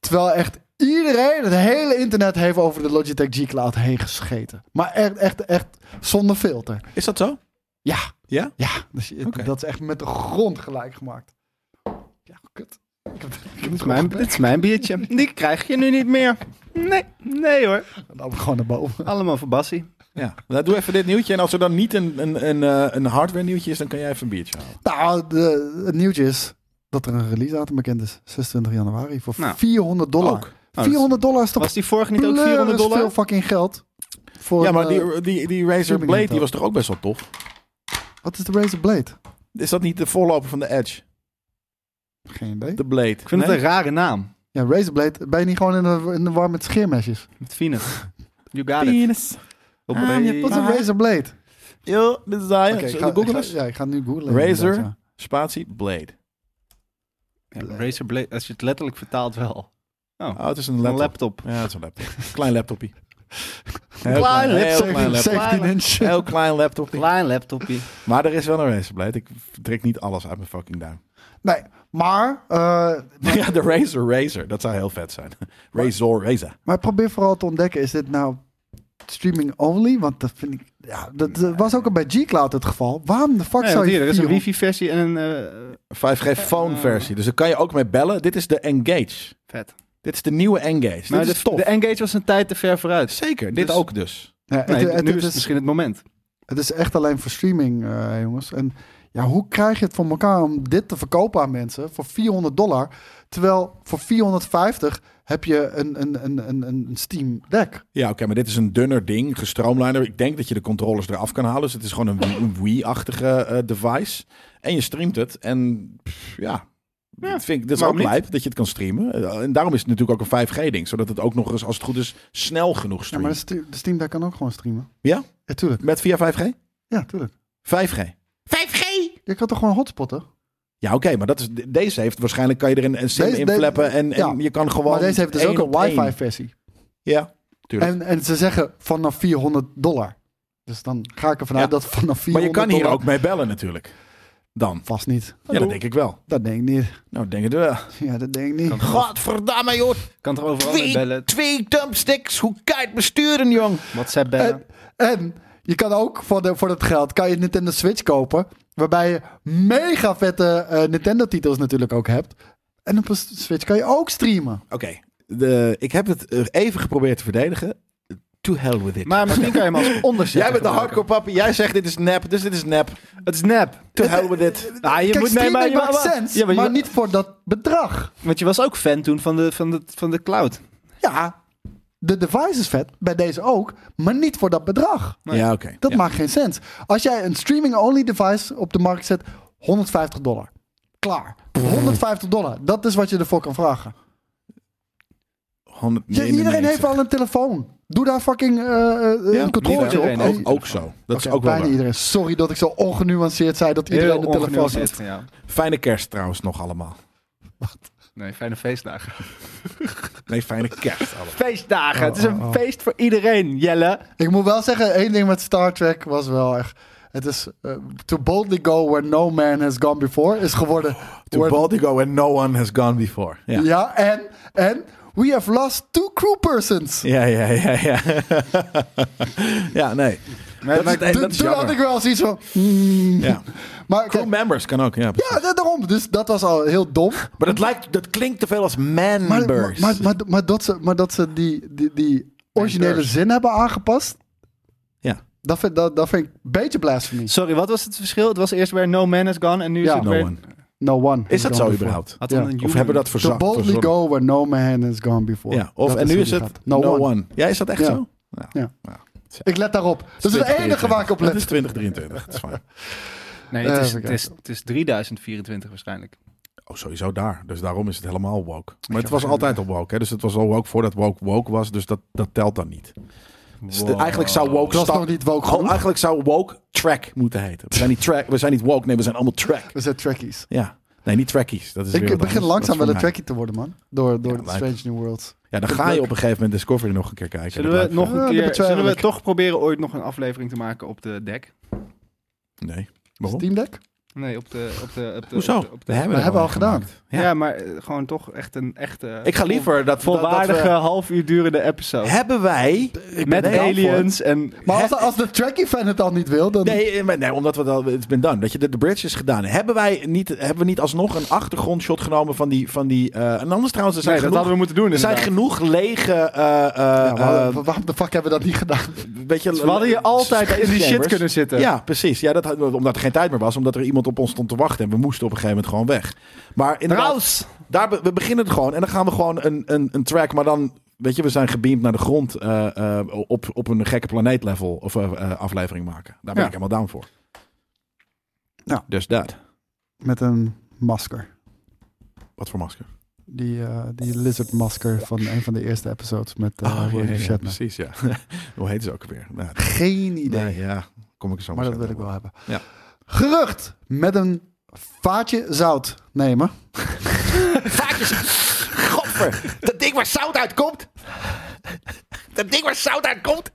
Speaker 3: Terwijl echt iedereen, het hele internet heeft over de Logitech G Cloud heen gescheten. Maar echt, echt, echt zonder filter.
Speaker 2: Is dat zo?
Speaker 3: Ja.
Speaker 2: Ja?
Speaker 3: Ja. Dus je-
Speaker 2: Oké.
Speaker 3: Dat is echt met de grond gelijk gemaakt. Ja, kut. Ik heb, ik
Speaker 1: Dit
Speaker 3: heb het
Speaker 1: is mijn, dit is mijn biertje. Die krijg je nu niet meer. Nee, nee hoor.
Speaker 3: Dan gewoon nou, naar boven.
Speaker 1: Allemaal voor Bassie. Oh,
Speaker 2: Ja. Nou, doe even dit nieuwtje. En als er dan niet een, een, een, eh, een hardware nieuwtje is, dan kan jij even een biertje halen.
Speaker 3: Nou, de, het nieuwtje is dat er een release datum bekend is. 26 januari voor
Speaker 1: Nou.
Speaker 3: 400 dollar.
Speaker 2: Ook.
Speaker 1: dat is-
Speaker 3: 400 dollar is toch
Speaker 1: dus Was die vorige niet ook
Speaker 3: Pleuris
Speaker 1: 400
Speaker 3: veel
Speaker 1: dollar?
Speaker 3: fucking geld. Voor
Speaker 2: ja, maar
Speaker 3: een, eh,
Speaker 2: die, die, die Razer
Speaker 3: streaming
Speaker 2: Blade die
Speaker 3: handheld.
Speaker 2: was toch ook best wel tof?
Speaker 3: wat is de Razer Blade?
Speaker 2: Is dat niet de voorloper van de Edge?
Speaker 3: Geen idee.
Speaker 2: De Blade.
Speaker 1: Ik vind het een rare naam.
Speaker 3: Ja, Razer Blade. Ben je niet gewoon in de, in de war met scheermesjes?
Speaker 1: Met Venus. You got it. Op
Speaker 2: Ah, je
Speaker 3: Wat is een
Speaker 2: Maar-
Speaker 3: Razer Blade?
Speaker 2: Yo,
Speaker 1: Eh,
Speaker 2: desire.
Speaker 3: Oké, ik ga- ik
Speaker 2: Google
Speaker 3: ga-
Speaker 2: eens.
Speaker 3: Ja, ik ga nu googlen.
Speaker 2: Razer?
Speaker 3: inderdaad, ja.
Speaker 2: Spatie, Blade.
Speaker 1: Ja, Razer Blade, als je het letterlijk vertaalt wel.
Speaker 2: Oh, het is een
Speaker 1: Een
Speaker 2: laptop.
Speaker 1: laptop.
Speaker 2: Ja, het is een laptop. klein laptopje. Heel
Speaker 1: Klein
Speaker 2: heel
Speaker 1: laptop.
Speaker 2: klein laptop.
Speaker 3: 17 inch.
Speaker 2: Heel klein laptopje.
Speaker 1: Klein laptopje.
Speaker 2: Maar er is wel een Razer Blade. Ik trek niet alles uit mijn fucking duim.
Speaker 3: Nee, maar, eh,
Speaker 2: Ja, de Razor Razor. Dat zou heel vet zijn. Razor Razor.
Speaker 3: maar probeer vooral te ontdekken, is dit nou streaming only? Want dat vind ik, ja, dat eh, was ook al bij G-Cloud het geval. Waarom de fuck
Speaker 1: Nee,
Speaker 3: zou
Speaker 1: want
Speaker 3: je
Speaker 1: hier, er is een
Speaker 3: 400
Speaker 1: wifi-versie en een... eh,
Speaker 2: 5G phone versie. Dus daar kan je ook mee bellen. Dit is de Engage.
Speaker 1: vet.
Speaker 2: Dit is de nieuwe Engage.
Speaker 1: Maar
Speaker 2: dit
Speaker 1: de,
Speaker 2: is tof.
Speaker 1: de Engage was een tijd te ver vooruit.
Speaker 2: Zeker, dit
Speaker 1: dus-
Speaker 2: ook dus.
Speaker 3: Ja,
Speaker 1: Nee,
Speaker 3: het, het-
Speaker 1: nu
Speaker 3: het
Speaker 1: is het
Speaker 3: is,
Speaker 1: misschien het moment.
Speaker 3: het is echt alleen voor streaming, eh, jongens. En ja, hoe krijg je het voor elkaar om dit te verkopen aan mensen voor 400 dollar? Terwijl voor 450 heb je een, een, een, een, een Steam Deck.
Speaker 2: Ja, oké, maar dit is een dunner ding, gestroomlijnder. Ik denk dat je de controllers eraf kan halen. Dus het is gewoon een Wii- een Wii-achtige eh, device. En je streamt het. En pff, ja, dat, vind ik, dat is
Speaker 1: waarom
Speaker 2: ook
Speaker 1: niet?
Speaker 2: lijp dat je het kan streamen. Eh, En daarom is het natuurlijk ook een 5G-ding. Zodat het ook nog eens, als het goed is, snel genoeg
Speaker 3: Ja, maar de,
Speaker 2: streamt.
Speaker 3: Ste- de Steam Deck kan ook gewoon streamen.
Speaker 2: Ja?
Speaker 3: Ja, tuurlijk.
Speaker 2: Met via 5G?
Speaker 3: Ja, tuurlijk.
Speaker 2: 5G.
Speaker 4: 5G!
Speaker 3: Je kan toch gewoon hotspotten?
Speaker 2: Ja, oké, maar dat is, de- deze heeft waarschijnlijk kan je er een, een sim
Speaker 3: Deze-
Speaker 2: in
Speaker 3: deze-
Speaker 2: flappen en, en
Speaker 3: ja.
Speaker 2: je kan gewoon.
Speaker 3: maar deze heeft dus
Speaker 2: één
Speaker 3: ook een
Speaker 2: op één.
Speaker 3: wifi versie.
Speaker 2: Ja, tuurlijk.
Speaker 3: En, en ze zeggen vanaf 400 dollar. Dus dan ga ik ervan uit
Speaker 2: Ja.
Speaker 3: dat vanaf 400
Speaker 2: maar je kan hier
Speaker 3: dollar-
Speaker 2: ook mee bellen natuurlijk. Dan.
Speaker 3: Vast niet.
Speaker 2: Ja, dat denk ik wel.
Speaker 3: Dat denk ik niet.
Speaker 2: Nou, denk het wel.
Speaker 3: Ja, dat denk ik niet.
Speaker 4: Godverdamme, joh.
Speaker 1: Kan er overal mee
Speaker 4: Twee,
Speaker 1: bellen.
Speaker 4: twee thumbsticks. Hoe kan je het besturen, jong?
Speaker 1: WhatsApp bellen.
Speaker 3: En je kan ook voor, de, voor dat geld kan je Nintendo Switch kopen. Waarbij je mega vette Nintendo-titels natuurlijk ook hebt. En op een s- Switch kan je ook streamen.
Speaker 2: Oké, de- ik heb het eh, even geprobeerd te verdedigen. To hell with it.
Speaker 1: Maar misschien kan je hem als onderzet
Speaker 2: jij bent de
Speaker 1: gebruiken.
Speaker 2: hardcore papi. Jij zegt dit is nep, dus dit is nep.
Speaker 1: Het is nep.
Speaker 2: To hell with it.
Speaker 1: Ah, je moet
Speaker 3: Kijk,
Speaker 1: nee,
Speaker 3: streaming
Speaker 1: maar, je-
Speaker 3: maakt
Speaker 1: maar-
Speaker 3: sens,
Speaker 1: ja, maar, je-
Speaker 3: maar niet voor dat bedrag.
Speaker 1: Want je was ook fan toen van de, van de, van de cloud.
Speaker 3: Ja, de device is vet, bij deze ook, maar niet voor dat bedrag.
Speaker 2: Ja, oké.
Speaker 3: Dat
Speaker 2: Ja.
Speaker 3: maakt geen sens. Als jij een streaming-only device op de markt zet, 150 dollar. Klaar. 150 dollar. Dat is wat je ervoor kan vragen.
Speaker 2: Honderd-
Speaker 3: Ja,
Speaker 2: nee, nee,
Speaker 3: iedereen
Speaker 2: nee,
Speaker 3: heeft
Speaker 2: zeg.
Speaker 3: al een telefoon. Doe daar fucking eh, eh,
Speaker 2: Ja,
Speaker 3: een controle
Speaker 1: iedereen
Speaker 3: op.
Speaker 1: heeft
Speaker 2: ook, ook zo. Oh, Dat is
Speaker 3: Oké,
Speaker 2: ook wel
Speaker 3: bijna
Speaker 2: waar.
Speaker 3: iedereen. Sorry dat ik zo ongenuanceerd zei dat iedereen
Speaker 1: Heel
Speaker 3: een telefoon
Speaker 1: ongenuanceerd
Speaker 3: heeft.
Speaker 1: van jou.
Speaker 2: Fijne kerst trouwens nog allemaal.
Speaker 1: Nee, fijne feestdagen.
Speaker 2: Nee, fijne kerst allemaal.
Speaker 1: Feestdagen. het is een feest voor iedereen, Jelle.
Speaker 3: Ik moet wel zeggen, één ding met Star Trek was wel echt... Het is eh, to boldly go where no man has gone before is geworden...
Speaker 2: To
Speaker 3: where-
Speaker 2: Baltico and no one has gone before. Ja,
Speaker 3: Ja, en, en we have lost two crew persons.
Speaker 2: ja, ja, ja. Ja, ja nee.
Speaker 1: Maar, maar-
Speaker 2: en
Speaker 3: Toen-
Speaker 2: dat is
Speaker 3: toen had
Speaker 2: jammer.
Speaker 3: ik wel zoiets van... mm.
Speaker 2: Ja.
Speaker 3: Maar
Speaker 2: Crew
Speaker 3: kijk,
Speaker 2: members kan ook, ja. precies.
Speaker 3: ja, da- daarom. Dus dat was al heel dom.
Speaker 2: Maar dat, lijkt, dat klinkt te veel als
Speaker 3: Maar,
Speaker 2: members.
Speaker 3: maar, maar, maar, maar dat ze, maar dat ze die, die, die originele
Speaker 1: Mentors.
Speaker 3: zin hebben aangepast,
Speaker 2: ja.
Speaker 3: dat vind, dat, dat vind ik een beetje blasphemy.
Speaker 1: sorry, wat was het verschil? Het was eerst weer No Man Has Gone en nu is
Speaker 3: Ja.
Speaker 1: het
Speaker 2: No
Speaker 1: weer...
Speaker 2: one.
Speaker 3: No one.
Speaker 2: Is dat zo
Speaker 3: has gone before.
Speaker 2: überhaupt?
Speaker 1: Had
Speaker 3: Ja.
Speaker 1: een
Speaker 3: Of
Speaker 2: Of
Speaker 1: human-
Speaker 2: hebben we dat
Speaker 3: To
Speaker 2: verzorgd?
Speaker 3: boldly go where no man has gone before.
Speaker 2: Ja, of,
Speaker 3: Dat
Speaker 2: en nu
Speaker 3: hoe
Speaker 2: is
Speaker 3: die
Speaker 2: het
Speaker 3: gaat. no, one.
Speaker 2: Ja, is dat echt
Speaker 3: Ja.
Speaker 2: zo? Ja.
Speaker 3: Ja.
Speaker 2: Ja.
Speaker 3: Ik let daarop. Dat is het enige waar ik op
Speaker 2: Dat
Speaker 3: let.
Speaker 2: is 2023, dat is fijn.
Speaker 1: Nee, het is,
Speaker 3: Even
Speaker 1: het, is, het is 3024 waarschijnlijk.
Speaker 2: Oh, sowieso daar. Dus daarom is het helemaal woke. Maar het was altijd al woke, hè? Dus het was al woke voordat woke woke was. Dus dat, dat telt dan niet. Dus de- Eigenlijk zou woke...
Speaker 3: Dat was
Speaker 2: sta-
Speaker 3: nog niet woke
Speaker 2: Gewoon,
Speaker 3: genoeg.
Speaker 2: eigenlijk zou woke track moeten heten. We zijn niet track, we zijn niet woke, nee, we zijn allemaal track.
Speaker 3: We zijn trackies.
Speaker 2: Ja. Nee, niet trackies. Dat is weer
Speaker 3: Ik
Speaker 2: wat
Speaker 3: begin
Speaker 2: anders.
Speaker 3: langzaam
Speaker 2: Dat is
Speaker 3: wel een
Speaker 2: voor
Speaker 3: trackie te worden, man. Door, door
Speaker 2: Ja,
Speaker 3: de
Speaker 2: lijp.
Speaker 3: Strange New World.
Speaker 2: mij. Ja, dan ga je op een gegeven moment Discovery nog een keer kijken.
Speaker 1: Zullen
Speaker 2: Dat
Speaker 1: we,
Speaker 2: lijkt
Speaker 1: nog
Speaker 3: Ja,
Speaker 1: een
Speaker 3: dat
Speaker 1: keer,
Speaker 3: betwijfel
Speaker 1: zullen we
Speaker 3: ik.
Speaker 1: toch proberen ooit nog een aflevering te maken op de deck?
Speaker 2: me- Nee. Waarom?
Speaker 3: Steam Deck?
Speaker 1: Nee, op de... Op de, op de
Speaker 2: Hoezo?
Speaker 1: Op de, op de-
Speaker 2: We hebben,
Speaker 3: We hebben al gedaan.
Speaker 1: ja.
Speaker 2: Ja.
Speaker 1: maar eh, gewoon toch echt een echte...
Speaker 2: Ik ga liever dat
Speaker 1: Volwaardige,
Speaker 2: dat- dat we-
Speaker 1: half uur durende episode.
Speaker 2: Hebben wij...
Speaker 1: Met
Speaker 2: ben er al
Speaker 1: aliens en...
Speaker 3: Maar als,
Speaker 2: Het-
Speaker 3: als de trackie-fan het al niet wil, dan...
Speaker 2: Nee, eh, maar nee, omdat we dat het been done. Dat je de, de bridge is gedaan. Hebben wij niet, hebben we niet alsnog een achtergrondshot genomen van die, van die eh, en anders trouwens, er zijn
Speaker 1: Nee, dat
Speaker 2: genoeg,
Speaker 1: hadden we moeten doen
Speaker 2: er zijn
Speaker 1: inderdaad.
Speaker 2: genoeg lege, eh, eh,
Speaker 3: Ja, waar-
Speaker 2: eh,
Speaker 3: waarom de fuck hebben we dat niet gedaan?
Speaker 2: weet je, eh,
Speaker 1: Dus we hadden hier altijd in die shit
Speaker 2: chambers.
Speaker 1: kunnen zitten.
Speaker 2: Ja, precies. Ja, dat, had- omdat er geen tijd meer was, omdat er iemand op ons stond te wachten en we moesten op een gegeven moment gewoon weg. Maar inderdaad,
Speaker 1: Trouwens,
Speaker 2: daar, be- we beginnen het gewoon en dan gaan we gewoon een, een, een track, maar dan, weet je, we zijn gebeamd naar de grond eh, eh, op, op een gekke planeet level of eh, eh, aflevering maken. Daar ben
Speaker 1: Ja.
Speaker 2: ik helemaal down voor.
Speaker 3: Ja.
Speaker 2: Dus dat.
Speaker 3: Met een masker.
Speaker 2: Wat voor masker?
Speaker 3: Die, eh, die lizard masker van een van de eerste episodes met eh
Speaker 2: Ah, ja,
Speaker 3: William
Speaker 2: ja, ja,
Speaker 3: Shatner.
Speaker 2: precies, ja. Hoe heet ze ook weer? Nou,
Speaker 3: Geen idee.
Speaker 2: nee, ja, kom ik er zo
Speaker 3: Maar dat
Speaker 2: meteen
Speaker 3: wil
Speaker 2: op.
Speaker 3: ik wel hebben.
Speaker 2: Ja.
Speaker 3: Gerucht met een vaatje zout nemen.
Speaker 4: Vaatjes. Godver. Dat ding waar zout uitkomt. Dat ding waar zout uitkomt.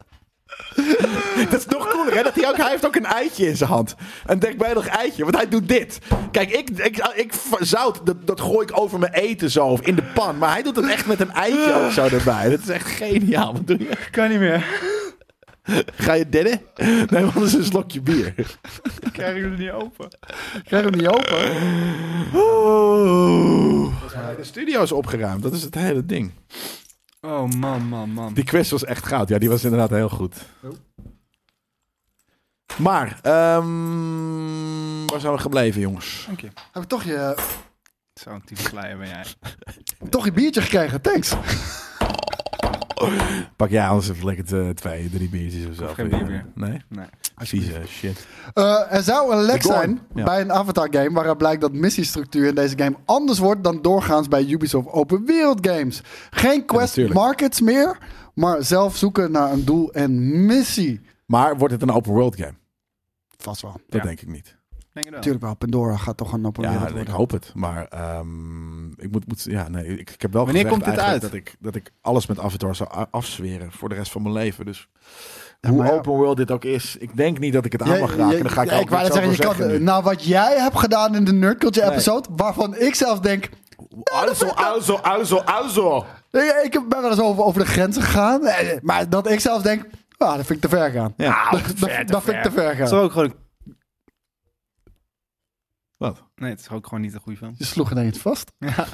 Speaker 2: Dat is nog cooler, hè? Dat hij, ook, hij heeft ook een eitje in zijn hand. Een dekbeelig eitje, want hij doet dit. Kijk, ik, ik, ik v- zout, dat, dat gooi ik over mijn eten zo, of in de pan. Maar hij doet het echt met een eitje ook zo erbij. Dat is echt geniaal. Wat doe je?
Speaker 1: Kan niet meer.
Speaker 2: Ga je dennen? Nee, want dat is een slokje bier.
Speaker 1: Ik krijg jullie niet open.
Speaker 3: Ik krijg hem niet open.
Speaker 2: De studio is opgeruimd, dat is het hele ding.
Speaker 1: Oh man, man, man.
Speaker 2: Die quiz was echt goud. Ja, die was inderdaad heel goed. Maar, ehm, waar zijn we gebleven, jongens?
Speaker 1: Dank je.
Speaker 3: Heb ik toch je,
Speaker 1: Zo'n type flyer ben jij.
Speaker 3: toch je biertje gekregen, thanks.
Speaker 2: Pak jij anders even lekker t- twee, drie biertjes of zo.
Speaker 1: geen bier meer.
Speaker 2: Nee?
Speaker 1: Nee.
Speaker 2: Precies, eh, shit.
Speaker 3: Eh, er zou een lek
Speaker 2: Gorn,
Speaker 3: zijn
Speaker 2: ja.
Speaker 3: bij een Avatar-game waaruit blijkt dat missiestructuur in deze game anders wordt dan doorgaans bij Ubisoft Open Wereld games. Geen quest
Speaker 2: natuurlijk.
Speaker 3: markets meer, maar zelf zoeken naar een doel en missie.
Speaker 2: Maar wordt het een open world game?
Speaker 3: Vast wel.
Speaker 2: Dat
Speaker 1: Ja.
Speaker 2: denk ik niet.
Speaker 1: Denk je wel.
Speaker 3: Natuurlijk wel, Pandora gaat toch een open
Speaker 2: Ja,
Speaker 3: wereld
Speaker 2: ik
Speaker 3: worden.
Speaker 2: hoop het. Maar ehm, ik moet, moet... Ja, nee, ik, ik heb wel
Speaker 1: Wanneer
Speaker 2: gezegd
Speaker 1: komt dit
Speaker 2: eigenlijk
Speaker 1: uit?
Speaker 2: Dat ik, dat ik alles met Avatar zou a- afzweren voor de rest van mijn leven. Dus hoe
Speaker 3: maar Nou ja.
Speaker 2: open world dit ook is, ik denk niet dat ik het aan mag raken. Dan ga ik
Speaker 3: ja,
Speaker 2: ook
Speaker 3: ik wou
Speaker 2: niet
Speaker 3: net zeggen, je
Speaker 2: zoveel
Speaker 3: kan,
Speaker 2: zeggen nu.
Speaker 3: nou wat jij hebt gedaan in de Nerd Culture
Speaker 2: Nee.
Speaker 3: episode, waarvan ik zelf denk,
Speaker 2: Also, also, also, also.
Speaker 3: eh, ik ben wel eens over, over de grenzen gegaan, eh, maar dat ik zelf denk, ah, dat vind ik te ver gaan.
Speaker 2: Ja.
Speaker 3: Dat, dat- dat vind ik te ver gaan.
Speaker 1: Het is ook gewoon...
Speaker 2: Wat?
Speaker 1: Nee, het is ook gewoon niet een goede film.
Speaker 3: Je sloeg ineens vast.
Speaker 1: Ja,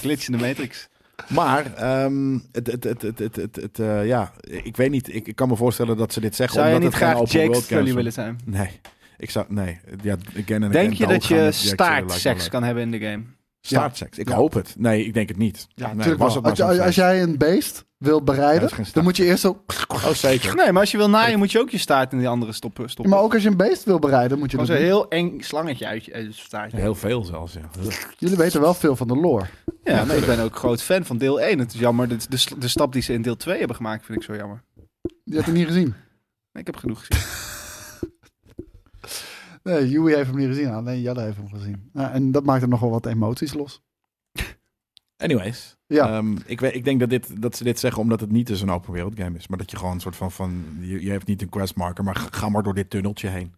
Speaker 1: glitch in de Matrix.
Speaker 2: Maar, ehm, het, het, het, het, het, het, het, eh, ja, ik weet niet. Ik, ik kan me voorstellen dat ze dit zeggen.
Speaker 1: Zou je
Speaker 2: omdat
Speaker 1: niet
Speaker 2: het geen
Speaker 1: graag
Speaker 2: open
Speaker 1: Jake
Speaker 2: world games
Speaker 1: Sully
Speaker 2: zijn.
Speaker 1: willen zijn?
Speaker 2: Nee. Ik zou, nee. Ja, again and
Speaker 1: Denk
Speaker 2: again
Speaker 1: je dat
Speaker 2: doodgaan
Speaker 1: je
Speaker 2: met Jack Sully lijkt
Speaker 1: staart
Speaker 2: me
Speaker 1: seks
Speaker 2: leuk.
Speaker 1: kan hebben in de game?
Speaker 2: Staartseks? Ik
Speaker 3: Ja.
Speaker 2: hoop het. Nee, ik denk het niet.
Speaker 3: Ja,
Speaker 2: Nee,
Speaker 3: natuurlijk
Speaker 2: was
Speaker 3: wel.
Speaker 2: het
Speaker 3: Als,
Speaker 2: maar
Speaker 3: als,
Speaker 2: zo'n
Speaker 3: als jij een beest wil
Speaker 2: Ja,
Speaker 3: bereiden,
Speaker 2: dat is geen staart.
Speaker 3: dan moet je eerst zo...
Speaker 2: Oh, zeker.
Speaker 1: Nee, maar als je wil naaien moet je ook je staart in die andere stoppen. stoppen.
Speaker 3: Maar ook als je een beest wil bereiden, moet je dat
Speaker 1: Gewoon zo'n
Speaker 3: doen.
Speaker 1: heel eng slangetje uit je, uit je staart. Ja,
Speaker 2: Heel veel zelfs, ja.
Speaker 3: Jullie weten wel veel van de lore.
Speaker 1: nee, ik ben ook groot fan van deel 1. Het is jammer, de, de, de stap die ze in deel 2 hebben gemaakt vind ik zo jammer.
Speaker 3: Je hebt het niet gezien.
Speaker 1: Ik heb genoeg gezien.
Speaker 3: Nee, Joey heeft hem niet gezien. Alleen Jelle heeft hem gezien. Nou, en dat maakt hem nogal wat emoties los.
Speaker 2: Anyways.
Speaker 3: Ja.
Speaker 2: Ehm, ik, we- ik denk dat, dit, dat ze dit zeggen omdat het niet dus een open wereld game is. Maar dat je gewoon een soort van... van je, je hebt niet een questmarker, maar ga- ga maar door dit tunneltje heen.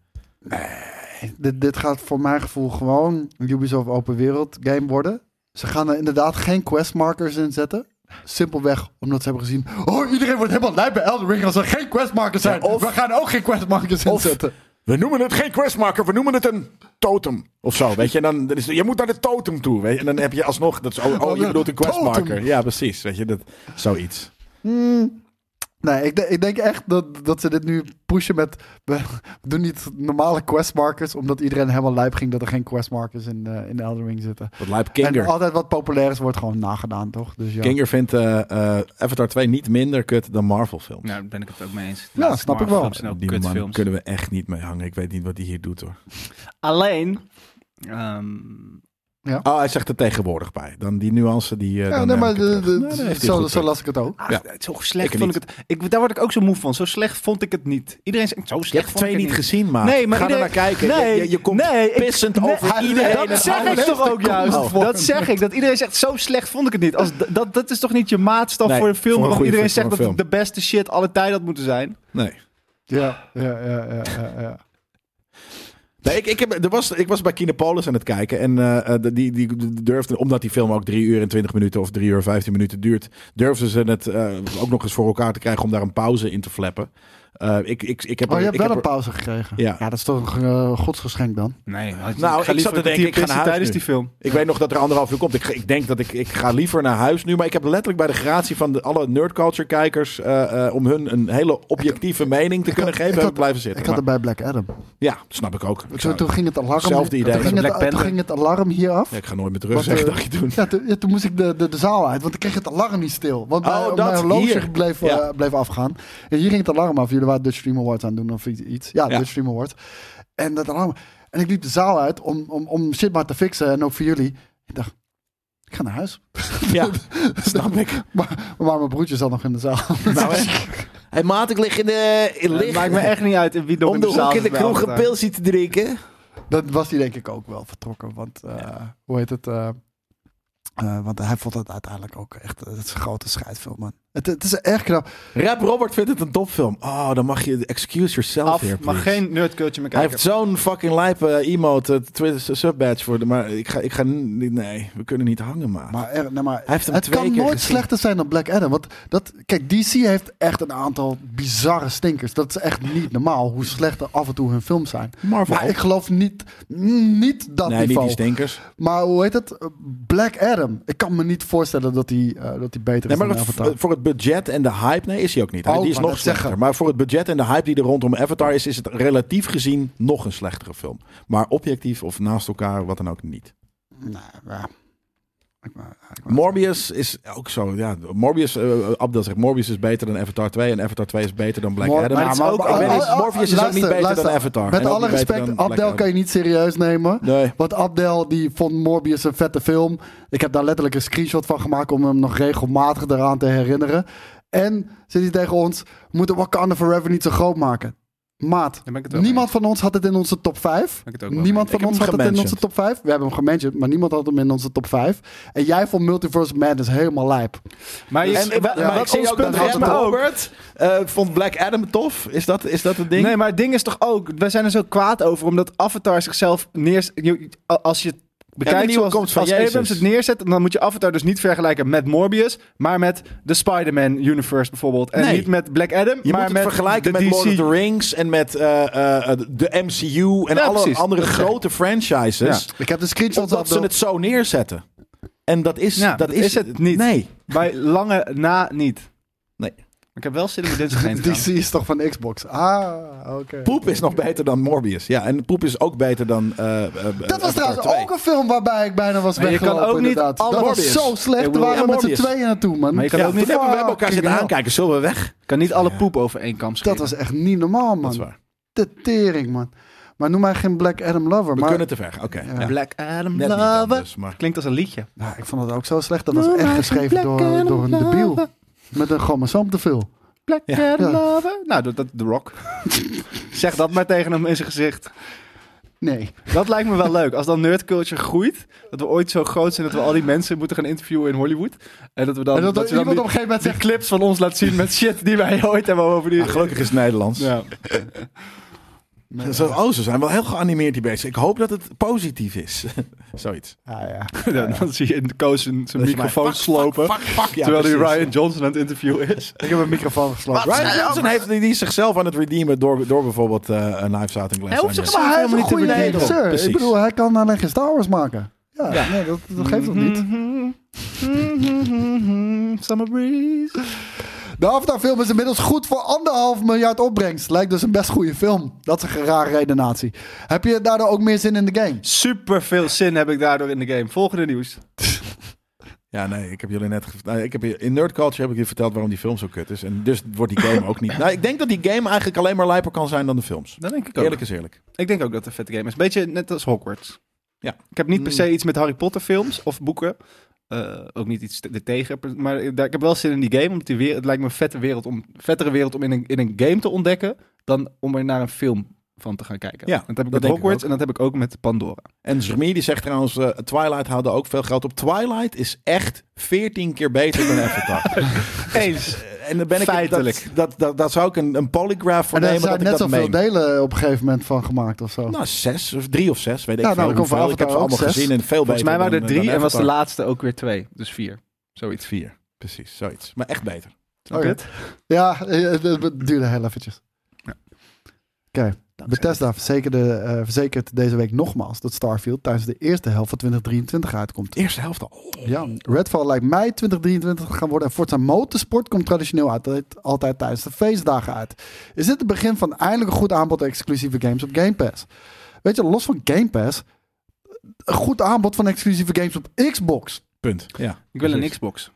Speaker 3: Dit, dit gaat voor mijn gevoel gewoon een Ubisoft open wereld game worden. Ze gaan er inderdaad geen questmarkers in zetten. Simpelweg omdat ze hebben gezien... Oh, iedereen wordt helemaal lijp bij Elden Ring als er geen questmarkers zijn.
Speaker 2: Ja, of-
Speaker 3: We gaan ook geen questmarkers in
Speaker 2: Of-
Speaker 3: zetten.
Speaker 2: We noemen het geen questmarker, we noemen het een totem. Of zo, weet je. En dan, dan is, je moet naar de totem toe. Weet je. En dan heb je alsnog... Dat is, oh, oh, je bedoelt een questmarker.
Speaker 3: Totem.
Speaker 2: Ja, precies. Weet je, dat, zoiets.
Speaker 3: Hmm. Nee, ik, de- ik denk echt dat, dat ze dit nu pushen met... We doen niet normale questmarkers, omdat iedereen helemaal lijp ging dat er geen questmarkers in, eh in Elden Ring zitten.
Speaker 2: Dat lijkt
Speaker 3: En
Speaker 2: Kinger.
Speaker 3: altijd wat populair is, wordt gewoon nagedaan, toch? Dus ja.
Speaker 2: Kinger vindt eh, eh, Avatar 2 niet minder kut dan Marvel films.
Speaker 1: Nou, daar ben ik het ook mee eens.
Speaker 3: Ja, snap ik wel.
Speaker 2: Die man kunnen we echt niet mee hangen. Ik weet niet wat hij hier doet hoor.
Speaker 1: Alleen... ehm,
Speaker 2: Oh, hij zegt er tegenwoordig bij. Dan die nuance die. eh,
Speaker 3: Ja,
Speaker 2: dan
Speaker 3: nee,
Speaker 2: neem
Speaker 3: maar
Speaker 2: ik het
Speaker 3: de-
Speaker 2: terug.
Speaker 3: de-
Speaker 2: Nee, dan heeft hij
Speaker 3: zo,
Speaker 2: goed
Speaker 3: zo
Speaker 2: punt.
Speaker 3: las ik het ook.
Speaker 1: Ah,
Speaker 2: Ja.
Speaker 1: Zo slecht
Speaker 2: Ik
Speaker 1: vond ik het. Ik, daar word ik ook zo moe van. Zo slecht vond ik het niet. Iedereen zegt, zo
Speaker 2: Je
Speaker 1: slecht
Speaker 2: hebt
Speaker 1: vond
Speaker 2: twee
Speaker 1: ik het
Speaker 2: niet gezien, maar.
Speaker 1: Nee, maar
Speaker 2: Ga er
Speaker 1: iedereen-
Speaker 2: naar kijken. Je-
Speaker 1: Nee,
Speaker 2: je, je komt
Speaker 1: nee, ik-
Speaker 2: pissend over
Speaker 1: Nee,
Speaker 2: iedereen. en
Speaker 1: Dat zeg
Speaker 2: alles.
Speaker 1: ik toch ook
Speaker 2: Oh.
Speaker 1: juist. Dat zeg ik. Dat iedereen zegt, zo slecht vond ik het niet. Als, d- dat, dat is toch niet je maatstaf
Speaker 2: Nee,
Speaker 1: voor een film?
Speaker 2: voor een
Speaker 1: waarvan
Speaker 2: goede
Speaker 1: iedereen
Speaker 2: film,
Speaker 1: zegt
Speaker 2: voor
Speaker 1: dat
Speaker 2: een
Speaker 1: het de beste shit alle tijd had moeten zijn.
Speaker 2: Nee.
Speaker 3: Ja, ja, ja, ja, ja. ja.
Speaker 2: Nee, ik, ik, heb, er was, ik was bij Kinepolis aan het kijken. En eh, eh, die, die durfde, omdat die film ook 3 uur en 20 minuten of 3 uur en 15 minuten duurt, durfden ze het eh, ook nog eens voor elkaar te krijgen om daar een pauze in te flappen. Eh, ik, ik, ik heb
Speaker 3: Maar
Speaker 2: er-
Speaker 3: Oh, je hebt
Speaker 2: ik heb
Speaker 3: wel
Speaker 2: er-
Speaker 3: een pauze gekregen.
Speaker 2: Ja.
Speaker 3: dat is toch een eh, godsgeschenk dan?
Speaker 1: Nee,
Speaker 2: Nou, ik zat te denken, ik ga naar huis
Speaker 1: tijdens
Speaker 2: nu.
Speaker 1: die film.
Speaker 2: Ik weet nog dat er anderhalf uur komt. Ik, ik denk dat ik, ik ga liever naar huis nu. Maar ik heb letterlijk bij de gratie van de, alle nerdculture kijkers... eh, eh, om hun een hele objectieve mening te kunnen geven...
Speaker 3: ik
Speaker 2: heb
Speaker 3: had-
Speaker 2: ik blijven zitten.
Speaker 3: Ik had
Speaker 2: Maar-
Speaker 3: het bij Black Adam.
Speaker 2: ja, snap ik ook. Ik,
Speaker 3: Toen,
Speaker 2: zou-
Speaker 3: toen ging het alarm.
Speaker 2: Hetzelfde idee.
Speaker 3: Toen ging
Speaker 1: Black
Speaker 3: het, toen
Speaker 1: Panther.
Speaker 3: ging het alarm hier af.
Speaker 2: Ja, ik ga nooit meer terug,
Speaker 3: Was,
Speaker 2: zeg,
Speaker 3: eh,
Speaker 2: dacht je toen.
Speaker 3: Ja, toen, ja, toen moest ik de, de, de zaal uit, want ik kreeg het alarm niet stil. Want
Speaker 2: Oh,
Speaker 3: mijn,
Speaker 2: dat
Speaker 3: mijn horloge
Speaker 2: hier.
Speaker 3: Bleef, eh,
Speaker 2: Ja.
Speaker 3: bleef afgaan. En hier ging het alarm af. Jullie waren Dutch Stream Awards aan het doen of iets- iets. Ja,
Speaker 2: Ja.
Speaker 3: Dutch Stream Awards. En dat alarm. En ik liep de zaal uit om, om, om shit maar te fixen. En ook voor jullie. Ik dacht, ik ga naar huis.
Speaker 2: Ja, snap ik.
Speaker 3: Maar, maar mijn broertje zat nog in de zaal.
Speaker 2: Nou, hè.
Speaker 4: Hey maat, ik lig in de...
Speaker 2: Eh,
Speaker 4: Ik
Speaker 1: Het
Speaker 4: lig
Speaker 1: maakt me echt niet uit in wie nog
Speaker 4: om de
Speaker 1: zaal
Speaker 4: hoek in de
Speaker 1: zit eh, bij
Speaker 4: kroeg een
Speaker 1: Avatar.
Speaker 4: pil ziet te drinken.
Speaker 3: Dat was hij denk ik ook wel vertrokken. Want eh, hoe heet het? eh, eh, want hij vond het uiteindelijk ook echt... Het is een grote scheidfilm, man. Het, het is echt knap.
Speaker 2: Rap Robert vindt het een topfilm. Oh, dan mag je excuse yourself here,
Speaker 1: Af, mag
Speaker 2: please.
Speaker 1: geen nerdcultje meer
Speaker 2: Hij
Speaker 1: kijken.
Speaker 2: heeft zo'n fucking lijpe eh, emote, eh, Twitter subbadge voor de, maar ik ga, ik ga niet, nee, we kunnen niet hangen, maar.
Speaker 3: Maar, er- nee, maar
Speaker 2: heeft hem
Speaker 3: het
Speaker 2: twee
Speaker 3: kan
Speaker 2: keer
Speaker 3: nooit
Speaker 2: gezien.
Speaker 3: slechter zijn dan Black Adam. Want dat, kijk, DC heeft echt een aantal bizarre stinkers. Dat is echt niet normaal hoe slecht er af en toe hun films zijn.
Speaker 2: Marvel.
Speaker 3: Maar ik geloof niet, niet dat
Speaker 2: nee, niet
Speaker 3: niveau.
Speaker 2: die stinkers.
Speaker 3: maar hoe heet het? Black Adam. Ik kan me niet voorstellen dat hij eh, dat hij beter
Speaker 2: Nee,
Speaker 3: is
Speaker 2: maar
Speaker 3: dan
Speaker 2: het-
Speaker 3: Avatar.
Speaker 2: voor het budget en de hype, nee, is hij ook niet. Hij-
Speaker 3: Oh,
Speaker 2: die is
Speaker 3: ik wou
Speaker 2: nog
Speaker 3: net
Speaker 2: slechter.
Speaker 3: zeggen.
Speaker 2: Maar voor het budget en de hype die er rondom Avatar is, is het relatief gezien nog een slechtere film. Maar objectief of naast elkaar, wat dan ook niet.
Speaker 3: Nee, ja. Ik wou- ik wou-
Speaker 2: Morbius is ook zo. Ja, Morbius, eh, Abdel zegt, Morbius is beter dan Avatar 2 en Avatar 2 is beter dan Black
Speaker 3: Mor-
Speaker 2: Adam.
Speaker 3: maar
Speaker 2: Maar
Speaker 3: het is ook-
Speaker 2: ik weet niet,
Speaker 3: oh, oh,
Speaker 2: Morbius is ook niet
Speaker 3: luister,
Speaker 2: beter
Speaker 3: luister.
Speaker 2: dan Avatar.
Speaker 3: Met
Speaker 2: en ook
Speaker 3: alle
Speaker 2: niet beter
Speaker 3: respect,
Speaker 2: dan Black
Speaker 3: Abdel
Speaker 2: Adam.
Speaker 3: kan je niet serieus nemen.
Speaker 2: Nee.
Speaker 3: Want Abdel die vond Morbius een vette film. Ik heb daar letterlijk een screenshot van gemaakt om hem nog regelmatig eraan te herinneren. En zit hij tegen ons, we moeten Wakanda Forever niet zo groot maken. Maat,
Speaker 1: ben ik het wel
Speaker 3: niemand van ons had het in onze top 5.
Speaker 1: Ben ik het ook wel
Speaker 3: Niemand
Speaker 2: mee.
Speaker 3: van
Speaker 2: Ik heb
Speaker 3: ons
Speaker 2: hem
Speaker 3: had het in onze
Speaker 2: gementiond.
Speaker 3: top 5. We hebben hem gementiond, maar niemand had hem in onze top 5. En jij vond Multiverse Madness helemaal lijp.
Speaker 1: Maar je,
Speaker 2: En, eh,
Speaker 1: wa-
Speaker 2: wa-
Speaker 1: maar
Speaker 2: maar
Speaker 1: ik
Speaker 2: ik
Speaker 1: zie
Speaker 2: zie
Speaker 1: ons
Speaker 2: ook dat
Speaker 1: punt geldt
Speaker 2: Rem
Speaker 1: me ook.
Speaker 2: Robert eh, vond Black Adam tof. Is dat, is dat het ding?
Speaker 1: Nee, maar het ding is toch ook... Wij zijn er zo kwaad over, omdat Avatar zichzelf neer... je- Als je het
Speaker 2: de
Speaker 1: bekijkt
Speaker 2: nieuwe
Speaker 1: zoals
Speaker 2: komst van
Speaker 1: als
Speaker 2: Jezus.
Speaker 1: Abrams het neerzet... dan moet je Avatar dus niet vergelijken met Morbius... maar met de Spider-Man universe bijvoorbeeld. En
Speaker 2: Nee.
Speaker 1: niet met Black Adam,
Speaker 2: Je
Speaker 1: maar
Speaker 2: moet het
Speaker 1: met
Speaker 2: vergelijken
Speaker 1: de
Speaker 2: met
Speaker 1: DC.
Speaker 2: Lord of the Rings en met eh, eh, de MCU en
Speaker 1: Ja,
Speaker 2: alle
Speaker 1: precies.
Speaker 2: andere
Speaker 1: Dat zeg ik.
Speaker 2: grote franchises.
Speaker 3: Ik heb de screenshot
Speaker 2: Omdat ze
Speaker 3: Abdel.
Speaker 2: het zo neerzetten. En dat is,
Speaker 1: Ja,
Speaker 2: dat is,
Speaker 1: het niet.
Speaker 2: Nee.
Speaker 1: Bij lange na niet.
Speaker 2: Nee.
Speaker 1: Ik heb wel zin om dit heen te
Speaker 3: DC
Speaker 1: gaan.
Speaker 3: is toch van Xbox? Ah, oké.
Speaker 2: Poep is nog beter dan Morbius. Ja, en Poep is ook beter dan. eh, eh,
Speaker 3: Dat was
Speaker 2: Avatar
Speaker 3: trouwens
Speaker 2: 2.
Speaker 3: ook een film waarbij ik bijna was
Speaker 1: Maar je kan
Speaker 3: weggelopen,
Speaker 1: ook niet
Speaker 3: inderdaad.
Speaker 1: alle
Speaker 3: Dat was
Speaker 2: Morbius.
Speaker 3: zo slecht.
Speaker 1: Ik
Speaker 3: We
Speaker 1: bedoel,
Speaker 3: waren
Speaker 2: ja,
Speaker 3: met z'n
Speaker 2: Morbius.
Speaker 3: tweeën naartoe, man.
Speaker 1: Maar je kan
Speaker 2: Ja,
Speaker 1: ook niet...
Speaker 2: toen hebben we hebben elkaar zitten
Speaker 3: hell.
Speaker 2: aankijken. Zullen we weg?
Speaker 1: kan niet alle poep over één kam
Speaker 3: Dat
Speaker 1: scheren.
Speaker 3: was echt niet normaal,
Speaker 2: Dat is
Speaker 3: man.
Speaker 2: waar.
Speaker 3: De tering, man. Maar noem mij geen Black Adam Lover.
Speaker 2: We
Speaker 3: Maar
Speaker 2: kunnen te ver. Oké. ja. Net
Speaker 1: Black Adam
Speaker 2: niet dan dus, maar.
Speaker 1: Klinkt als een liedje.
Speaker 3: Ja, ik vond het ook zo slecht. Dat was echt geschreven door, door een debiel. Met een chromosoom te veel.
Speaker 1: Black
Speaker 3: Ja.
Speaker 1: Adam
Speaker 3: Ja.
Speaker 1: Lover. Nou, dat, dat The Rock. zeg dat maar tegen hem in zijn gezicht.
Speaker 3: Nee.
Speaker 1: Dat lijkt me wel leuk. Als dan nerdculture groeit, dat we ooit zo groot zijn dat we al die mensen moeten gaan interviewen in Hollywood. En dat we dan,
Speaker 3: En dat,
Speaker 1: dat
Speaker 3: er
Speaker 1: ze dan
Speaker 3: iemand op
Speaker 1: die,
Speaker 3: een gegeven moment
Speaker 1: die
Speaker 3: zegt...
Speaker 1: clips van ons laat zien met shit die wij ooit hebben over die...
Speaker 2: Ah, gelukkig is het Nederlands.
Speaker 1: Ja.
Speaker 2: Zo, oh, ze zijn wel heel geanimeerd die beesten. Ik hoop dat het positief is. Zoiets.
Speaker 3: Ah, ja.
Speaker 1: Ja, dan zie je in de koos zijn zijn
Speaker 2: Dat je
Speaker 1: microfoon
Speaker 2: maar- fuck,
Speaker 1: slopen.
Speaker 2: Fuck, fuck, ja,
Speaker 1: terwijl hij
Speaker 2: precies.
Speaker 1: Ryan Johnson aan het interviewen is.
Speaker 3: Ik heb een microfoon geslagen.
Speaker 2: Ryan Johnson heeft die, die is zichzelf aan het redeemen door, door bijvoorbeeld eh een Knives Out en Glass
Speaker 1: Hij hoeft
Speaker 2: Onion.
Speaker 1: zichzelf-
Speaker 3: Maar hij heeft een
Speaker 1: Helemaal niet
Speaker 3: goede
Speaker 1: te beneden.
Speaker 3: regisseur. Ik
Speaker 2: Precies.
Speaker 3: bedoel, hij kan alleen geen Star Wars maken. Ja, Nee, dat, dat geeft toch
Speaker 1: Mhm.
Speaker 3: niet.
Speaker 1: Summer breeze.
Speaker 3: De Avatar-film is inmiddels goed voor anderhalf miljard opbrengst. Lijkt dus een best goede film. Dat is een rare redenatie. Heb je daardoor ook meer zin in de game?
Speaker 1: Super veel zin heb ik daardoor in de game. Volgende nieuws.
Speaker 2: Ja, nee, ik heb jullie net... ge- nou, ik heb, je- in Nerd Culture heb ik je verteld waarom die film zo kut is. En dus wordt die game ook niet... Nou, ik denk dat die game eigenlijk alleen maar lijper kan zijn dan de films.
Speaker 1: Dat denk ik ook.
Speaker 2: Eerlijk is eerlijk.
Speaker 1: Ik denk ook dat het een vette game is. Beetje net als Hogwarts.
Speaker 2: Ja.
Speaker 1: Ik heb niet per se iets met Harry Potter films of boeken. Eh, ook niet iets te- tegen. Maar ik daar- ik heb wel zin in die game. Omdat die weer, het lijkt me een vette wereld om, vettere wereld om in een, in een game te ontdekken. Dan om er naar een film van te gaan kijken.
Speaker 2: Ja,
Speaker 1: dat heb ik
Speaker 2: dat
Speaker 1: met
Speaker 2: denk ik
Speaker 1: Hogwarts
Speaker 2: ook.
Speaker 1: en dat heb ik ook met Pandora.
Speaker 2: En Zermi die zegt trouwens, eh, Twilight haalde ook veel geld op. Twilight is echt 14 keer beter dan Avatar. Eh,
Speaker 1: Eens.
Speaker 2: en dan ben ik...
Speaker 1: Feitelijk.
Speaker 2: Dat, dat, dat, daar zou ik een, een polygraph voor
Speaker 3: En daar
Speaker 2: nemen dat ik
Speaker 3: zijn net
Speaker 2: dat
Speaker 3: zoveel
Speaker 2: meen.
Speaker 3: delen op een gegeven moment van gemaakt of zo.
Speaker 2: Nou, zes, of drie of zes, weet ik
Speaker 3: Ja, nou,
Speaker 2: veel.
Speaker 3: dan komt
Speaker 2: hoeveel.
Speaker 3: Avatar
Speaker 2: ik heb ze
Speaker 3: ook
Speaker 2: allemaal
Speaker 3: zes.
Speaker 2: gezien en veel
Speaker 1: Volgens
Speaker 2: beter
Speaker 1: mij waren
Speaker 2: dan- eh,
Speaker 1: er
Speaker 2: dan
Speaker 1: drie en was de
Speaker 2: Avatar.
Speaker 1: laatste ook weer twee. Dus vier. Zoiets.
Speaker 2: Vier, precies, zoiets. Maar echt beter.
Speaker 1: Snap
Speaker 3: Oké.
Speaker 1: je het?
Speaker 3: Oh, Ja, eh, eh, het duurde heel eventjes. Oké, Bethesda verzekerde, eh, verzekert deze week nogmaals dat Starfield tijdens de eerste helft van 2023 uitkomt.
Speaker 2: De eerste helft al.
Speaker 3: Ja, Redfall lijkt mei 2023 te gaan worden en Forza Motorsport komt traditioneel altijd, altijd tijdens de feestdagen uit. Is dit het begin van eindelijk een goed aanbod exclusieve games op Game Pass? Weet je, los van Game Pass, een goed aanbod van exclusieve games op Xbox.
Speaker 2: Punt. Ja.
Speaker 1: Ik wil een
Speaker 2: Precies.
Speaker 1: Xbox.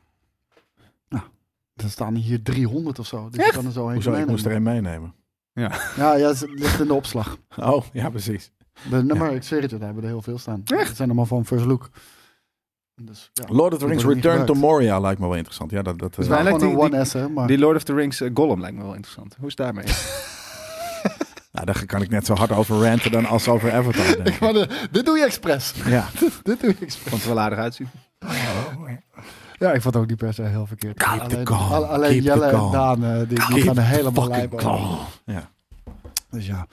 Speaker 3: Er staan hier 300 of zo, dus je kan er zo heen
Speaker 2: Hoezo? Ik moest er één meenemen.
Speaker 3: Ja, ja, ze ligt in de opslag.
Speaker 2: Oh, ja, precies.
Speaker 3: De nummer, ik zweer het, je, daar hebben er heel veel staan. Het zijn allemaal van First Look. Dus, ja.
Speaker 2: Lord of the
Speaker 3: Die
Speaker 2: Rings
Speaker 3: worden niet
Speaker 2: Return to
Speaker 3: gebruikt.
Speaker 2: Moria lijkt me wel interessant. Ja, dat... dat eh,
Speaker 3: Het is
Speaker 1: mij
Speaker 3: wel
Speaker 1: lijkt
Speaker 3: gewoon
Speaker 1: die-
Speaker 3: een
Speaker 1: die-
Speaker 3: One S, hè. Maar
Speaker 1: Die Lord of the Rings eh, Gollum lijkt me wel interessant. Hoe is het daarmee?
Speaker 2: nou, daar kan ik net zo hard over ranten dan als over Avatar. denk ik.
Speaker 3: Maar de- dit doe je expres.
Speaker 2: Ja.
Speaker 3: dit doe je expres.
Speaker 1: Vond het wel aardig uitzien.
Speaker 3: Ja, Ja, ik vond het ook niet per se heel verkeerd.
Speaker 2: Keep the
Speaker 3: alleen
Speaker 2: calm,
Speaker 3: alle- alleen
Speaker 2: keep the
Speaker 3: Jelle en
Speaker 2: calm.
Speaker 3: Daan, eh, die, die gaan er helemaal lijp over.
Speaker 2: Ja.
Speaker 3: Dus ja.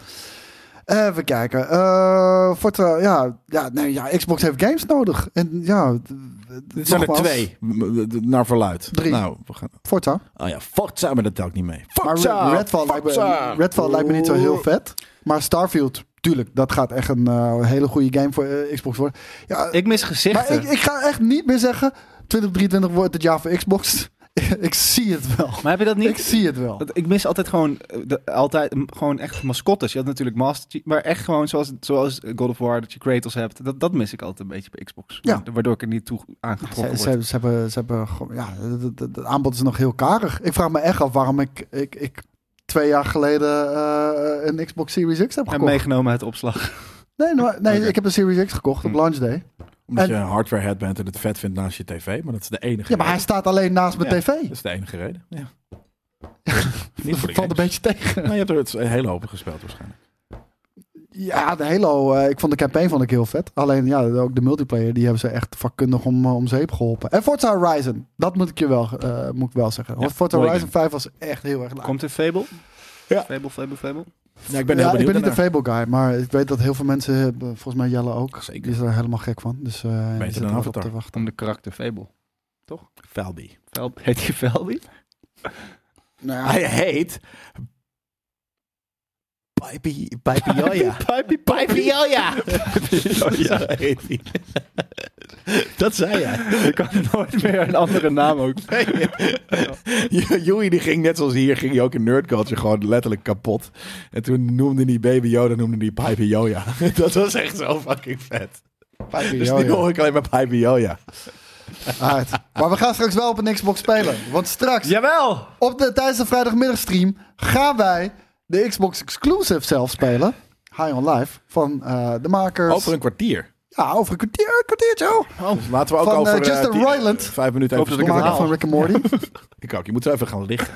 Speaker 3: Even kijken. Eh Forza, ja, ja, nee, ja, Xbox heeft games nodig. En ja, d- d-
Speaker 2: Dit zijn er
Speaker 3: nogmaals,
Speaker 2: twee, m- m- naar verluid.
Speaker 3: Drie.
Speaker 2: Nou, we gaan...
Speaker 3: Forza.
Speaker 2: Oh ja, Forza, maar dat telt niet mee.
Speaker 3: Maar
Speaker 2: Forza!
Speaker 3: Red- Redfall, lijkt me,
Speaker 2: Forza!
Speaker 3: Redfall lijkt me niet zo heel vet. Maar Starfield, tuurlijk, dat gaat echt een eh, hele goede game voor eh, Xbox worden. Ja,
Speaker 1: Ik mis
Speaker 3: maar
Speaker 1: gezichten.
Speaker 3: ik, ik ga echt niet meer zeggen, 2023 wordt het jaar voor Xbox. ik zie het wel.
Speaker 1: Maar heb je dat
Speaker 3: Ik
Speaker 1: niet?
Speaker 3: zie het wel.
Speaker 1: Dat- Ik mis altijd gewoon, eh, de, altijd, mm, gewoon echt mascottes. Je had natuurlijk Master Chief, maar echt gewoon zoals, zoals God of War, dat je Kratos hebt. Dat, dat mis ik altijd een beetje bij Xbox.
Speaker 3: Ja.
Speaker 1: Waardoor ik er niet toe aangetrokken
Speaker 3: Ze,
Speaker 1: word.
Speaker 3: ze, ze hebben, ze hebben gewoon- ja, het- het- het aanbod is nog heel karig. Ik vraag me echt af waarom ik, ik, ik twee jaar geleden eh, een Xbox Series X heb
Speaker 1: En
Speaker 3: gekocht.
Speaker 1: meegenomen uit opslag.
Speaker 3: Nee, maar- nee
Speaker 2: Oké.
Speaker 3: ik heb een Series X gekocht op
Speaker 1: Hm.
Speaker 3: launch day.
Speaker 2: Omdat
Speaker 3: En-
Speaker 2: je een hardware head bent en het vet vindt naast je tv, maar dat is de enige
Speaker 3: Ja, maar hij
Speaker 2: reden.
Speaker 3: staat alleen naast mijn
Speaker 2: Ja.
Speaker 3: tv.
Speaker 2: Dat is de enige reden. Ja. Niet
Speaker 3: Dat
Speaker 2: voor de
Speaker 3: valt een
Speaker 2: games.
Speaker 3: beetje tegen.
Speaker 2: Nou, je hebt er het een hele hoop gespeeld waarschijnlijk.
Speaker 3: Ja, de Halo, eh, ik vond de campaign vond ik heel vet. Alleen ja, ook de multiplayer, die hebben ze echt vakkundig om, eh, om zeep geholpen. En Forza Horizon, dat moet ik je wel, eh, moet ik wel zeggen.
Speaker 2: Ja,
Speaker 3: Forza
Speaker 2: mooi
Speaker 3: Horizon 5 was echt heel erg laag.
Speaker 1: Komt er Fable?
Speaker 2: Ja.
Speaker 1: Fable, Fable, Fable.
Speaker 2: Ja, ik ben heel
Speaker 3: Ja,
Speaker 2: benieuwd
Speaker 3: ik ben niet
Speaker 2: daarnaar.
Speaker 3: een Fable guy, maar ik weet dat heel veel mensen, eh, volgens mij Jelle ook,
Speaker 2: Zeker.
Speaker 3: die is er helemaal gek van. Dus eh die zitten
Speaker 2: dan
Speaker 3: erop
Speaker 2: Avatar.
Speaker 3: te wachten.
Speaker 1: Om de karakter Fable.
Speaker 2: Valby.
Speaker 1: Fel- Heet je Felby?
Speaker 3: Nou ja,
Speaker 4: Hij heet... Pipey... Pipey Joja.
Speaker 1: Pipey,
Speaker 4: Pipey
Speaker 1: pipey.
Speaker 4: Joja. Zo heet hij. Dat zei hij.
Speaker 1: Je kan nooit meer een andere naam ook.
Speaker 2: Joey die ging net zoals hier, ging hij ook in nerd culture gewoon letterlijk kapot. En toen noemde hij Baby Yoda, noemde hij Pipey Yoda. Dat was echt zo fucking vet.
Speaker 3: Pipey,
Speaker 2: Dus
Speaker 3: oh
Speaker 2: nu
Speaker 3: ja.
Speaker 2: hoor ik alleen maar Pipey Yoda.
Speaker 3: Uit. Maar we gaan straks wel op een Xbox spelen. Want straks,
Speaker 1: Jawel!
Speaker 3: op de, tijdens de vrijdagmiddagstream, gaan wij de Xbox Exclusive zelf spelen. High on Life van eh, de makers.
Speaker 2: Over een kwartier.
Speaker 3: Ja, over een kwartier, een kwartiertje. oh.
Speaker 2: Dus laten we ook
Speaker 3: Van, eh,
Speaker 2: over... eh,
Speaker 3: Justin
Speaker 2: die-
Speaker 3: Roiland.
Speaker 2: Vijf minuten
Speaker 1: Hoop
Speaker 2: even
Speaker 1: dat
Speaker 3: De
Speaker 1: ik het
Speaker 2: stoppen.
Speaker 3: maker
Speaker 1: verhaal.
Speaker 3: van Rick and Morty.
Speaker 2: Ik ook, je moet zo even gaan liggen.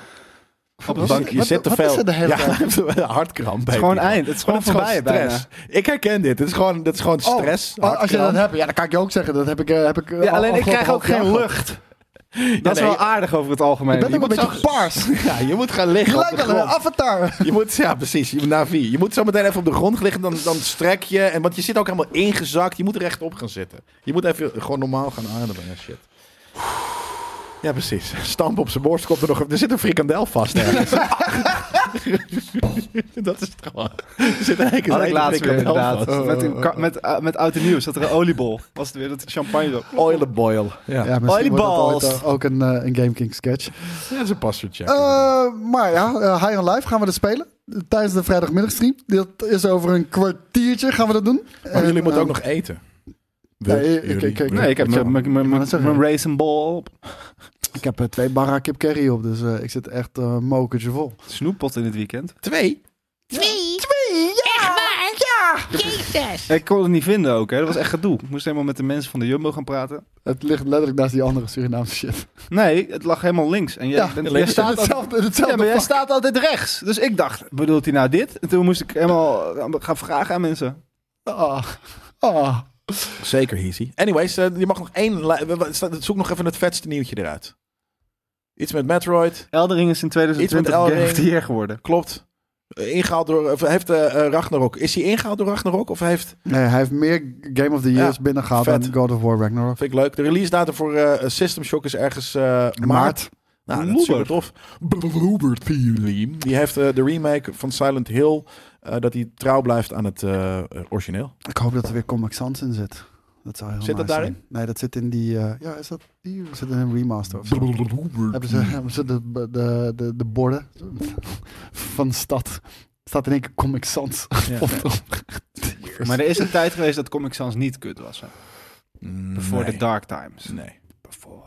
Speaker 1: Op
Speaker 2: Op
Speaker 1: een
Speaker 2: een bankje, je
Speaker 3: Wat-
Speaker 2: zit te
Speaker 3: wat
Speaker 2: veel.
Speaker 3: is er de hele
Speaker 2: ja,
Speaker 3: tijd?
Speaker 2: hij heeft een hartkramp.
Speaker 1: Het is gewoon eind. Het is gewoon
Speaker 2: Het is gewoon
Speaker 1: voorbij bijna.
Speaker 2: stress. Ik herken dit. Het is gewoon, dit is gewoon
Speaker 3: Oh,
Speaker 2: stress.
Speaker 3: oh, als je dat
Speaker 2: hartkramp.
Speaker 3: hebt, ja, dan kan ik je ook zeggen. Dat heb ik, eh, heb ik eh,
Speaker 1: Ja,
Speaker 3: al-
Speaker 1: alleen ik
Speaker 3: afgelopen
Speaker 1: krijg ook
Speaker 3: half jaar
Speaker 1: geen
Speaker 3: gehad.
Speaker 1: lucht. Dat is
Speaker 2: nee.
Speaker 1: wel aardig over het algemeen.
Speaker 3: Je bent ook een beetje paars.
Speaker 2: Ja, je moet gaan liggen.
Speaker 3: Je
Speaker 2: op de
Speaker 3: lijkt wel een
Speaker 2: grond.
Speaker 3: avatar.
Speaker 2: Je moet, ja, precies. Je, Navi. je moet zo meteen even op de grond liggen, dan, dan strek je. En, want je zit ook helemaal ingezakt. Je moet rechtop gaan zitten. Je moet even gewoon normaal gaan ademen en shit. Ja, precies. Stamp op zijn borst. Komt er, nog, er zit een frikandel vast ergens. dat is het gewoon. Er zit eigenlijk
Speaker 1: Had ik
Speaker 2: een hele
Speaker 1: laatst weer
Speaker 2: frikandel
Speaker 1: inderdaad.
Speaker 2: vast.
Speaker 1: Met, een
Speaker 2: oh.
Speaker 1: ka- met, eh, met oud en nieuw zat er een oliebol. Was het weer dat champagne op.
Speaker 2: Oil and boil. Ja,
Speaker 3: Ja, misschien wordt dat ooit, eh, ook een, eh, een Game King sketch.
Speaker 2: dat is een passertje.
Speaker 3: Eh, maar ja, eh, High on Life gaan we dat spelen. Tijdens de vrijdagmiddagstream. Dat is over een kwartiertje gaan we dat doen.
Speaker 2: maar Oh, jullie
Speaker 3: En,
Speaker 2: moeten ook
Speaker 3: eh,
Speaker 2: nog eten.
Speaker 3: nee,
Speaker 2: We-
Speaker 3: ik- ik-
Speaker 2: jullie-
Speaker 3: ik- ik-
Speaker 2: we-
Speaker 1: Nee, ik heb
Speaker 3: Ja,
Speaker 1: mijn- mijn- mijn
Speaker 3: ik wou net
Speaker 1: mijn-
Speaker 3: zeggen.
Speaker 1: mijn racing ball op.
Speaker 3: Ik heb eh, twee barra kip curry op, dus eh, ik zit echt eh, een mokertje vol.
Speaker 1: Snoeppot in het weekend.
Speaker 2: Twee?
Speaker 5: Twee? Twee, ja! Echt waar? Ja! Jezus!
Speaker 1: Ik kon het niet vinden ook, hè. Dat was echt gedoe. Ik moest helemaal met de mensen van de Jumbo gaan praten.
Speaker 3: Het ligt letterlijk naast die andere Surinaamse shit.
Speaker 1: Nee, het lag helemaal links. En jij,
Speaker 3: Ja,
Speaker 1: bent,
Speaker 2: links.
Speaker 1: jij staat altijd-
Speaker 3: hetzelfde, hetzelfde
Speaker 1: Ja, maar jij
Speaker 3: vak.
Speaker 1: staat altijd rechts. Dus ik dacht, bedoelt hij nou dit? En toen moest ik helemaal eh, gaan vragen aan mensen.
Speaker 3: Ah, ah.
Speaker 2: Zeker, Heezy. Anyways, eh, je mag nog één... li- we- we- sta- Zoek nog even het vetste nieuwtje eruit. Iets met Metroid.
Speaker 1: Eldering is in 2020
Speaker 2: Iets met
Speaker 1: Game of
Speaker 2: Eldering.
Speaker 1: the Year geworden.
Speaker 2: Klopt. Eh, Ingehaald door... Of heeft eh, eh, Ragnarok... Is hij ingehaald door Ragnarok? Of heeft...
Speaker 3: Nee, hij heeft meer Game of the Years
Speaker 2: Ja,
Speaker 3: binnengehaald
Speaker 2: vet.
Speaker 3: dan God of War Ragnarok.
Speaker 2: Vind ik leuk. De release datum voor eh, System Shock is ergens eh, maart. Nou, dat is super
Speaker 1: Bluebird.
Speaker 2: tof. Bluebird Theory. Die heeft eh, de remake van Silent Hill... eh, dat hij trouw blijft aan het eh, origineel.
Speaker 3: Ik hoop dat er weer Comic Sans in zit. Dat zou heel
Speaker 2: Zit dat
Speaker 3: nice
Speaker 2: daarin?
Speaker 3: zijn. Nee, dat zit in die... eh, ja, is dat die? Of Zit in een remaster of zo? Hebben ze, hebben ze de, de, de, de borden van de stad... Staat in één keer Comic Sans.
Speaker 2: Ja.
Speaker 3: op de-
Speaker 1: Maar er is een tijd geweest dat Comic Sans niet kut was. hè. Voor de
Speaker 2: Nee.
Speaker 1: Dark Times.
Speaker 2: Nee.
Speaker 1: Before.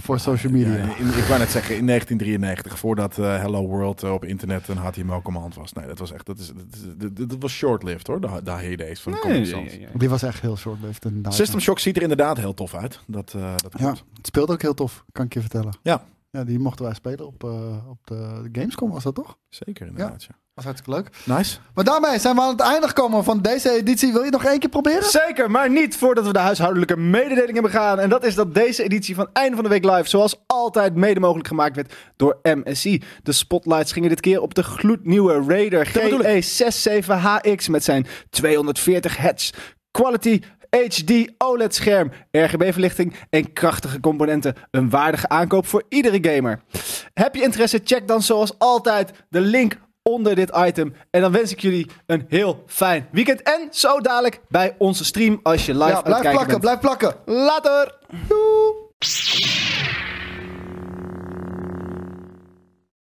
Speaker 3: Voor social media.
Speaker 2: Ja, in- ik wou net zeggen, in 1993, voordat eh, Hello World eh, op internet een HTML-command was. Nee, dat was echt, dat, is, dat, is- dat- dat was short-lived hoor, de, de heydays van
Speaker 1: Nee,
Speaker 2: Comic
Speaker 1: ja,
Speaker 2: Sans.
Speaker 1: ja, ja.
Speaker 3: Die was echt heel short-lived. inderdaad.
Speaker 2: System Shock ziet er inderdaad heel tof uit. Dat, eh, dat
Speaker 3: Ja,
Speaker 2: klopt.
Speaker 3: het speelt ook heel tof, kan ik je vertellen.
Speaker 2: Ja.
Speaker 3: Ja, die mochten wij spelen op, eh, op de Gamescom, was dat toch?
Speaker 2: Zeker inderdaad, ja.
Speaker 3: Was hartstikke leuk.
Speaker 2: Nice.
Speaker 3: Maar daarmee zijn we aan het einde gekomen van deze editie. Wil je het nog één keer proberen?
Speaker 1: Zeker, maar niet voordat we de huishoudelijke mededeling hebben gedaan. En dat is dat deze editie van Einde van de Week Live, zoals altijd, mede mogelijk gemaakt werd door MSI. De spotlights gingen dit keer op de gloednieuwe Raider E
Speaker 2: bedoel ik.
Speaker 1: GE67HX met zijn 240 hertz quality. HD OLED-scherm, RGB-verlichting en krachtige componenten. Een waardige aankoop voor iedere gamer. Heb je interesse? Check dan zoals altijd de link onder dit item. En dan wens ik jullie een heel fijn weekend. En zo dadelijk bij onze stream als je live
Speaker 3: Ja,
Speaker 1: aan het
Speaker 3: blijf
Speaker 1: kijken
Speaker 3: plakken,
Speaker 1: bent.
Speaker 3: blijf plakken.
Speaker 1: Later!
Speaker 3: Doei.